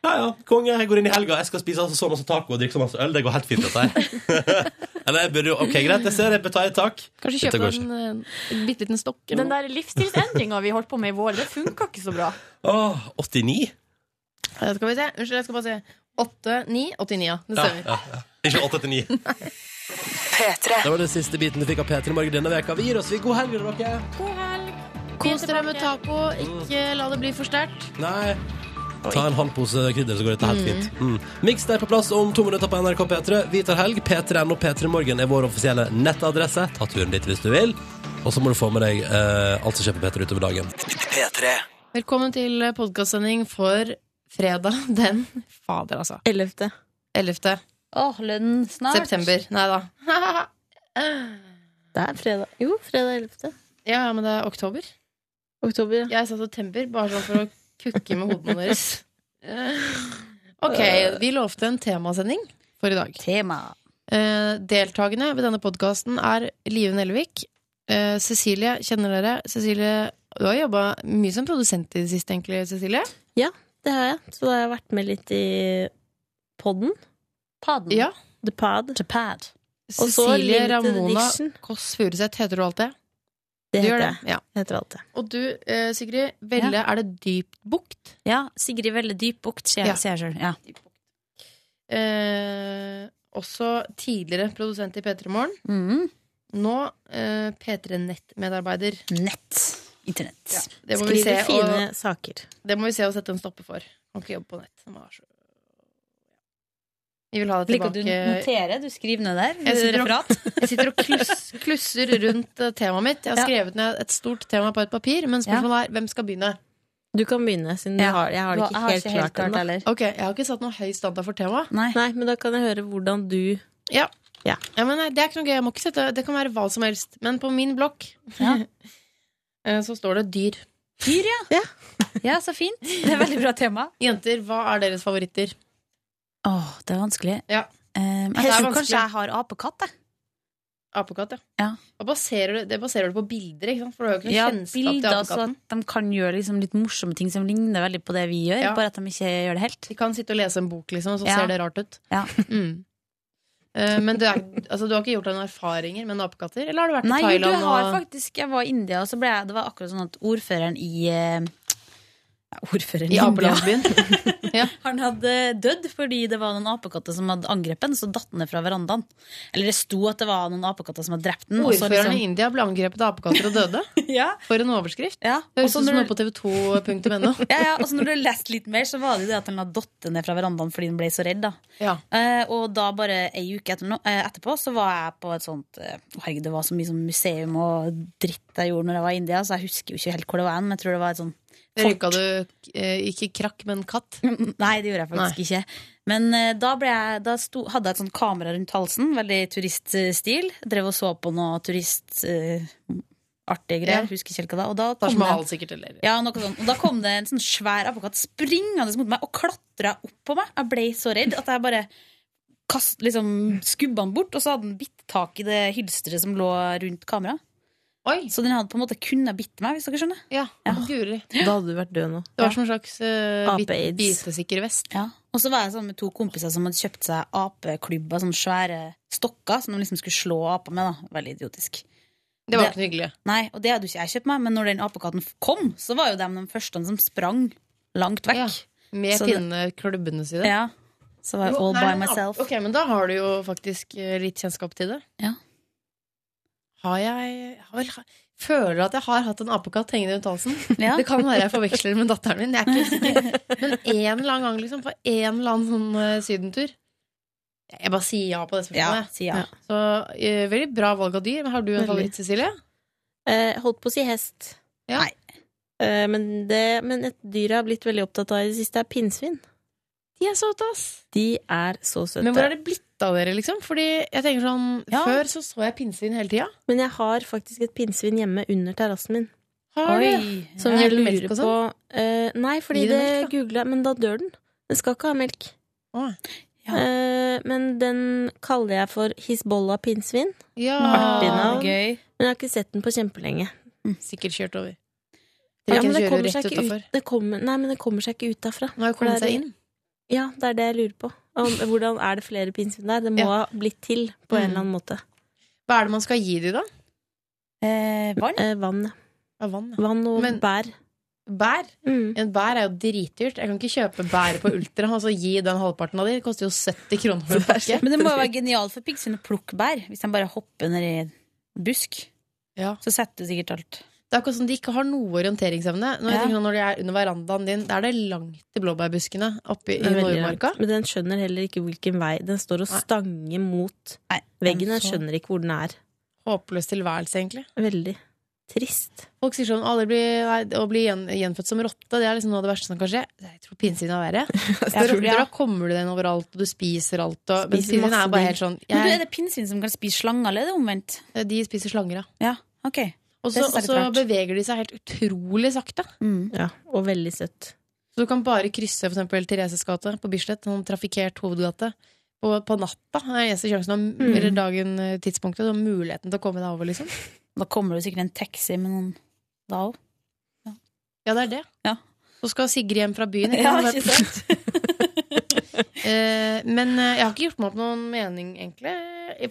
Speaker 1: Ja, ja, konge, jeg går inn i helga, jeg skal spise altså så masse taco og drikke så masse øl, det går helt fint dette her. Eller jeg burde jo, ok, greit, jeg ser, jeg betaler tak.
Speaker 2: Kanskje
Speaker 1: Dette
Speaker 2: kjøpe
Speaker 1: går ikke.
Speaker 2: en, en bitte liten stokk.
Speaker 3: Den der livsstilsendringa vi holdt på med i vår, det funka ikke så bra.
Speaker 1: Åh, 89?
Speaker 2: Ja, Skal vi se. Unnskyld, jeg skal bare se. 8, 9, 89, ja. Det
Speaker 1: Ja,
Speaker 2: stemmer.
Speaker 1: ja, ja. Ikke 8 til 9. Det var den siste biten du fikk av P3 Morgen denne veka. Vi gir oss. Vi god helg, dere.
Speaker 2: God helg. Kos dere med taco. Ikke la det bli for sterkt.
Speaker 1: Nei. Ta en halv pose krydder, så går dette helt fint. Mm. Mix er på plass om to minutter på NRK P3. Vi tar helg. P3NO P3 Morgen er vår offisielle nettadresse. Ta turen dit hvis du vil. Og så må du få med deg eh, alt som skjer på P3 utover dagen. P3.
Speaker 2: Velkommen til podkastsending for fredag den Fader, altså. 11. 11.
Speaker 11: Åh, lønnen snart.
Speaker 2: september. Nei da.
Speaker 11: Det er fredag. Jo, fredag 11.
Speaker 2: Ja, ja, men det er oktober.
Speaker 11: Oktober, ja.
Speaker 2: Jeg sa september bare sånn for å kukke med hodene deres. Ok, vi lovte en temasending for i dag.
Speaker 11: Tema.
Speaker 2: Eh, deltakende ved denne podkasten er Live Nelvik. Eh, Cecilie kjenner dere. Cecilie, du har jobba mye som produsent i det siste, egentlig, Cecilie?
Speaker 11: Ja, det har jeg. Så da har jeg vært med litt i podden. Podden?
Speaker 2: Ja.
Speaker 11: The pod. The pad. Og så
Speaker 2: Cecilie
Speaker 11: Limited
Speaker 2: Ramona
Speaker 11: Edition.
Speaker 2: Kåss Furuseth, heter du alt det?
Speaker 11: Det
Speaker 2: Du gjør
Speaker 11: heter
Speaker 2: det,
Speaker 11: jeg. Jeg heter alt det.
Speaker 2: Og du, eh, Sigrid, Velle,
Speaker 11: Ja.
Speaker 2: er det dypt bukt?
Speaker 11: Ja, Sigrid Velle Dypbukt, sier
Speaker 2: Ja.
Speaker 11: jeg- sier jeg sjøl. Ja.
Speaker 2: Eh, også tidligere produsent i P3 Morgen. Nå eh, P3 Nett-medarbeider.
Speaker 11: Nett. Internett.
Speaker 2: Det må vi
Speaker 11: Skriver
Speaker 2: se,
Speaker 11: fine
Speaker 2: og,
Speaker 11: saker.
Speaker 2: det må vi se å sette en stopper for. Kan ikke jobbe på nett. Det må være så- Vi vil ha det
Speaker 11: Liker du
Speaker 2: tilbake.
Speaker 11: notere? Du skriver ned der.
Speaker 2: Jeg sitter og-
Speaker 11: Referat.
Speaker 2: Jeg sitter og kluss, klusser rundt eh, temaet mitt. Jeg har
Speaker 11: Ja.
Speaker 2: skrevet ned et stort tema på et papir, men spørsmålet er hvem skal begynne?
Speaker 11: Du kan begynne, siden du
Speaker 2: Ja.
Speaker 11: har, jeg har det
Speaker 2: Du
Speaker 11: ikke
Speaker 2: har- jeg
Speaker 11: helt
Speaker 2: har ikke helt
Speaker 11: klart
Speaker 2: klart
Speaker 11: ennå.
Speaker 2: heller. Ok, jeg har ikke satt noe høy standard for temaet.
Speaker 11: Nei. men da kan jeg høre hvordan du
Speaker 2: Ja.
Speaker 11: Ja.
Speaker 2: Ja, men nei, det er ikke noe gøy. Jeg må ikke sette, det kan være hva som helst. Men på min blokk eh, så står det dyr.
Speaker 11: Dyr, ja. så fint. Det er veldig bra tema.
Speaker 2: Jenter, hva er deres favoritter?
Speaker 11: Åh, det er vanskelig.
Speaker 2: Ja.
Speaker 11: Eh,
Speaker 2: Det
Speaker 11: jeg
Speaker 2: er
Speaker 11: tror
Speaker 2: vanskelig.
Speaker 11: kanskje jeg har apekatt, jeg.
Speaker 2: Apekatt, ja. Og baserer det, det baserer du på bilder, ikke sant? For du har jo ikke noe
Speaker 12: Ja,
Speaker 2: kjennskap til
Speaker 11: altså.
Speaker 12: bilder, så
Speaker 2: apekatten.
Speaker 12: at de kan gjøre liksom litt morsomme ting som ligner veldig på det vi gjør.
Speaker 2: Ja.
Speaker 12: Bare at de ikke gjør det helt.
Speaker 2: De kan sitte og lese en bok, liksom, og så
Speaker 12: Ja.
Speaker 2: ser det rart ut.
Speaker 12: Ja.
Speaker 2: Mm. Eh, Men du, er, altså, du har ikke gjort deg noen erfaringer med apekatter? Eller har du vært
Speaker 12: Nei,
Speaker 2: i Thailand?
Speaker 12: du har
Speaker 2: og...
Speaker 12: faktisk Jeg var i India, og så ble jeg Det var akkurat sånn at ordføreren i eh, ja, Ordføreren
Speaker 2: I apelandsbyen?
Speaker 12: Han hadde dødd fordi det var noen apekatter som hadde angrepet den, så datt den ned fra verandaen. Eller det sto at det var noen apekatter som hadde drept den. og så liksom-
Speaker 2: Ordføreren i India ble angrepet av apekatter og døde? For en overskrift. Det høres
Speaker 12: og så
Speaker 2: ut som
Speaker 12: når-
Speaker 2: noe på tv2.no.
Speaker 12: ja, ja, og så når du har lest litt mer, så var det jo det at den hadde datt ned fra verandaen fordi den ble så redd. da. Eh, og da bare ei uke etter, no- eh, etterpå så var jeg på et sånt eh, Herregud, det var så mye sånn museum og dritt jeg gjorde når jeg var i India, så jeg husker jo ikke helt hvor det var hen, men jeg tror det var et sånn
Speaker 2: Røyka du eh, ikke krakk, men katt?
Speaker 12: Nei, det gjorde jeg faktisk ikke. Men eh, da, ble jeg, da sto, hadde jeg et sånt kamera rundt halsen, veldig turiststil. Drev og så på noe eh, turistartige greier.
Speaker 2: Ja.
Speaker 12: Husker ikke helt hva det var. Og da
Speaker 2: Taj
Speaker 12: kom det-
Speaker 2: Mahal sikkert, eller?
Speaker 12: ja, noe sånt. Og da kom det en sånn svær apekatt springende mot meg og klatra opp på meg. Jeg ble så redd at jeg bare kast, liksom, skubba den bort, og så hadde den bitt tak i det hylsteret som lå rundt kameraet. Så den hadde på en måte kunnet bitte meg, hvis dere skjønner.
Speaker 2: Ja, Guri.
Speaker 12: Da hadde du vært død nå.
Speaker 2: Det var som en slags eh, bit-
Speaker 12: Ape-aids.
Speaker 2: bitesikker vest.
Speaker 12: Ja. Og så var jeg sammen med to kompiser som hadde kjøpt seg apeklubber, sånne svære stokker som de liksom skulle slå aper med. da. Veldig idiotisk.
Speaker 2: Det var ikke noe hyggelig.
Speaker 12: Nei, og det hadde jo ikke jeg kjøpt meg, men når den apekatten kom, så var jo dem de første som sprang langt vekk.
Speaker 2: Med
Speaker 12: Så det-
Speaker 2: pinneklubbene sine.
Speaker 12: Ja. Så var jeg
Speaker 2: Jo,
Speaker 12: all
Speaker 2: her er
Speaker 12: by
Speaker 2: en ape-
Speaker 12: myself.
Speaker 2: Ok, Men da har du jo faktisk eh, litt kjennskap til det.
Speaker 12: Ja.
Speaker 2: Har jeg har vel, ha- Føler at jeg har hatt en apekatt hengende rundt halsen.
Speaker 12: Ja.
Speaker 2: Det kan være jeg forveksler med datteren min. Jeg er ikke sikker. Men en eller annen gang, liksom, på en eller annen sånn eh, sydentur Jeg bare sier ja på det spørsmålet.
Speaker 12: Ja, si ja.
Speaker 2: Så eh, veldig bra valg av dyr. Men har du en
Speaker 12: Veldig.
Speaker 2: favoritt, Cecilie?
Speaker 12: Eh, holdt på å si hest.
Speaker 2: Nei. Eh, men
Speaker 12: det, men et dyr jeg har blitt veldig opptatt av i det siste, er pinnsvin.
Speaker 2: De er søte, ass!
Speaker 12: De er så søte.
Speaker 2: Men hvor er det blitt av dere, liksom? Fordi jeg tenker sånn Før så så jeg pinnsvin hele tida. Men
Speaker 12: jeg har faktisk et pinnsvin hjemme under terrassen min.
Speaker 2: Har du?
Speaker 12: Som
Speaker 2: Er
Speaker 12: jeg
Speaker 2: det melk
Speaker 12: lurer
Speaker 2: og
Speaker 12: på
Speaker 2: sånn?
Speaker 12: eh, Nei, fordi
Speaker 2: Gir det
Speaker 12: det googla jeg, men da dør den. Den skal ikke ha melk. Eh, men den kaller jeg for Hizbollah pinnsvin.
Speaker 2: Ja,
Speaker 12: Artig navn.
Speaker 2: Ah, gøy. Mm.
Speaker 12: Men jeg har ikke sett den på kjempelenge.
Speaker 2: Sikkert kjørt over.
Speaker 12: Ja, men
Speaker 2: Dere
Speaker 12: det
Speaker 2: kjører jo
Speaker 12: kommer
Speaker 2: rett
Speaker 12: seg ikke
Speaker 2: utenfor.
Speaker 12: ut, det kommer, nei, men det kommer seg ikke ut derfra.
Speaker 2: Nå har jo
Speaker 12: For det
Speaker 2: kommet
Speaker 12: er-
Speaker 2: seg inn.
Speaker 12: Ja, det er det jeg lurer på. Om, hvordan Er det flere pinnsvin der? Det må ha blitt til på en
Speaker 2: Mm.
Speaker 12: eller annen måte.
Speaker 2: Hva er det man skal gi de da?
Speaker 12: Eh, vann? vann, ja.
Speaker 2: vann,
Speaker 12: og bær. Mm.
Speaker 2: Bær? En bær er jo dritdyrt. Jeg kan ikke kjøpe bær på Ultra og så gi den halvparten av de. Det koster jo 70 kroner for en pakke.
Speaker 12: Men det må jo være genialt for piggsvin å plukke bær, hvis de bare hopper ned i en busk. Så setter du sikkert alt.
Speaker 2: Det er akkurat som de ikke har noe orienteringsevne. Når, jeg
Speaker 12: Ja.
Speaker 2: tenker sånn, når de er under verandaen din, da er det langt til blåbærbuskene oppe i
Speaker 12: Det er veldig
Speaker 2: Nordmarka.
Speaker 12: Men den skjønner heller ikke hvilken vei. Den står og stanger mot veggen. Den
Speaker 2: så-
Speaker 12: skjønner ikke hvor den er.
Speaker 2: Håpløs tilværelse, egentlig.
Speaker 12: Veldig trist.
Speaker 2: Folk sier sånn aldri bli, nei, å bli gjen, gjenfødt som rotte, det er liksom noe av det verste som kan skje. Jeg tror pinnsvin er verre. Jeg tror,
Speaker 12: tror- ja.
Speaker 2: Da kommer du deg inn overalt, og du spiser alt. Og, men
Speaker 12: Spiser
Speaker 2: pinnsvin
Speaker 12: masse
Speaker 2: er bare
Speaker 12: dyr.
Speaker 2: helt sånn
Speaker 12: Men du,
Speaker 2: jeg- Eh,
Speaker 12: er det pinnsvin som kan spise slanger, eller er det omvendt?
Speaker 2: De spiser slanger,
Speaker 12: ja. ok.
Speaker 2: Og
Speaker 12: Det
Speaker 2: så
Speaker 12: synes jeg er
Speaker 2: og så
Speaker 12: litt rart.
Speaker 2: beveger de seg helt utrolig sakte.
Speaker 12: Ja, og veldig søtt.
Speaker 2: Så du kan bare krysse for eksempel Thereses gate på Bislett, sånn trafikkert hovedgate. Og på natta er eneste sjansen, om-
Speaker 12: Mm.
Speaker 2: eller dagen, eh, tidspunktet, og muligheten til å komme deg over, liksom.
Speaker 12: Da kommer det sikkert en taxi med noen da òg.
Speaker 2: Ja, det er det. Så skal Sigrid hjem fra byen. ikke
Speaker 12: Ja,
Speaker 2: sant?
Speaker 12: ikke
Speaker 2: Eh, men eh, jeg har ikke gjort meg opp noen mening, egentlig.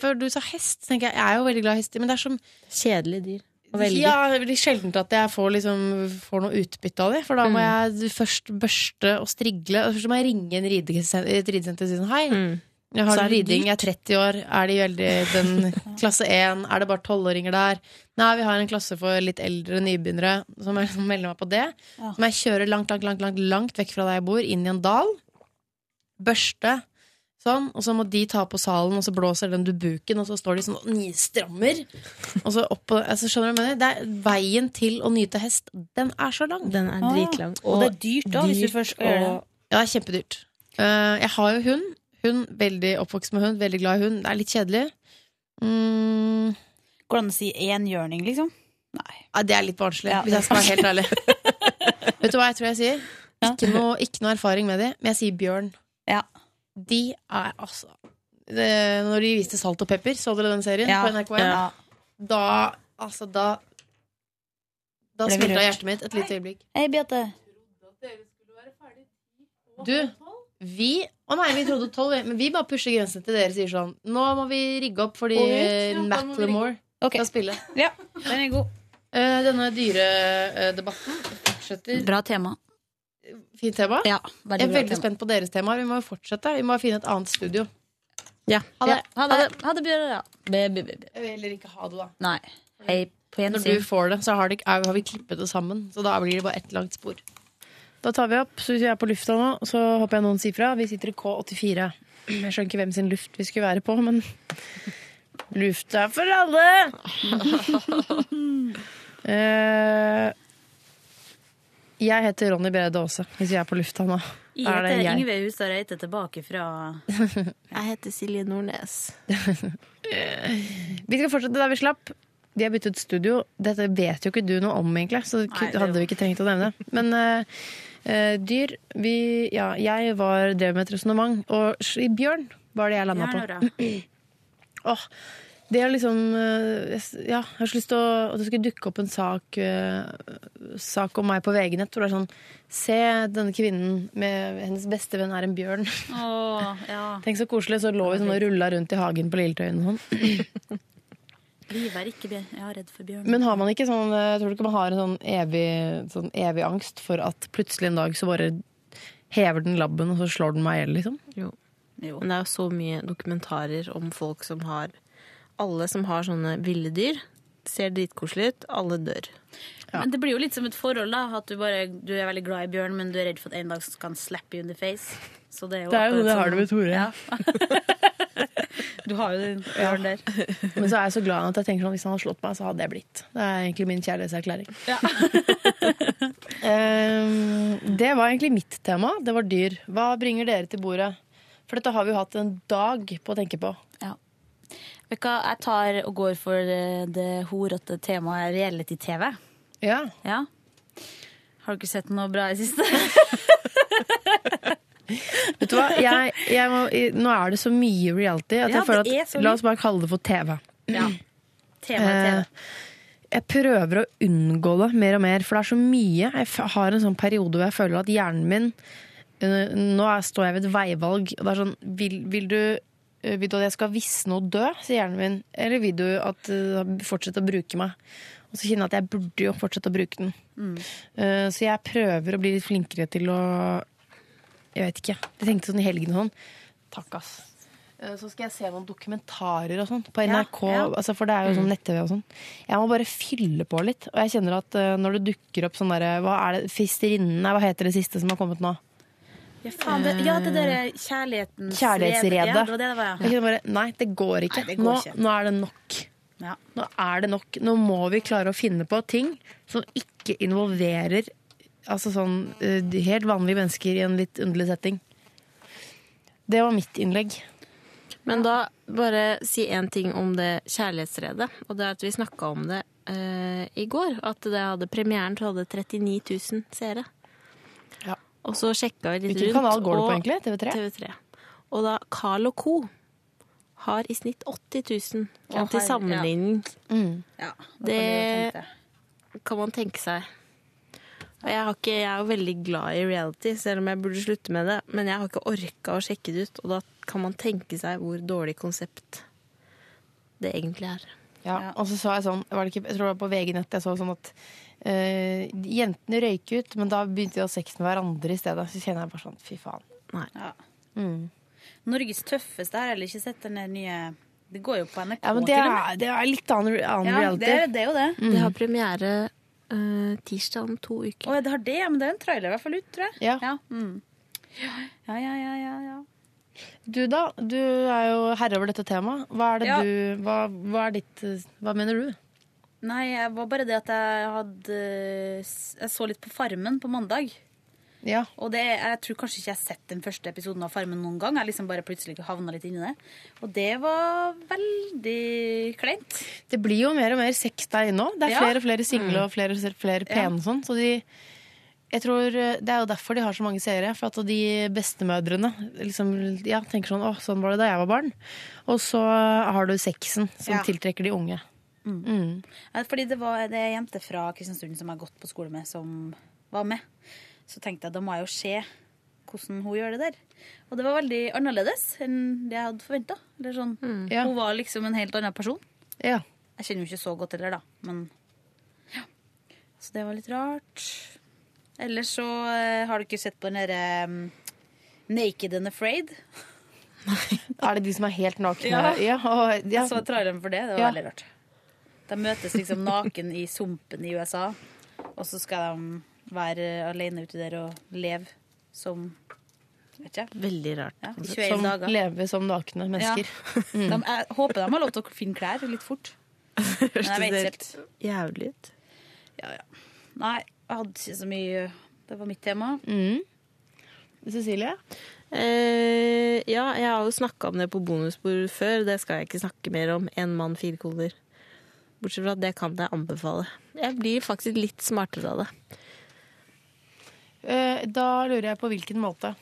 Speaker 2: For du sa hest. tenker Jeg jeg er jo veldig glad i hester, men det er som
Speaker 12: Kjedelige dyr. å velge.
Speaker 2: Ja, det blir sjeldent at jeg får, liksom, får noe utbytte av det. For da
Speaker 12: Mm.
Speaker 2: må jeg først børste og strigle. Og først må jeg ringe en ridesen- et ridesenter og si sånn hei. Jeg
Speaker 12: Mm. Så
Speaker 2: har
Speaker 12: er det
Speaker 2: riding,
Speaker 12: dyrt.
Speaker 2: jeg er 30 år. Er de veldig den klasse 1? Er det bare tolvåringer der? Nei, vi har en klasse for litt eldre nybegynnere som er- som melder meg på det.
Speaker 12: Ja.
Speaker 2: Som jeg kjører langt, langt, langt, langt, langt vekk fra der jeg bor, inn i en dal. Børste. Sånn, og så må de ta på salen, og så blåser den dubuken, og så står de sånn og nistrammer. Og så opp på altså, Skjønner du hva jeg mener? Det er, veien til å nyte hest, den er så lang. Ah.
Speaker 12: Den er dritlang. Og det er dyrt da, hvis du først skal gjøre det.
Speaker 2: Ja, det er kjempedyrt. Eh, jeg har jo hund. Hun, Veldig oppvokst med hund, veldig glad i hund. Det er litt kjedelig. Mm.
Speaker 12: Går det an å si enhjørning, liksom?
Speaker 2: Ja, det er litt barnslig,
Speaker 12: Ja.
Speaker 2: hvis jeg skal være helt ærlig. Vet du hva jeg tror jeg sier? Ikke noe, ikke noe erfaring med de, men jeg sier bjørn.
Speaker 12: Ja.
Speaker 2: De er altså
Speaker 3: eh, når de viste Salt og pepper, så dere den serien
Speaker 12: Ja.
Speaker 3: på NRK1?
Speaker 12: Ja.
Speaker 3: Da, altså, da Da
Speaker 12: Ble vi
Speaker 3: smelta
Speaker 12: rørt.
Speaker 3: hjertet mitt et lite øyeblikk.
Speaker 12: Hei, Beate.
Speaker 3: Du, vi Å nei, vi trodde tolv, vi, men vi bare pusher grensen til dere sier sånn Nå må vi rigge opp fordi
Speaker 12: Og ut, ja, da må vi
Speaker 3: Macklemore skal spille. Eh,
Speaker 12: Ja, den er god.
Speaker 3: denne dyredebatten Eh, fortsetter.
Speaker 12: Bra tema.
Speaker 3: Fint tema.
Speaker 12: Ja, veldig
Speaker 3: Jeg er
Speaker 12: bra
Speaker 3: veldig
Speaker 12: tema.
Speaker 3: spent på deres temaer. Vi må jo fortsette. Vi må finne et annet studio.
Speaker 12: Ja.
Speaker 3: Ha det.
Speaker 12: Ha det. Ha det, Bjørn. Ja. Be, be, be, be.
Speaker 3: Jeg vil heller ikke ha det, da.
Speaker 12: Nei. Hei, på
Speaker 3: Når
Speaker 12: gjensyn.
Speaker 3: du får det, så har, det, er- har vi klippet det sammen. Så da blir det bare ett langt spor.
Speaker 2: Da tar vi opp, så hvis vi er på lufta nå, så håper jeg noen sier fra. Vi sitter i K84. Jeg skjønner ikke hvem sin luft vi skulle være på, men luft er for alle! Eh, jeg heter Ronny Brede Aase, hvis vi er på lufta nå.
Speaker 12: Jeg
Speaker 2: eh, Er det
Speaker 12: heter
Speaker 2: jeg?
Speaker 12: Yngve Hustad Reite tilbake fra
Speaker 2: Jeg heter Silje Nordnes. Eh. vi skal fortsette der vi slapp. Vi har byttet studio. Dette vet jo ikke du noe om, egentlig, så det
Speaker 12: Nei, det
Speaker 2: hadde vi ikke trengt å nevne. Men eh, eh, dyr vi, ja, Jeg var, drev med et resonnement, og sj- bjørn var det jeg landa på.
Speaker 12: Bjørn,
Speaker 2: Åh, det er liksom eh, jeg s- Ja, jeg har så lyst til å, at det skulle dukke opp en sak, eh, sak om meg på VG-nett hvor det er sånn Se denne kvinnen med Hennes beste venn er en bjørn.
Speaker 12: Åh, ja.
Speaker 2: Tenk så koselig, så lå vi sånn og rulla rundt i hagen på Lilletøyen og sånn.
Speaker 12: Livet er ikke bjørn. Jeg er redd for bjørn.
Speaker 2: Men har man ikke sånn eh, Tror du ikke man har en sånn evig, sånn evig angst for at plutselig en dag så bare hever den labben, og så slår den meg i hjel, liksom?
Speaker 13: Jo. Men det er jo så mye dokumentarer om folk som har Alle som har sånne ville dyr. Ser dritkoselig ut. Alle dør.
Speaker 12: Men det blir jo litt som et forhold, da. At du, bare, du er veldig glad i bjørn, men du er redd for at en dag så skal han slappe you in the face. Så det er jo
Speaker 2: Det er jo
Speaker 12: akkurat
Speaker 2: sånn jeg har
Speaker 12: sånn-
Speaker 2: det med Tore.
Speaker 12: Du har jo den bjørnen der.
Speaker 2: Men så er jeg så glad at jeg tenker sånn, hvis han hadde slått meg, så hadde jeg blitt. Det er egentlig min kjærlighetserklæring. Ehm, det var egentlig mitt tema. Det var dyr. Hva bringer dere til bordet? For dette har vi jo hatt en dag på å tenke på.
Speaker 12: Vet du hva, jeg tar og går for eh, det horete temaet reality-TV.
Speaker 2: Ja.
Speaker 12: Har du ikke sett noe bra i det siste?
Speaker 2: Vet du hva? Jeg, jeg må, i- nå er det så mye reality at
Speaker 12: Ja,
Speaker 2: jeg føler
Speaker 12: det er
Speaker 2: at
Speaker 12: så mye.
Speaker 2: La oss bare kalle det for TV.
Speaker 12: Ja. Tema er TV.
Speaker 2: Eh, Jeg prøver å unngå det mer og mer, for det er så mye. Jeg f- har en sånn periode hvor jeg føler at hjernen min eh, Nå er- står jeg ved et veivalg. Og det er sånn Vil, vil du eh, vil du at jeg skal visne og dø, sier hjernen min. Eller vil du at eh, fortsette å bruke meg? Og så kjenner jeg at jeg burde jo fortsette å bruke den.
Speaker 12: Mm.
Speaker 2: Eh, Så jeg prøver å bli litt flinkere til å Jeg vet ikke. Jeg tenkte sånn i helgen og sånn. Takk, ass. Eh, Så skal jeg se noen dokumentarer og sånn på NRK, Altså, for det er jo
Speaker 10: Mm.
Speaker 2: sånn nett-TV og sånn. Jeg må bare fylle på litt. Og jeg kjenner at eh, når det dukker opp sånn derre Hva er det Fisterinne? Nei, hva heter det siste som har kommet nå?
Speaker 12: Ja, faen, det, ja, det derre kjærlighetens
Speaker 2: Kjærlighetsredet.
Speaker 12: Ja, det var det det var,
Speaker 2: Jeg
Speaker 12: ja.
Speaker 2: kjenner bare Nei, det går ikke.
Speaker 12: Nei, det går
Speaker 2: nå,
Speaker 12: ikke.
Speaker 2: nå er det nok.
Speaker 12: Ja.
Speaker 2: Nå er det nok. Nå må vi klare å finne på ting som ikke involverer altså sånn eh, helt vanlige mennesker i en litt underlig setting. Det var mitt innlegg.
Speaker 13: Men da bare si én ting om det kjærlighetsredet. Og det er at vi snakka om det eh, i går. At det hadde premieren så hadde 39 000 seere. Og så sjekka vi litt
Speaker 2: Hvilken
Speaker 13: rundt.
Speaker 2: kanal går det på
Speaker 13: og-
Speaker 2: egentlig? TV3?
Speaker 13: TV3. Og da Carl og Co. har i snitt 80 000.
Speaker 12: Å,
Speaker 13: til
Speaker 12: herre-
Speaker 13: sammenligning.
Speaker 2: Mm.
Speaker 12: Ja,
Speaker 13: Det
Speaker 12: det
Speaker 13: kan man tenke seg. Og jeg, har ikke, jeg er jo veldig glad i reality, selv om jeg burde slutte med det. Men jeg har ikke orka å sjekke det ut, og da kan man tenke seg hvor dårlig konsept det egentlig er.
Speaker 2: Ja, Og så så jeg sånn, var det ikke, jeg tror det var på VG-nett jeg så sånn at eh, jentene røyker ut, men da begynte de å ha sex med hverandre i stedet. Så kjenner jeg bare sånn, fy faen.
Speaker 12: Ja.
Speaker 2: Mm.
Speaker 12: Norges tøffeste har jeg heller ikke sett den der nye Det går jo på NRK,
Speaker 2: Ja, men det er, det er litt annen, annen
Speaker 12: Ja,
Speaker 2: reality.
Speaker 12: det er- det er jo det.
Speaker 13: Mm. Det har premiere eh, tirsdag om to uker.
Speaker 12: Å, ja, det har det, ja, men det er en trailer i hvert fall ut, tror jeg.
Speaker 2: Ja.
Speaker 12: mm. ja, ja, ja, ja, ja.
Speaker 2: Du da, du er jo herre over dette temaet. Hva er det
Speaker 12: Ja.
Speaker 2: du hva, hva er ditt eh, Hva mener du?
Speaker 12: Nei, jeg var bare det at jeg hadde Jeg så litt på Farmen på mandag.
Speaker 2: Ja.
Speaker 12: Og det, jeg tror kanskje ikke jeg har sett den første episoden av Farmen noen gang. Jeg liksom bare plutselig havna litt inni det. Og det var veldig kleint.
Speaker 2: Det blir jo mer og mer sex der inne òg. Det er
Speaker 12: Ja.
Speaker 2: flere og flere single
Speaker 12: Mm.
Speaker 2: og flere, flere
Speaker 12: Ja.
Speaker 2: pene og sånn. Så de jeg tror eh, Det er jo derfor de har så mange seere. For at de bestemødrene liksom, ja, tenker sånn Å, sånn var det da jeg var barn. Og så har du sexen som
Speaker 12: Ja.
Speaker 2: tiltrekker de unge. Mm.
Speaker 12: Ja, Eh, Fordi det var det er ei jente fra Kristiansund som jeg har gått på skole med, som var med. Så tenkte jeg da må jeg jo se hvordan hun gjør det der. Og det var veldig annerledes enn det jeg hadde forventa. Sånn,
Speaker 2: Ja.
Speaker 12: Hun var liksom en helt annen person.
Speaker 2: Ja.
Speaker 12: Jeg kjenner jo ikke så godt heller, da. Men ja. Så det var litt rart. Ellers så eh, har du ikke sett på den derre um, Naked and Afraid.
Speaker 2: Er det de som er helt nakne?
Speaker 12: Ja.
Speaker 2: og, ja.
Speaker 12: Jeg så traileren for det. Det var
Speaker 2: Ja.
Speaker 12: veldig rart. De møtes liksom naken i sumpen i USA, og så skal de være alene ute der og leve som Vet ikke.
Speaker 13: Veldig rart.
Speaker 12: Ja, i 21
Speaker 2: som
Speaker 12: dager.
Speaker 2: lever som nakne mennesker. Mm.
Speaker 12: De, jeg håper de har lov til å finne klær litt fort. Men jeg vet ikke helt.
Speaker 13: Jævlig ut.
Speaker 12: Ja, ja. Nei, jeg hadde ikke så mye Det var mitt tema.
Speaker 13: Mm.
Speaker 2: Cecilie?
Speaker 13: Eh, ja, jeg har jo snakka om det på bonusbord før. Det skal jeg ikke snakke mer om. Én mann, fire koner. Bortsett fra at det kan jeg anbefale. Jeg blir faktisk litt smartere av det.
Speaker 2: Eh, Da lurer jeg på hvilken måte.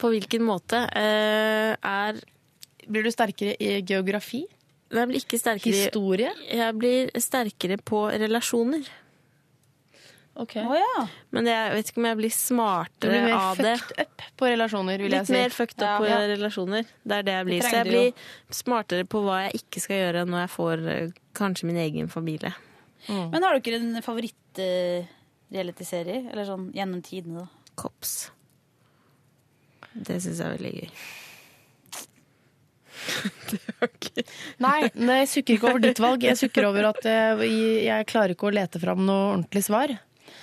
Speaker 13: På hvilken måte eh, er
Speaker 2: Blir du sterkere i geografi?
Speaker 13: Jeg blir ikke sterkere i-
Speaker 2: Historie?
Speaker 13: Jeg blir sterkere på relasjoner.
Speaker 2: Ok.
Speaker 13: Men jeg vet ikke om jeg blir
Speaker 2: Du
Speaker 13: smartere
Speaker 2: blir mer
Speaker 13: Eh, av det.
Speaker 2: fucked up på relasjoner, vil
Speaker 13: Litt
Speaker 2: jeg si.
Speaker 13: mer fucked up på
Speaker 2: Ja.
Speaker 13: relasjoner. Det er det jeg blir.
Speaker 2: Det
Speaker 13: Så jeg
Speaker 2: trenger du jo.
Speaker 13: blir smartere på hva jeg ikke skal gjøre når jeg får eh, kanskje min egen familie.
Speaker 12: Men har du ikke en favoritt-realityserie? Eller sånn gjennom tidene, da?
Speaker 13: Kops. Det syns jeg er veldig gøy.
Speaker 2: Nei, nei, jeg sukker ikke over ditt valg. Jeg sukker over at eh, jeg klarer ikke å lete fram noe ordentlig svar.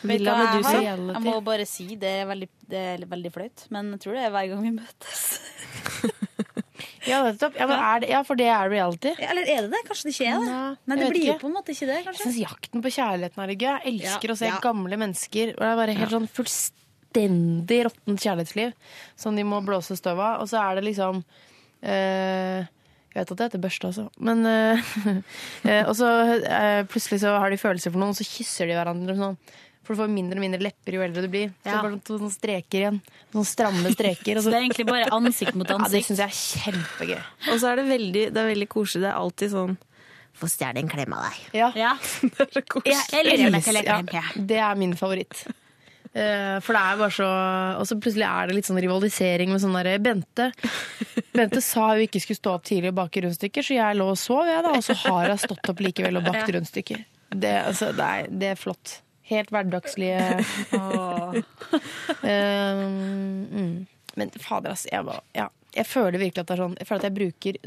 Speaker 12: Vet du hva jeg har? Jeg må
Speaker 2: Reality.
Speaker 12: bare si det er veldig, det er veldig flaut, men jeg tror det er hver gang vi møtes.
Speaker 2: Ja, nettopp. Ja, men er det, ja, for det er reality.
Speaker 12: Eller er det det? Kanskje det ikke er det? Nei, det
Speaker 2: jeg vet
Speaker 12: blir jo
Speaker 2: ikke.
Speaker 12: på en måte ikke det,
Speaker 2: Jeg
Speaker 12: kanskje.
Speaker 2: syns jakten på kjærligheten er gøy. Jeg elsker
Speaker 12: Ja,
Speaker 2: å se
Speaker 12: ja.
Speaker 2: gamle mennesker. Og det er bare helt sånn fullstendig råttent kjærlighetsliv som de må blåse støv av. Og så er det liksom eh, Jeg vet at det heter børste, altså. Men eh, eh, Og så eh, plutselig så har de følelser for noen, og så kysser de hverandre sånn. For du får mindre og mindre lepper jo eldre du blir. Så det
Speaker 12: Ja.
Speaker 2: er bare to sånne streker igjen. Sånne stramme streker. og
Speaker 12: Så det er egentlig bare ansikt mot
Speaker 2: Ja, det
Speaker 12: ansikt.
Speaker 2: syns jeg er kjempegøy.
Speaker 13: Og så er det veldig, det er veldig koselig. Det er alltid sånn Få stjele en klem av deg.
Speaker 2: Ja.
Speaker 13: det er så koselig.
Speaker 2: Ja, det er min favoritt. Eh, For det er bare så Og så plutselig er det litt sånn rivalisering med sånn derre Bente Bente sa jo ikke skulle stå opp tidlig og bake rundstykker, så jeg lå og sov, jeg da. Og så har jeg stått opp likevel og bakt
Speaker 12: Ja.
Speaker 2: rundstykker. Det, altså, det, er, det er flott. Helt hverdagslige Eh, mm. Men fader, altså. Jeg, bare, ja. jeg føler virkelig at det er sånn Jeg føler at jeg bruker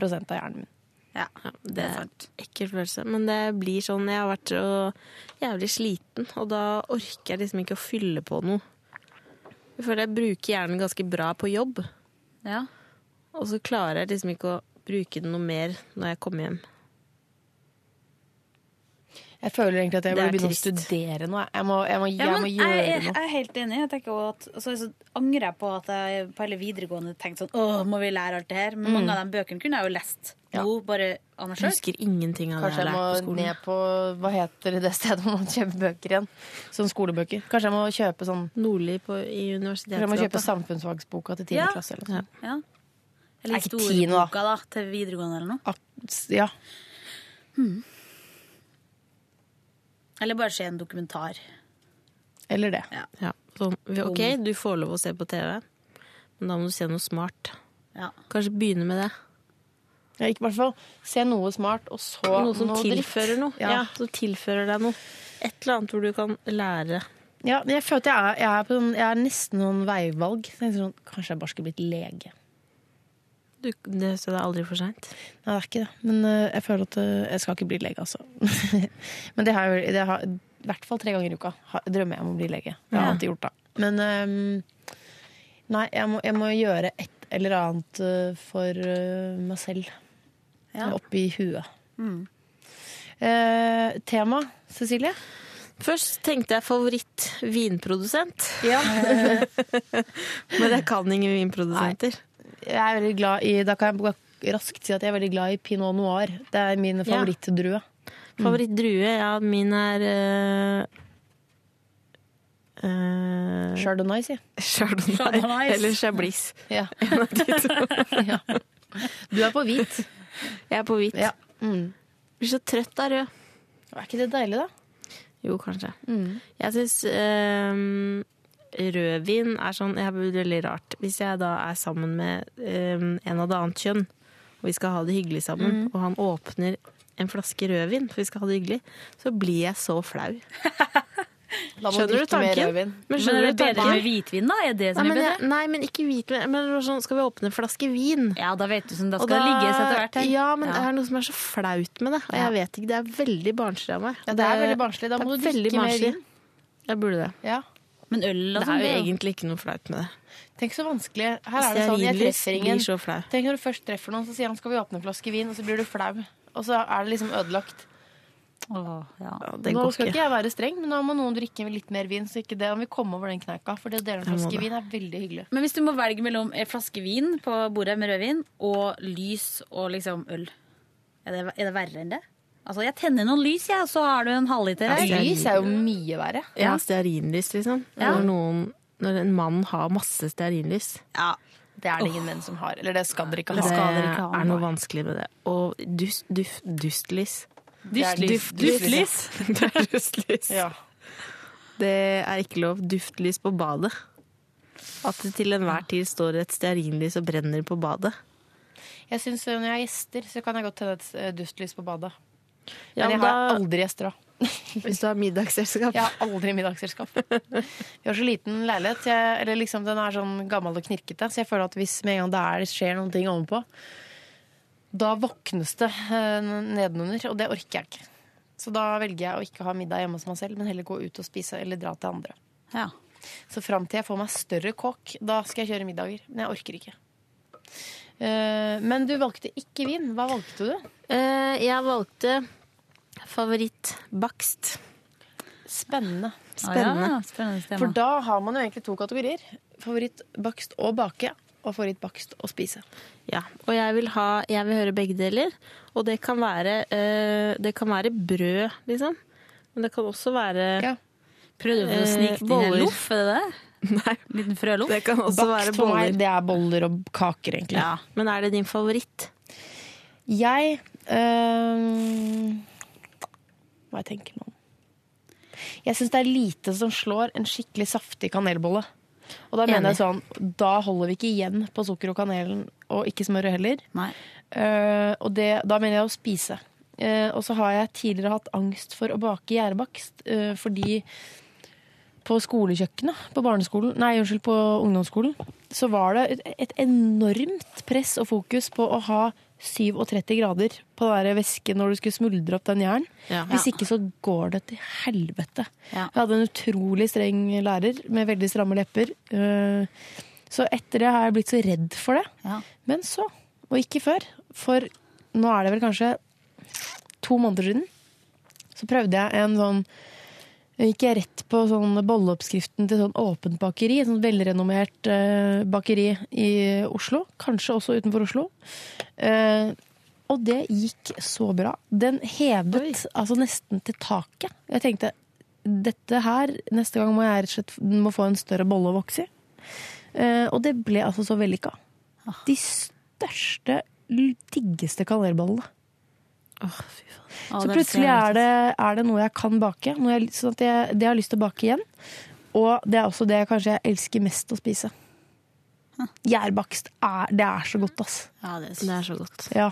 Speaker 2: 0,5 av hjernen min.
Speaker 13: Ja, det er en ekkel følelse. Men det blir sånn Jeg har vært så jævlig sliten, og da orker jeg liksom ikke å fylle på noe. Jeg føler jeg bruker hjernen ganske bra på jobb,
Speaker 12: Ja.
Speaker 13: og så klarer jeg liksom ikke å bruke den noe mer når jeg kommer hjem.
Speaker 2: Jeg føler egentlig at jeg
Speaker 13: Det
Speaker 2: burde
Speaker 13: er
Speaker 2: begynne å
Speaker 13: trist.
Speaker 2: studere noe. Jeg må, jeg må, jeg
Speaker 12: Ja, men
Speaker 2: må
Speaker 12: jeg,
Speaker 2: gjøre noe.
Speaker 12: er- jeg er helt enig. Jeg tenker også at, og så, så angrer jeg på at jeg på hele videregående tenkte sånn Åh, må vi lære alt det her? Men
Speaker 13: Mm.
Speaker 12: mange av de bøkene kunne jeg jo lest. Nå bare av meg sjøl.
Speaker 13: Jeg husker ingenting av det
Speaker 2: Kanskje
Speaker 13: jeg
Speaker 2: jeg må
Speaker 13: lærte på skolen.
Speaker 2: ned på Hva heter det stedet hvor man kjøper bøker igjen? Sånn skolebøker. Kanskje jeg må kjøpe sånn
Speaker 13: Nordli på, i
Speaker 2: Kanskje jeg må kjøpe
Speaker 13: universitetsgata.
Speaker 2: samfunnsfagsboka til 10.
Speaker 12: Ja.
Speaker 2: klasse eller noe sånt.
Speaker 12: Ja.
Speaker 2: Er
Speaker 12: Eller
Speaker 2: ikke ti nå, da?
Speaker 12: historieboka, da, til videregående eller noe. Hmm.
Speaker 2: Ja.
Speaker 12: Eller bare se en dokumentar.
Speaker 2: Eller det.
Speaker 13: Ja. Sånn, ok, du får lov å se på TV, men da må du se noe smart.
Speaker 12: Ja.
Speaker 13: Kanskje begynne med det.
Speaker 2: Ja, ikke i hvert fall se noe smart, og så
Speaker 13: Noe som
Speaker 2: dritt.
Speaker 13: tilfører noe. Ja.
Speaker 2: Ja.
Speaker 13: som tilfører deg noe. Et eller annet hvor du kan lære.
Speaker 2: Ja, men jeg føler at jeg er, jeg er, på sånn, jeg er nesten noen veivalg. Så jeg tenker sånn, kanskje jeg bare skulle blitt lege.
Speaker 13: Du, det, så det er aldri for seint.
Speaker 2: Nei, det er ikke det. Men eh, jeg føler at eh, jeg skal ikke bli lege, altså. Men det har jeg det har- i hvert fall tre ganger i uka. har- Drømmer jeg om å bli lege. Det har jeg
Speaker 13: Ja.
Speaker 2: alltid gjort, da. Men ehm, nei, jeg må, jeg må gjøre et eller annet eh, for eh, meg selv.
Speaker 12: Ja.
Speaker 2: Oppi huet.
Speaker 12: Mm.
Speaker 2: Eh, tema, Cecilie?
Speaker 13: Først tenkte jeg favoritt vinprodusent.
Speaker 2: Ja.
Speaker 13: Men jeg kan ingen vinprodusenter.
Speaker 2: Jeg er veldig glad i Da kan jeg raskt si at jeg er veldig glad i pinot noir. Det er min Mm.
Speaker 13: Mm.
Speaker 2: favorittdrue.
Speaker 13: Favorittdrue? Ja, min er eh, eh,
Speaker 2: Mm. Chardonnay, si.
Speaker 13: Chardonnay eller Chablis.
Speaker 2: Ja.
Speaker 13: En av de to.
Speaker 2: Du er på hvit.
Speaker 13: Jeg er på hvit. Mm. Blir så trøtt av rød.
Speaker 2: Er ikke det deilig, da?
Speaker 13: Jo, kanskje.
Speaker 12: Mm.
Speaker 13: Jeg syns rødvin er sånn Jeg blir veldig rart. Hvis jeg da er sammen med ehm, en av det annet kjønn, og vi skal ha det hyggelig sammen,
Speaker 12: Mm.
Speaker 13: og han åpner en flaske rødvin, for vi skal ha det hyggelig, så blir jeg så flau.
Speaker 12: må du
Speaker 13: skjønner du
Speaker 12: drikke mer
Speaker 13: tanken?
Speaker 12: rødvin. Men er det bedre med hvitvin, da? Er det som er
Speaker 13: nei, men
Speaker 12: bedre?
Speaker 13: jeg- nei, men ikke hvitvin. Men det var sånn, skal vi åpne en flaske vin?
Speaker 12: Ja, da vet du som da
Speaker 13: Og
Speaker 12: skal ligges etter hvert her.
Speaker 13: Ja, men
Speaker 12: Ja.
Speaker 13: det er noe som er så flaut med det. Og jeg vet ikke, det er veldig barnslig av meg.
Speaker 12: Ja, det er veldig barnslig. Da
Speaker 13: det
Speaker 12: må
Speaker 13: er
Speaker 12: du drikke
Speaker 13: veldig
Speaker 12: mer
Speaker 13: barnslig.
Speaker 12: vin.
Speaker 13: Jeg burde det.
Speaker 12: Men øl og
Speaker 13: Det er
Speaker 12: sånn,
Speaker 13: jo
Speaker 12: det er jo-
Speaker 13: egentlig ikke noe flaut med det.
Speaker 2: Tenk så vanskelig. Her er det sånn, jeg
Speaker 13: Stearinlys
Speaker 2: treffer
Speaker 13: blir
Speaker 2: ingen.
Speaker 13: så flau.
Speaker 2: Tenk når du først treffer noen, så sier han skal vi åpne en flaske vin, og så blir du flau. Og så er det liksom ødelagt. nå
Speaker 13: det går
Speaker 2: skal
Speaker 13: ikke.
Speaker 2: ikke jeg være streng, men nå må noen drikke litt mer vin, så ikke det om vi kommer over den kneika. For det å dele en
Speaker 12: Jeg må
Speaker 2: flaske
Speaker 12: det.
Speaker 2: vin er veldig hyggelig.
Speaker 12: Men hvis du må velge mellom en flaske vin på bordet med rødvin og lys og liksom øl, er det, er det verre enn det? Altså, jeg tenner noen lys, jeg, og så har du en halvliter her.
Speaker 13: Ja, lys er jo
Speaker 2: mye verre.
Speaker 13: Ja, stearinlys, liksom.
Speaker 12: Ja.
Speaker 13: Når, noen, når en mann har masse stearinlys.
Speaker 2: Det er det ingen menn som har. Eller det skal dere ikke
Speaker 13: Det
Speaker 2: ha.
Speaker 13: er noe vanskelig med det. Og dust, duf- dustlys.
Speaker 2: Det er
Speaker 13: Duft-
Speaker 2: duftlys.
Speaker 13: Det er dustlys. Det er ikke lov. Duftlys på badet. At det til enhver tid står et stearinlys og brenner på badet.
Speaker 2: Jeg synes eh, Når jeg har gjester, så kan jeg godt tenne et eh, dustlys på badet.
Speaker 13: Ja,
Speaker 2: men jeg
Speaker 13: men
Speaker 2: har
Speaker 13: da-
Speaker 2: aldri gjester, da.
Speaker 13: Hvis du har middagsselskap.
Speaker 2: Jeg har aldri middagsselskap. Vi har så liten leilighet. Jeg, eller liksom, den er sånn gammel og knirkete, så jeg føler at hvis med en gang det er, skjer noen ting ovenpå, da våknes det eh, nedenunder, og det orker jeg ikke. Så da velger jeg å ikke ha middag hjemme hos meg selv, men heller gå ut og spise eller dra til andre. Så fram til jeg får meg større kåk, da skal jeg kjøre middager. Men jeg orker ikke. Eh, men du valgte ikke vin. Hva valgte du?
Speaker 13: Eh, jeg valgte favorittbakst.
Speaker 2: Spennende.
Speaker 13: Spennende.
Speaker 12: Ah, ja, spennende tema.
Speaker 2: For da har man jo egentlig to kategorier. Favorittbakst og bake, og favorittbakst og spise.
Speaker 13: Ja, og jeg vil, ha, jeg vil høre begge deler. Og det kan være, eh, det kan være brød, liksom. Men det kan også være
Speaker 12: Prøvde du å
Speaker 13: eh,
Speaker 12: snike din
Speaker 13: boller.
Speaker 12: en loff, er det det?
Speaker 13: Nei.
Speaker 12: Liten frøloff?
Speaker 13: Det kan også være
Speaker 2: for meg,
Speaker 13: boller.
Speaker 2: det er boller og kaker, egentlig.
Speaker 13: Ja, Men er det din favoritt?
Speaker 2: Jeg ehm, øhm, Mm. Hva jeg tenker nå Jeg syns det er lite som slår en skikkelig saftig kanelbolle. Og da mener
Speaker 12: Enig.
Speaker 2: jeg sånn, da holder vi ikke igjen på sukker og kanelen, og ikke smøret heller. Eh, og det, da mener jeg å spise. Eh, og så har jeg tidligere hatt angst for å bake gjærbakst, eh, fordi på skolekjøkkenet på barneskolen, nei, unnskyld, på ungdomsskolen, så var det et, et enormt press og fokus på å ha 37 grader på den der væsken når du skulle smuldre opp den jern.
Speaker 13: Ja.
Speaker 2: Hvis ikke så går det til helvete. Jeg hadde en utrolig streng lærer med veldig stramme lepper. eh, Så etter det har jeg blitt så redd for det. Men så, og ikke før, for nå er det vel kanskje to måneder siden, så prøvde jeg en sånn Gikk jeg rett på sånn bolleoppskriften til sånn åpent bakeri, et sånt velrenommert eh, bakeri i Oslo. Kanskje også utenfor Oslo. Eh, og det gikk så bra. Den hevet altså nesten til taket. Jeg tenkte dette her, neste gang må jeg rett og slett må få en større bolle å vokse i. Eh, og det ble altså så vellykka. De største, l- diggeste kanelbollene.
Speaker 12: Å,
Speaker 2: Så
Speaker 12: det
Speaker 2: plutselig
Speaker 12: ser
Speaker 2: er det, er det noe jeg kan bake. Noe jeg, sånn at jeg, det jeg har lyst til å bake igjen. Og det er også det jeg kanskje jeg elsker mest å spise. Gjærbakst. Er, det er så godt, ass.
Speaker 12: Ja, det
Speaker 13: Det er så godt.
Speaker 2: Ja.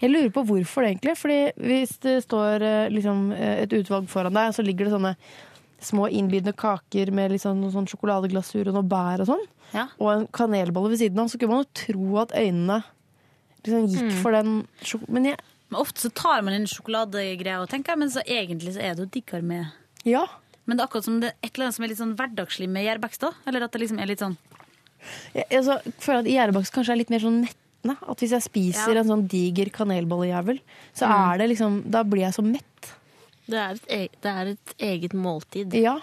Speaker 2: Jeg lurer på hvorfor det egentlig. Fordi hvis det står eh, liksom, eh, et utvalg foran deg, så ligger det sånne små innbydende kaker med liksom noe sånn sjokoladeglasur og noe bær og sånn, og en kanelbolle ved siden av, så kunne man jo tro at øynene liksom gikk
Speaker 12: Mm.
Speaker 2: for den sjok- Men jeg
Speaker 12: Men ofte så tar man inn sjokoladegreia og tenker, men så egentlig så er det jo diggere med
Speaker 2: Ja.
Speaker 12: Men det er akkurat som det er et eller annet som er litt sånn hverdagslig med gjærbakst, da. Eller at det liksom er litt sånn
Speaker 2: Jeg, jeg så føler at gjærebakst kanskje er litt mer sånn nettende. At hvis jeg spiser
Speaker 12: Ja.
Speaker 2: en sånn diger kanelbollejævel, så
Speaker 13: Mm.
Speaker 2: er det liksom Da blir jeg så mett.
Speaker 13: Det er et, e- det er et eget måltid.
Speaker 2: Ja.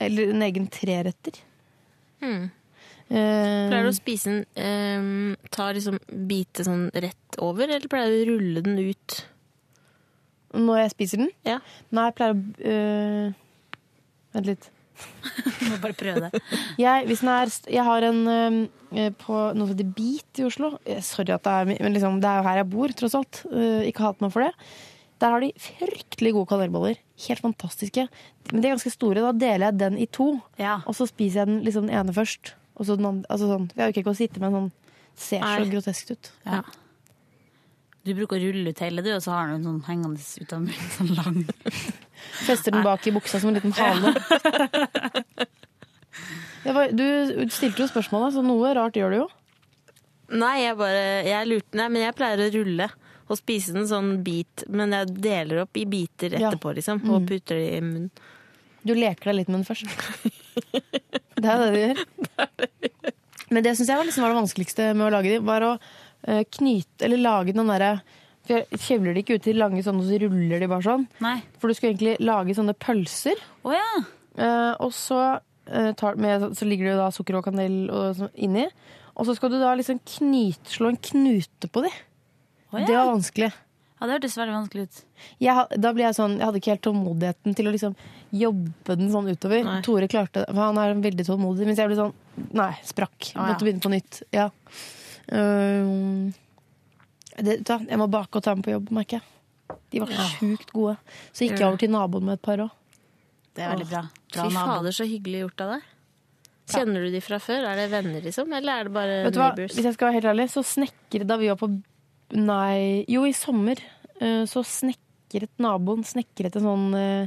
Speaker 2: Eller en egen treretter.
Speaker 13: Hmm.
Speaker 2: Eh,
Speaker 13: Pleier du å spise den ehm, Ta liksom bite sånn rett over, eller pleier du å rulle den ut?
Speaker 2: Når jeg spiser den? Nei, jeg pleier å øh, Vent litt.
Speaker 12: Må bare prøve det.
Speaker 2: Jeg, hvis den er, st- jeg har en øh, på noe som heter Beat i Oslo. Eh, Sorry at det er mi- men liksom, det er jo her jeg bor, tross alt. Eh, ikke hat meg for det. Der har de fryktelig gode kanelboller. Helt fantastiske. Men de er ganske store. Da deler jeg den i to. Og så spiser jeg den, liksom, den ene først. Og så den andre, altså sånn. Jeg orker ikke å sitte med en sånn Det ser så
Speaker 12: Nei.
Speaker 2: grotesk ut.
Speaker 12: Ja. Du bruker å rulle ut hele, du, og så har du en sånn hengende ut av munnen, sånn lang.
Speaker 2: Fester den bak i buksa som en liten hale. Det var, du stilte jo spørsmålet, så noe rart gjør du jo.
Speaker 13: Nei, jeg bare jeg lurte, nei, men jeg pleier å rulle og spise den sånn bit, men jeg deler opp i biter
Speaker 2: Ja.
Speaker 13: etterpå, liksom,
Speaker 2: Mm.
Speaker 13: og putter det i munnen.
Speaker 2: Du leker deg litt med den først. Det er jo det du gjør. Men det syns jeg var, liksom var det vanskeligste med å lage de, var å eh, knyte Eller lage den derre For jeg kjevler de ikke ut til lange sånne, og så ruller de bare sånn. For du skulle egentlig lage sånne pølser. Eh, og så, eh, tar, med, så ligger det jo da sukker og kanel og, sånn inni. Og så skal du da liksom knyte, slå en knute på de.
Speaker 12: Å ja.
Speaker 2: Det var vanskelig.
Speaker 12: Ja, det hørtes veldig vanskelig ut.
Speaker 2: Jeg, ha- da ble jeg sånn, jeg hadde ikke helt tålmodigheten til å liksom jobbe den sånn utover. Tore klarte det, for han er veldig tålmodig. Mens jeg ble sånn, nei, sprakk.
Speaker 12: Å, ja.
Speaker 2: Måtte begynne på nytt. Ja. Ehm, det, vet du hva, jeg må bake og ta med på jobb, merker jeg. De var
Speaker 13: Ja.
Speaker 2: sjukt gode. Så gikk jeg over til naboen med et par òg.
Speaker 13: Det er veldig bra.
Speaker 2: Bra
Speaker 13: Fy
Speaker 2: nabo.
Speaker 13: fader, så hyggelig gjort av deg. Kjenner du de fra før? Er det venner, liksom? Eller er det bare
Speaker 2: Vet du hva,
Speaker 13: neighbors?
Speaker 2: Hvis jeg skal være helt ærlig, så snekret da vi var på Nei, jo, i sommer eh, så snekret naboen snekret en sånn eh,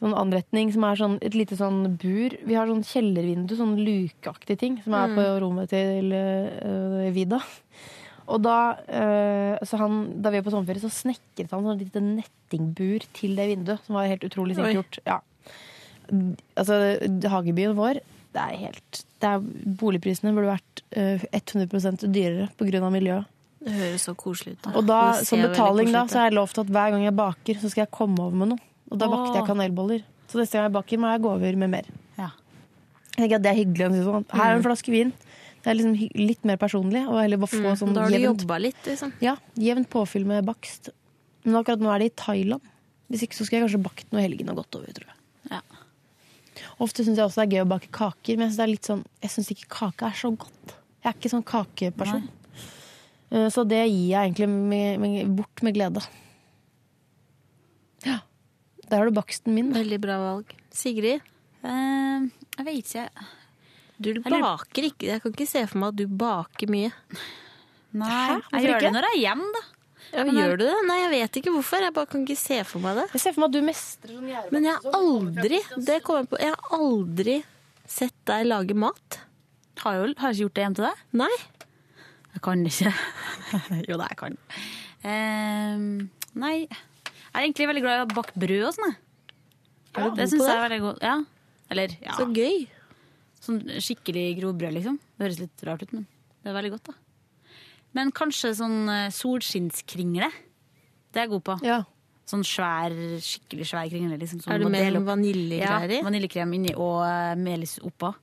Speaker 2: Sånn anretning som er sånn, et lite sånn bur. Vi har sånn kjellervindu, sånn lukeaktig ting, som er
Speaker 3: Mm.
Speaker 2: på rommet til eh, Vida. Og da, eh, så han, da vi var på sommerferie, så snekret han sånn lite nettingbur til det vinduet. Som var helt utrolig
Speaker 3: Oi.
Speaker 2: sikkert gjort. Ja. Altså, hagebyen vår det er helt, det er, Boligprisene burde vært eh, 100 dyrere pga. miljøet.
Speaker 13: Det høres så koselig ut.
Speaker 2: Og da,
Speaker 13: Det ser
Speaker 2: som
Speaker 13: veldig
Speaker 2: betaling da,
Speaker 13: koselig ut,
Speaker 2: så er det lovt at hver gang jeg baker, så skal jeg komme over med noe. Og da bakte jeg
Speaker 13: Åh.
Speaker 2: kanelboller. Så neste gang jeg baker, må jeg gå over med mer.
Speaker 12: Ja.
Speaker 2: Jeg tenker at Det er hyggelig. å si Sånn. Her er en flaske vin. Det er liksom hy- litt mer personlig. Og heller bare få
Speaker 13: Mm.
Speaker 2: sånn
Speaker 13: Da har du
Speaker 2: jevnt-
Speaker 13: jobba litt, liksom.
Speaker 2: Ja, jevnt påfyll med bakst. Men akkurat nå er det i Thailand. Hvis ikke så skulle jeg kanskje bakt noe i helgen og gått over. tror jeg.
Speaker 12: Ja.
Speaker 2: Ofte syns jeg også det er gøy å bake kaker, men jeg syns det er litt sånn, jeg synes ikke kake er så godt. Jeg er ikke sånn kakeperson. Eh, Så det gir jeg egentlig med, med, bort med glede. Ja. Der har du baksten min.
Speaker 13: Veldig bra valg. Sigrid?
Speaker 12: Eh, jeg vet ikke.
Speaker 13: Du
Speaker 12: lurer-
Speaker 13: baker ikke. Jeg kan ikke se for meg at du baker mye.
Speaker 12: Nei, jeg gjør det når jeg er hjemme, da.
Speaker 13: Ja,
Speaker 12: Men jeg-
Speaker 13: gjør du det? Nei, jeg vet ikke hvorfor. Jeg bare kan ikke se for meg det.
Speaker 2: Jeg ser for meg at du mestrer sånn gjærbakst.
Speaker 13: Men jeg har aldri det kommer jeg på, jeg har aldri sett deg lage mat.
Speaker 12: Har jo har jeg ikke gjort det hjemme til deg?
Speaker 13: Nei.
Speaker 12: Jeg kan ikke. jo da, jeg kan. Ehm, nei. Jeg er egentlig veldig glad i å bakke brød og sånn. jeg.
Speaker 13: Er du god
Speaker 12: det
Speaker 13: på
Speaker 12: syns jeg er
Speaker 13: det?
Speaker 12: veldig godt. Ja. Eller, ja.
Speaker 13: Så gøy.
Speaker 12: Sånn skikkelig grovbrød, liksom. Det høres litt rart ut, men det er veldig godt, da. Men kanskje sånn eh, solskinnskringle. Det er jeg god på. Sånn svær, skikkelig svær kringle. Liksom, som
Speaker 13: Er du
Speaker 12: må
Speaker 13: med
Speaker 12: dele opp.
Speaker 13: vaniljegreier i?
Speaker 12: Ja, vaniljekrem inni og eh, melis oppå.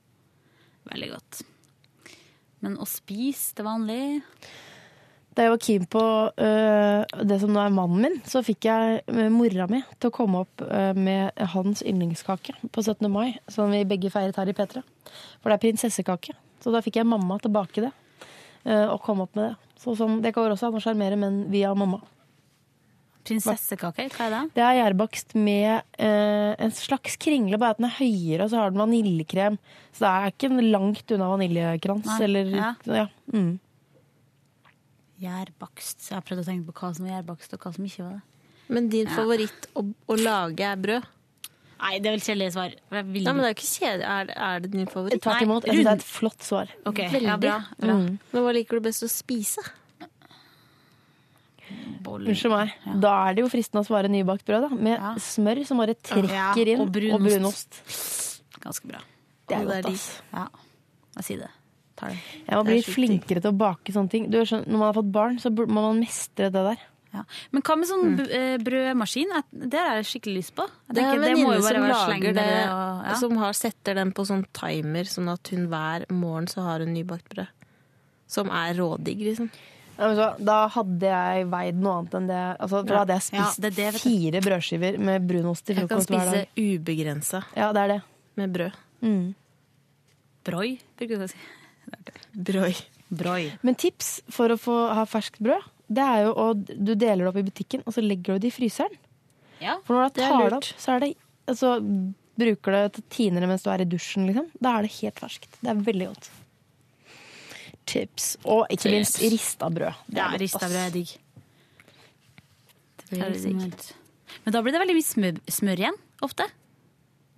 Speaker 12: Veldig godt. Men å spise til vanlig
Speaker 2: Da jeg var keen på øh, det som nå er mannen min, så fikk jeg øh, mora mi til å komme opp øh, med hans yndlingskake på 17. mai, som vi begge feiret her i P3. For det er prinsessekake. Så da fikk jeg mamma til å bake det, øh, og komme opp med det. Så sånn, det går også an å sjarmere menn via mamma.
Speaker 12: Prinsessekaker, hva er det?
Speaker 2: Det er gjærbakst med øh, en slags kringle, bare at den er høyere, og så har den vaniljekrem. Så det er ikke en langt unna vaniljekrans.
Speaker 12: Nei,
Speaker 2: Eller,
Speaker 12: ja.
Speaker 2: Ja, mm.
Speaker 12: Gjærbakst. Jeg har prøvd å tenke på hva som er gjærbakst, og hva som ikke var det.
Speaker 13: Men din
Speaker 12: Ja.
Speaker 13: favoritt å, å lage er brød?
Speaker 12: Nei, det er vel kjedelig svar. Jeg vil
Speaker 13: Nei, men det er jo ikke kjedelig. Er, er det din favoritt?
Speaker 2: Tvert imot. Jeg synes det er et flott svar.
Speaker 12: Ok, ja,
Speaker 13: Veldig.
Speaker 12: bra, bra.
Speaker 2: Mm.
Speaker 13: Men hva liker du best å spise?
Speaker 12: Boller.
Speaker 2: Unnskyld meg. Da er det jo fristende å svare nybakt brød, da. Med smør som bare
Speaker 12: Ja,
Speaker 2: trekker inn.
Speaker 12: og brunost.
Speaker 2: Og brunost.
Speaker 12: Ganske bra.
Speaker 2: Det er
Speaker 12: Og
Speaker 2: godt,
Speaker 12: de-
Speaker 2: ass.
Speaker 12: Ja, jeg sier det. Tar det.
Speaker 2: Jeg må
Speaker 12: Det er
Speaker 2: bli
Speaker 12: sjukt digg.
Speaker 2: flinkere til å bake sånne ting. Du, skjønner, når man har fått barn, så bur- må man mestre det der.
Speaker 12: Ja. Men hva med sånn b- eh, brødmaskin? Jeg- Det har jeg skikkelig lyst på. Jeg
Speaker 13: Det er
Speaker 12: tenker,
Speaker 13: en
Speaker 12: det må jo
Speaker 13: venninne
Speaker 12: bare
Speaker 13: som
Speaker 12: være
Speaker 13: lager
Speaker 12: slengere
Speaker 13: det,
Speaker 12: og-
Speaker 2: Altså,
Speaker 12: ja.
Speaker 13: som har, setter den på sånn timer, sånn at hun hver morgen så har hun nybakt brød. Som er rådigg, liksom.
Speaker 2: Ja, men så, da hadde jeg veid noe annet enn det altså, Da
Speaker 13: Ja.
Speaker 2: hadde jeg spist
Speaker 13: Ja, det er det, vet du.
Speaker 2: fire brødskiver med brunost til
Speaker 13: Jeg kan
Speaker 2: frokost hver
Speaker 13: spise
Speaker 2: dag.
Speaker 13: ubegrensa
Speaker 2: Ja, det er det.
Speaker 13: med brød.
Speaker 2: Mm.
Speaker 12: Broi, bruker jeg å si.
Speaker 13: Brøy.
Speaker 12: Broi.
Speaker 2: Men tips for å få ha ferskt brød, det er jo å Du deler det opp i butikken, og så legger du det i fryseren.
Speaker 12: Ja,
Speaker 2: For når du
Speaker 12: det er
Speaker 2: tar det
Speaker 12: lurt.
Speaker 2: opp, så er det altså, Bruker det til tiner det mens du er i dusjen, liksom. Da er det helt ferskt. Det er veldig godt. Tips. Og ikke minst
Speaker 12: Tips.
Speaker 2: rista brød. Det
Speaker 12: Ja,
Speaker 2: godt,
Speaker 12: rista
Speaker 2: ass.
Speaker 12: brød er digg. Det blir
Speaker 2: Er det
Speaker 12: liksom helt... Men da blir det veldig mye smør, smør igjen, ofte.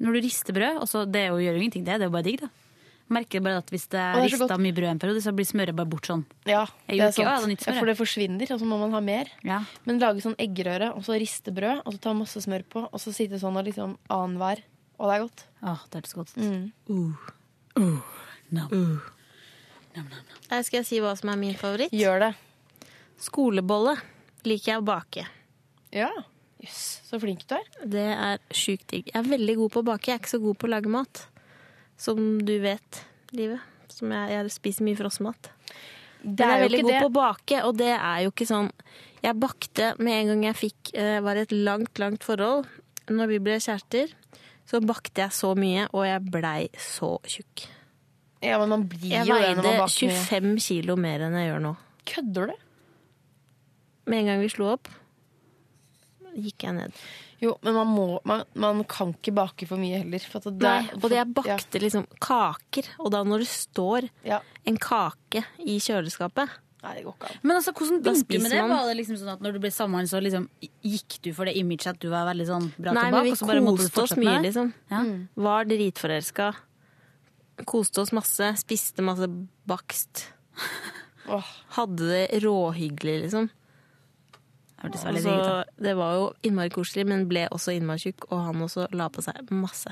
Speaker 12: Når du rister brød. Og så det er jo- gjør jo ingenting, det. Det er jo bare digg, da. Jeg Merker bare at hvis det
Speaker 2: det
Speaker 12: er
Speaker 2: er så
Speaker 12: rista mye brød en periode, så blir smøret bare bort sånn.
Speaker 2: Ja, det er
Speaker 12: Jeg gjorde ikke, å, ja, det er
Speaker 2: sant.
Speaker 12: nytt smør,
Speaker 2: Ja, for det forsvinner, og så må man ha mer.
Speaker 12: Ja.
Speaker 2: Men lage sånn eggerøre, og så riste brød, og så ta masse smør på, og så sitte sånn og liksom annenhver. Og det er godt.
Speaker 12: Åh, det er så godt. Uh.
Speaker 2: Mm.
Speaker 12: No.
Speaker 13: Nei, skal jeg si hva som er min favoritt?
Speaker 2: Gjør det.
Speaker 13: Skolebolle liker jeg å bake.
Speaker 2: Ja. Jøss, så flink du er.
Speaker 13: Det er sjukt digg. Jeg er veldig god på å bake. Jeg er ikke så god på å lage mat. Som du vet, livet. Som jeg, jeg spiser mye frossenmat. Men jeg er veldig god på å bake, og det er jo ikke sånn Jeg bakte med en gang jeg fikk eh, var i et langt, langt forhold. Når vi ble kjærester, så bakte jeg så mye, og jeg blei så tjukk.
Speaker 2: Ja, men man blir
Speaker 13: Jeg
Speaker 2: jo det når
Speaker 13: veide
Speaker 2: man baker mye.
Speaker 13: 25 kilo mer enn jeg gjør nå.
Speaker 2: Kødder du?
Speaker 13: Med en gang vi slo opp, gikk jeg ned.
Speaker 2: Jo, men man, må, man, man kan ikke bake for mye heller. For at det,
Speaker 13: Nei,
Speaker 2: er-
Speaker 13: og jeg bakte liksom kaker, og da når det står en kake i kjøleskapet
Speaker 2: Nei, det går ikke an.
Speaker 12: Men altså, hvordan
Speaker 13: Da
Speaker 12: begynte du med
Speaker 13: spiser
Speaker 12: det?
Speaker 13: man.
Speaker 12: Var det liksom sånn at når du ble sammen, så liksom gikk du for det imaget at du var veldig sånn bra
Speaker 13: Nei, men
Speaker 12: tilbake?
Speaker 13: vi
Speaker 12: og så bare måtte du
Speaker 13: koste oss
Speaker 12: fortsette
Speaker 13: mye,
Speaker 12: med det?
Speaker 13: liksom.
Speaker 12: Ja.
Speaker 13: Var dritforelska. Koste oss masse. Spiste masse bakst. Hadde det råhyggelig, liksom.
Speaker 12: Det
Speaker 13: var,
Speaker 12: veldig digg,
Speaker 13: det var jo innmari koselig, men ble også innmari tjukk, og han også la på seg masse.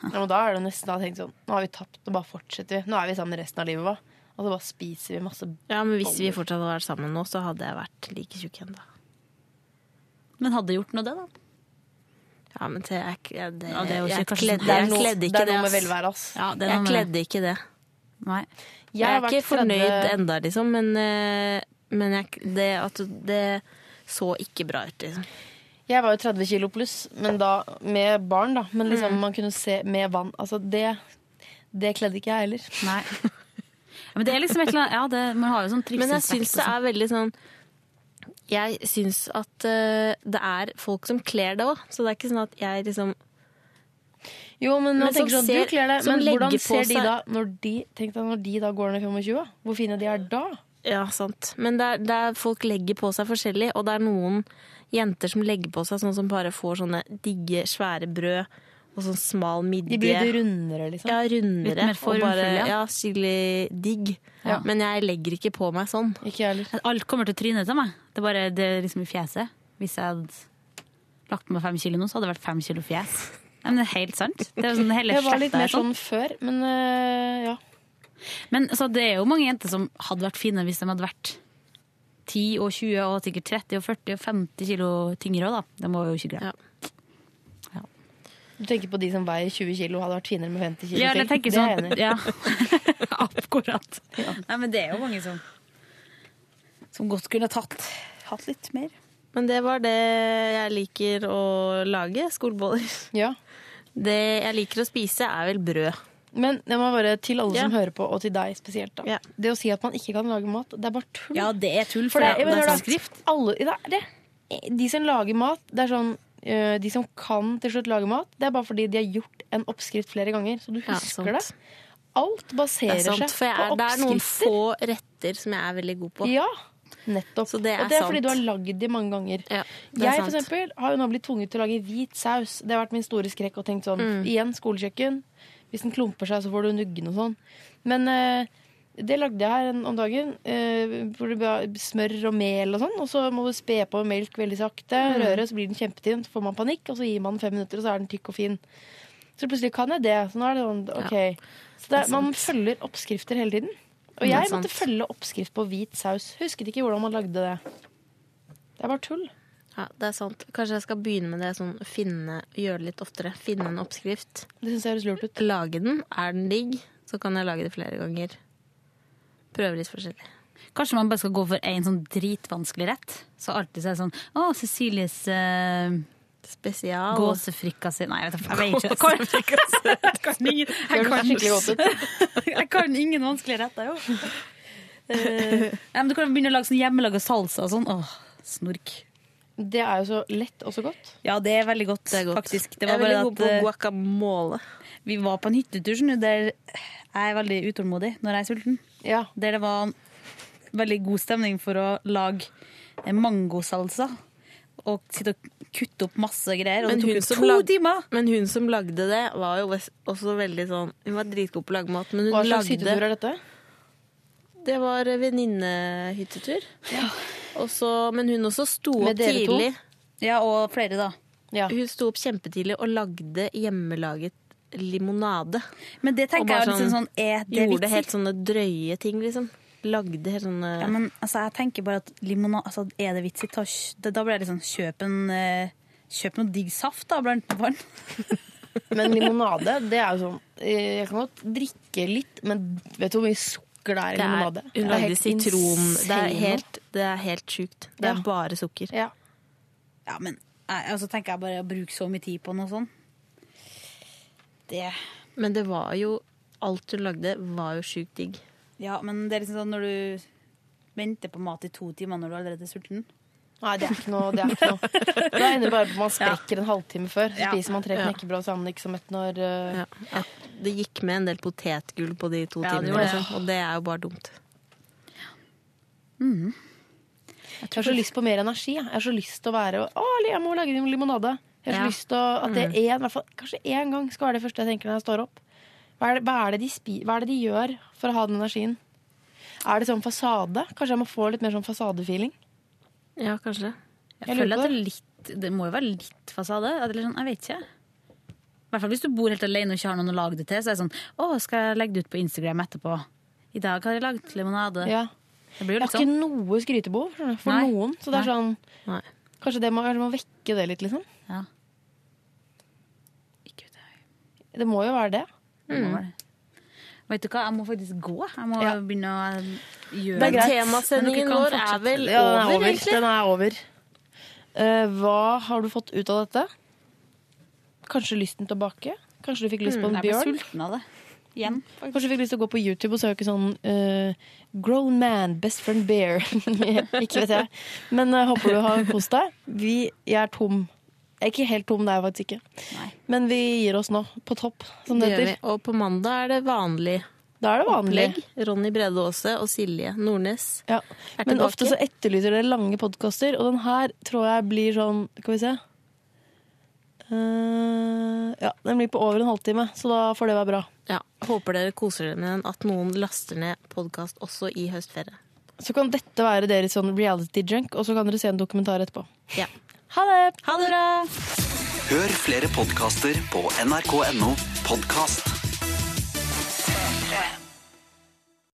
Speaker 2: Ja, men da er det nesten da tenkt sånn Nå har vi tapt, nå bare fortsetter vi. Nå er vi sammen resten av livet, hva? Og så bare spiser vi masse
Speaker 13: Ja, men hvis vi
Speaker 2: boller.
Speaker 13: fortsatt hadde vært sammen nå, så hadde jeg vært like tjukk ennå.
Speaker 12: Men hadde gjort noe det, da?
Speaker 13: Ja, men det er ikke ja, det,
Speaker 12: Ja, det er jo
Speaker 13: jeg,
Speaker 12: ikke- kanskje-
Speaker 13: kledde,
Speaker 12: det er
Speaker 13: jeg
Speaker 12: noe-
Speaker 13: kledde
Speaker 12: det
Speaker 13: ikke
Speaker 12: er
Speaker 13: det.
Speaker 12: noe med
Speaker 13: ass.
Speaker 12: velvær, ass. Ja, det er
Speaker 13: jeg
Speaker 12: noe med-
Speaker 13: kledde ikke det.
Speaker 12: Nei.
Speaker 13: Jeg,
Speaker 12: har
Speaker 13: er ikke
Speaker 12: vært
Speaker 13: fornøyd
Speaker 12: tredje-
Speaker 13: enda, liksom, men, eh, men jeg, det, at det så ikke bra ut, liksom.
Speaker 2: Jeg var jo 30 kilo pluss, men da med barn, da. Men liksom
Speaker 13: Mm.
Speaker 2: man kunne se med vann. Altså, det, det kledde ikke jeg heller.
Speaker 12: Nei. Men det er liksom et eller annet Ja, det, man har jo sånn
Speaker 13: Men jeg
Speaker 12: trivselsvekt.
Speaker 13: syns det er veldig sånn Jeg syns at eh, det er folk som kler det òg, så det er ikke sånn at jeg liksom
Speaker 2: Jo, men,
Speaker 13: Men
Speaker 2: man tenker
Speaker 13: som
Speaker 2: sånn,
Speaker 13: ser-
Speaker 2: du kler deg,
Speaker 13: som
Speaker 2: men hvordan
Speaker 13: legger på
Speaker 2: ser de
Speaker 13: seg-
Speaker 2: da når de, Tenk deg når de da går ned 25? Hvor fine de er da?
Speaker 13: Ja, sant. Men det er, det er folk legger på seg forskjellig, og det er noen jenter som legger på seg sånn som bare får sånne digge, svære brød og sånn smal midje.
Speaker 2: De blir litt rundere, liksom.
Speaker 13: Ja, rundere.
Speaker 2: Litt mer
Speaker 13: Mm. og bare,
Speaker 2: formfulle, ja.
Speaker 13: ja, skikkelig digg.
Speaker 2: Ja.
Speaker 13: Men jeg legger ikke på meg sånn.
Speaker 2: Ikke jeg heller.
Speaker 12: Alt kommer til trynet til meg. Det er bare det er liksom i fjeset. Hvis jeg hadde lagt på meg fem kilo nå, så hadde det vært fem kilo fjes. Nei, men det er helt sant. Det er jo sånn hele
Speaker 2: Jeg var litt
Speaker 12: slekta er
Speaker 2: mer sånn før, men øh, ja.
Speaker 12: Men så det er jo mange jenter som hadde vært fine hvis de hadde vært 10 og 20 og sikkert 30 og 40 og 50 kilo tyngre òg, da. Det må vi jo ikke glemme.
Speaker 2: Du tenker på de som veier 20 kilo, hadde vært finere med 50 kilo
Speaker 12: Ja, eller
Speaker 2: selv.
Speaker 12: tenker
Speaker 2: Det er
Speaker 12: sånn at-
Speaker 2: jeg enig i.
Speaker 12: ja. Akkurat. Nei, men det er jo mange som Som godt kunne tatt, hatt litt mer.
Speaker 13: Men det var det jeg liker å lage, skoleboller.
Speaker 2: Ja.
Speaker 13: Det jeg liker å spise, er vel brød.
Speaker 2: Men det må være til alle
Speaker 13: Ja.
Speaker 2: som hører på, og til deg spesielt. Da. Det å si at man ikke kan lage mat, det er bare tull.
Speaker 12: Ja, det er tull,
Speaker 2: For
Speaker 12: for
Speaker 2: det,
Speaker 12: det-
Speaker 2: men
Speaker 12: det
Speaker 2: hør
Speaker 12: er
Speaker 2: da,
Speaker 12: forskrift.
Speaker 2: alle, det er det. Eh, De som lager mat, det er sånn øh, De som kan til slutt lage mat, det er bare fordi de har gjort en oppskrift flere ganger. Så du
Speaker 13: Ja,
Speaker 2: husker
Speaker 13: sant.
Speaker 2: det. Alt
Speaker 13: Det
Speaker 2: baserer
Speaker 13: er sant, for
Speaker 2: seg
Speaker 13: jeg
Speaker 2: på
Speaker 13: er, det er noen
Speaker 2: oppskrifter.
Speaker 13: få retter som jeg er veldig god på.
Speaker 2: Ja, nettopp.
Speaker 13: Så det er,
Speaker 2: og det er fordi
Speaker 13: sant.
Speaker 2: du har lagd de mange ganger.
Speaker 13: det er
Speaker 2: jeg
Speaker 13: sant.
Speaker 2: for eksempel, har jo nå blitt tvunget til å lage hvit saus. Det har vært min store skrekk. og tenkt sånn,
Speaker 13: Mm.
Speaker 2: Igjen skolekjøkken. Hvis den klumper seg, så får du nuggen og sånn. Men eh, det lagde jeg her en, om dagen. eh, hvor det var smør og mel og sånn. Og så må du spe på melk veldig sakte.
Speaker 13: Mm.
Speaker 2: Røre, så blir den kjempetynn. Så får man panikk, og så gir man den fem minutter, og så er den tykk og fin. Så plutselig kan jeg det. Så nå er det sånn, ok. Så det,
Speaker 13: det er
Speaker 2: man
Speaker 13: sant.
Speaker 2: følger oppskrifter hele tiden. Og
Speaker 13: Det er
Speaker 2: jeg måtte
Speaker 13: sant.
Speaker 2: følge oppskrift på hvit saus. Husket ikke hvordan man lagde det. Det er bare tull.
Speaker 13: Ja, det er sant. Kanskje jeg skal begynne med det sånn finne, gjøre det litt oftere. Finne en oppskrift.
Speaker 2: Det synes jeg høres lurt ut.
Speaker 13: Lage den. Er den digg, så kan jeg lage det flere ganger.
Speaker 12: Prøve litt forskjellig. Kanskje man bare skal gå for én sånn dritvanskelig rett? Så alltid så er det sånn Å, Cecilies eh,
Speaker 13: Spesial.
Speaker 12: Gåsefrikassé Nei, jeg vet ikke. Jeg vet ikke. Jeg kan ingen- jeg
Speaker 13: Det høres skikkelig godt
Speaker 12: kan- Jeg kan ingen vanskelige retter, jo. Eh, nei, men du kan begynne å lage sånn hjemmelaga salsa og sånn. Åh, snork.
Speaker 2: Det er jo så lett og så godt.
Speaker 12: Ja, det er veldig godt, faktisk. Det
Speaker 2: Jeg
Speaker 12: var
Speaker 2: er
Speaker 12: bare
Speaker 2: veldig god
Speaker 12: at,
Speaker 2: på
Speaker 12: eh, Vi var på en hyttetur skjønner du, der jeg er veldig utålmodig når jeg er sulten. Der det var veldig god stemning for å lage eh, mangosalsa. Og sitte og kutte opp masse greier. Og
Speaker 13: Men
Speaker 12: det
Speaker 13: hun,
Speaker 12: eh, tok jo
Speaker 13: som
Speaker 12: to
Speaker 13: lag-
Speaker 12: timer!
Speaker 13: men hun som lagde det, var jo ves- også veldig sånn Hun var dritgod på å lage mat, men hun
Speaker 2: Hva slags
Speaker 13: lagde
Speaker 2: hyttetur er dette?
Speaker 13: Det var venninnehyttetur. Og så- Men hun også sto
Speaker 12: Med
Speaker 13: opp
Speaker 12: dere to?
Speaker 13: tidlig.
Speaker 12: Ja, og flere, da.
Speaker 13: Hun sto opp kjempetidlig og lagde hjemmelaget limonade.
Speaker 12: Men det tenker
Speaker 13: Og bare
Speaker 12: jeg er liksom sånn, er det
Speaker 13: Gjorde
Speaker 12: vitser?
Speaker 13: helt sånne drøye ting, liksom. Lagde helt sånne
Speaker 12: Ja, men altså, jeg tenker bare at limonade altså, Er det vits i ta det, Da blir det liksom kjøp en eh, Kjøp noe digg saft, da, blant barn.
Speaker 2: Men limonade, det er jo sånn eh, Jeg kan godt drikke litt, men vet du hvor mye sukker det er i
Speaker 13: Det er-
Speaker 2: limonade?
Speaker 13: Hun lagde sitron. Det er helt, det er helt sjukt. Det er
Speaker 12: Ja.
Speaker 13: bare sukker.
Speaker 12: Ja, men jeg, altså, tenker jeg bare å bruke så mye tid på noe sånt. Det
Speaker 13: Men det var jo Alt hun lagde, var jo sjukt digg.
Speaker 12: Ja, men det er liksom sånn når du venter på mat i to timer når du allerede er sulten.
Speaker 2: Nei, det er ikke noe. Det er ikke noe. Da ender det bare på at man sprekker en halvtime før. Så
Speaker 13: Ja.
Speaker 2: spiser man tre
Speaker 13: Ja.
Speaker 2: knekkebrød sammen, ikke som ett når eh,
Speaker 13: Ja. Det gikk med en del potetgull på de to
Speaker 2: Ja, det
Speaker 13: timene,
Speaker 2: gjorde det.
Speaker 13: liksom. og det er jo bare dumt.
Speaker 12: Mm.
Speaker 2: Jeg har så lyst på mer energi. Jeg Jeg har så lyst til å være Å, jeg må lage limonade. Jeg har så
Speaker 13: Ja.
Speaker 2: lyst til å-
Speaker 12: Mm.
Speaker 2: at det er en, i hvert fall, Kanskje én gang skal være det første jeg tenker når jeg står opp. Hva er, det, hva, er det de spi, hva er det de gjør for å ha den energien? Er det sånn fasade? Kanskje jeg må få litt mer sånn fasadefeeling?
Speaker 13: Ja, kanskje.
Speaker 12: Jeg, føler at det, er litt, det må jo være litt fasade. Eller sånn, jeg vet ikke. I hvert fall hvis du bor helt alene og ikke har noen å lage det til. Så er det sånn Å, skal jeg legge det ut på Instagram etterpå? I dag har jeg laget limonade.
Speaker 2: Ja.
Speaker 12: Det blir
Speaker 2: Jeg
Speaker 12: jo litt
Speaker 2: har ikke
Speaker 12: sånn.
Speaker 2: noe skrytebehov skjønner du, for
Speaker 12: Nei.
Speaker 2: noen. Så det er
Speaker 12: Nei.
Speaker 2: sånn Kanskje det må, kanskje må vekke det litt, liksom.
Speaker 12: Ja.
Speaker 2: Det må jo være det.
Speaker 12: Det må være det. Vet du hva, jeg må faktisk gå. Jeg må begynne å eh, gjøre
Speaker 2: Det er greit.
Speaker 12: noe. Men dere kan fortsette.
Speaker 2: Ja, den er over. Den er over. Eh, hva har du fått ut av dette? Kanskje lysten til å bake? Kanskje du fikk lyst på en
Speaker 12: Mm, Jeg
Speaker 2: bjørn?
Speaker 12: ble sulten av det. Igjen.
Speaker 2: Kanskje du fikk lyst til å gå på YouTube og søke sånn eh, 'Grown man, best friend bear'. ikke vet jeg. Men eh, håper du har kost deg. Vi, jeg er tom. Jeg er ikke helt tom, det er jeg faktisk ikke. Men vi gir oss nå. På topp, som det
Speaker 13: Det gjør
Speaker 2: heter.
Speaker 13: vi. Og på mandag er det vanlig.
Speaker 2: Da er det vanlig.
Speaker 13: Opplegg. Ronny Brede Aase og Silje Nordnes er
Speaker 2: Men
Speaker 13: tilbake.
Speaker 2: ofte så etterlyser dere lange podkaster, og den her tror jeg blir sånn Skal vi se. Eh, ja, den blir på over en halvtime, så da får det være bra.
Speaker 13: ja, Håper dere koser dere med den, at noen laster ned podkast også i høstferie.
Speaker 2: Så kan dette være deres sånn reality junk, og så kan dere se en dokumentar etterpå.
Speaker 13: Ja.
Speaker 2: Ha det!
Speaker 13: Ha det bra!
Speaker 7: Hør flere podkaster på nrk.no podkast.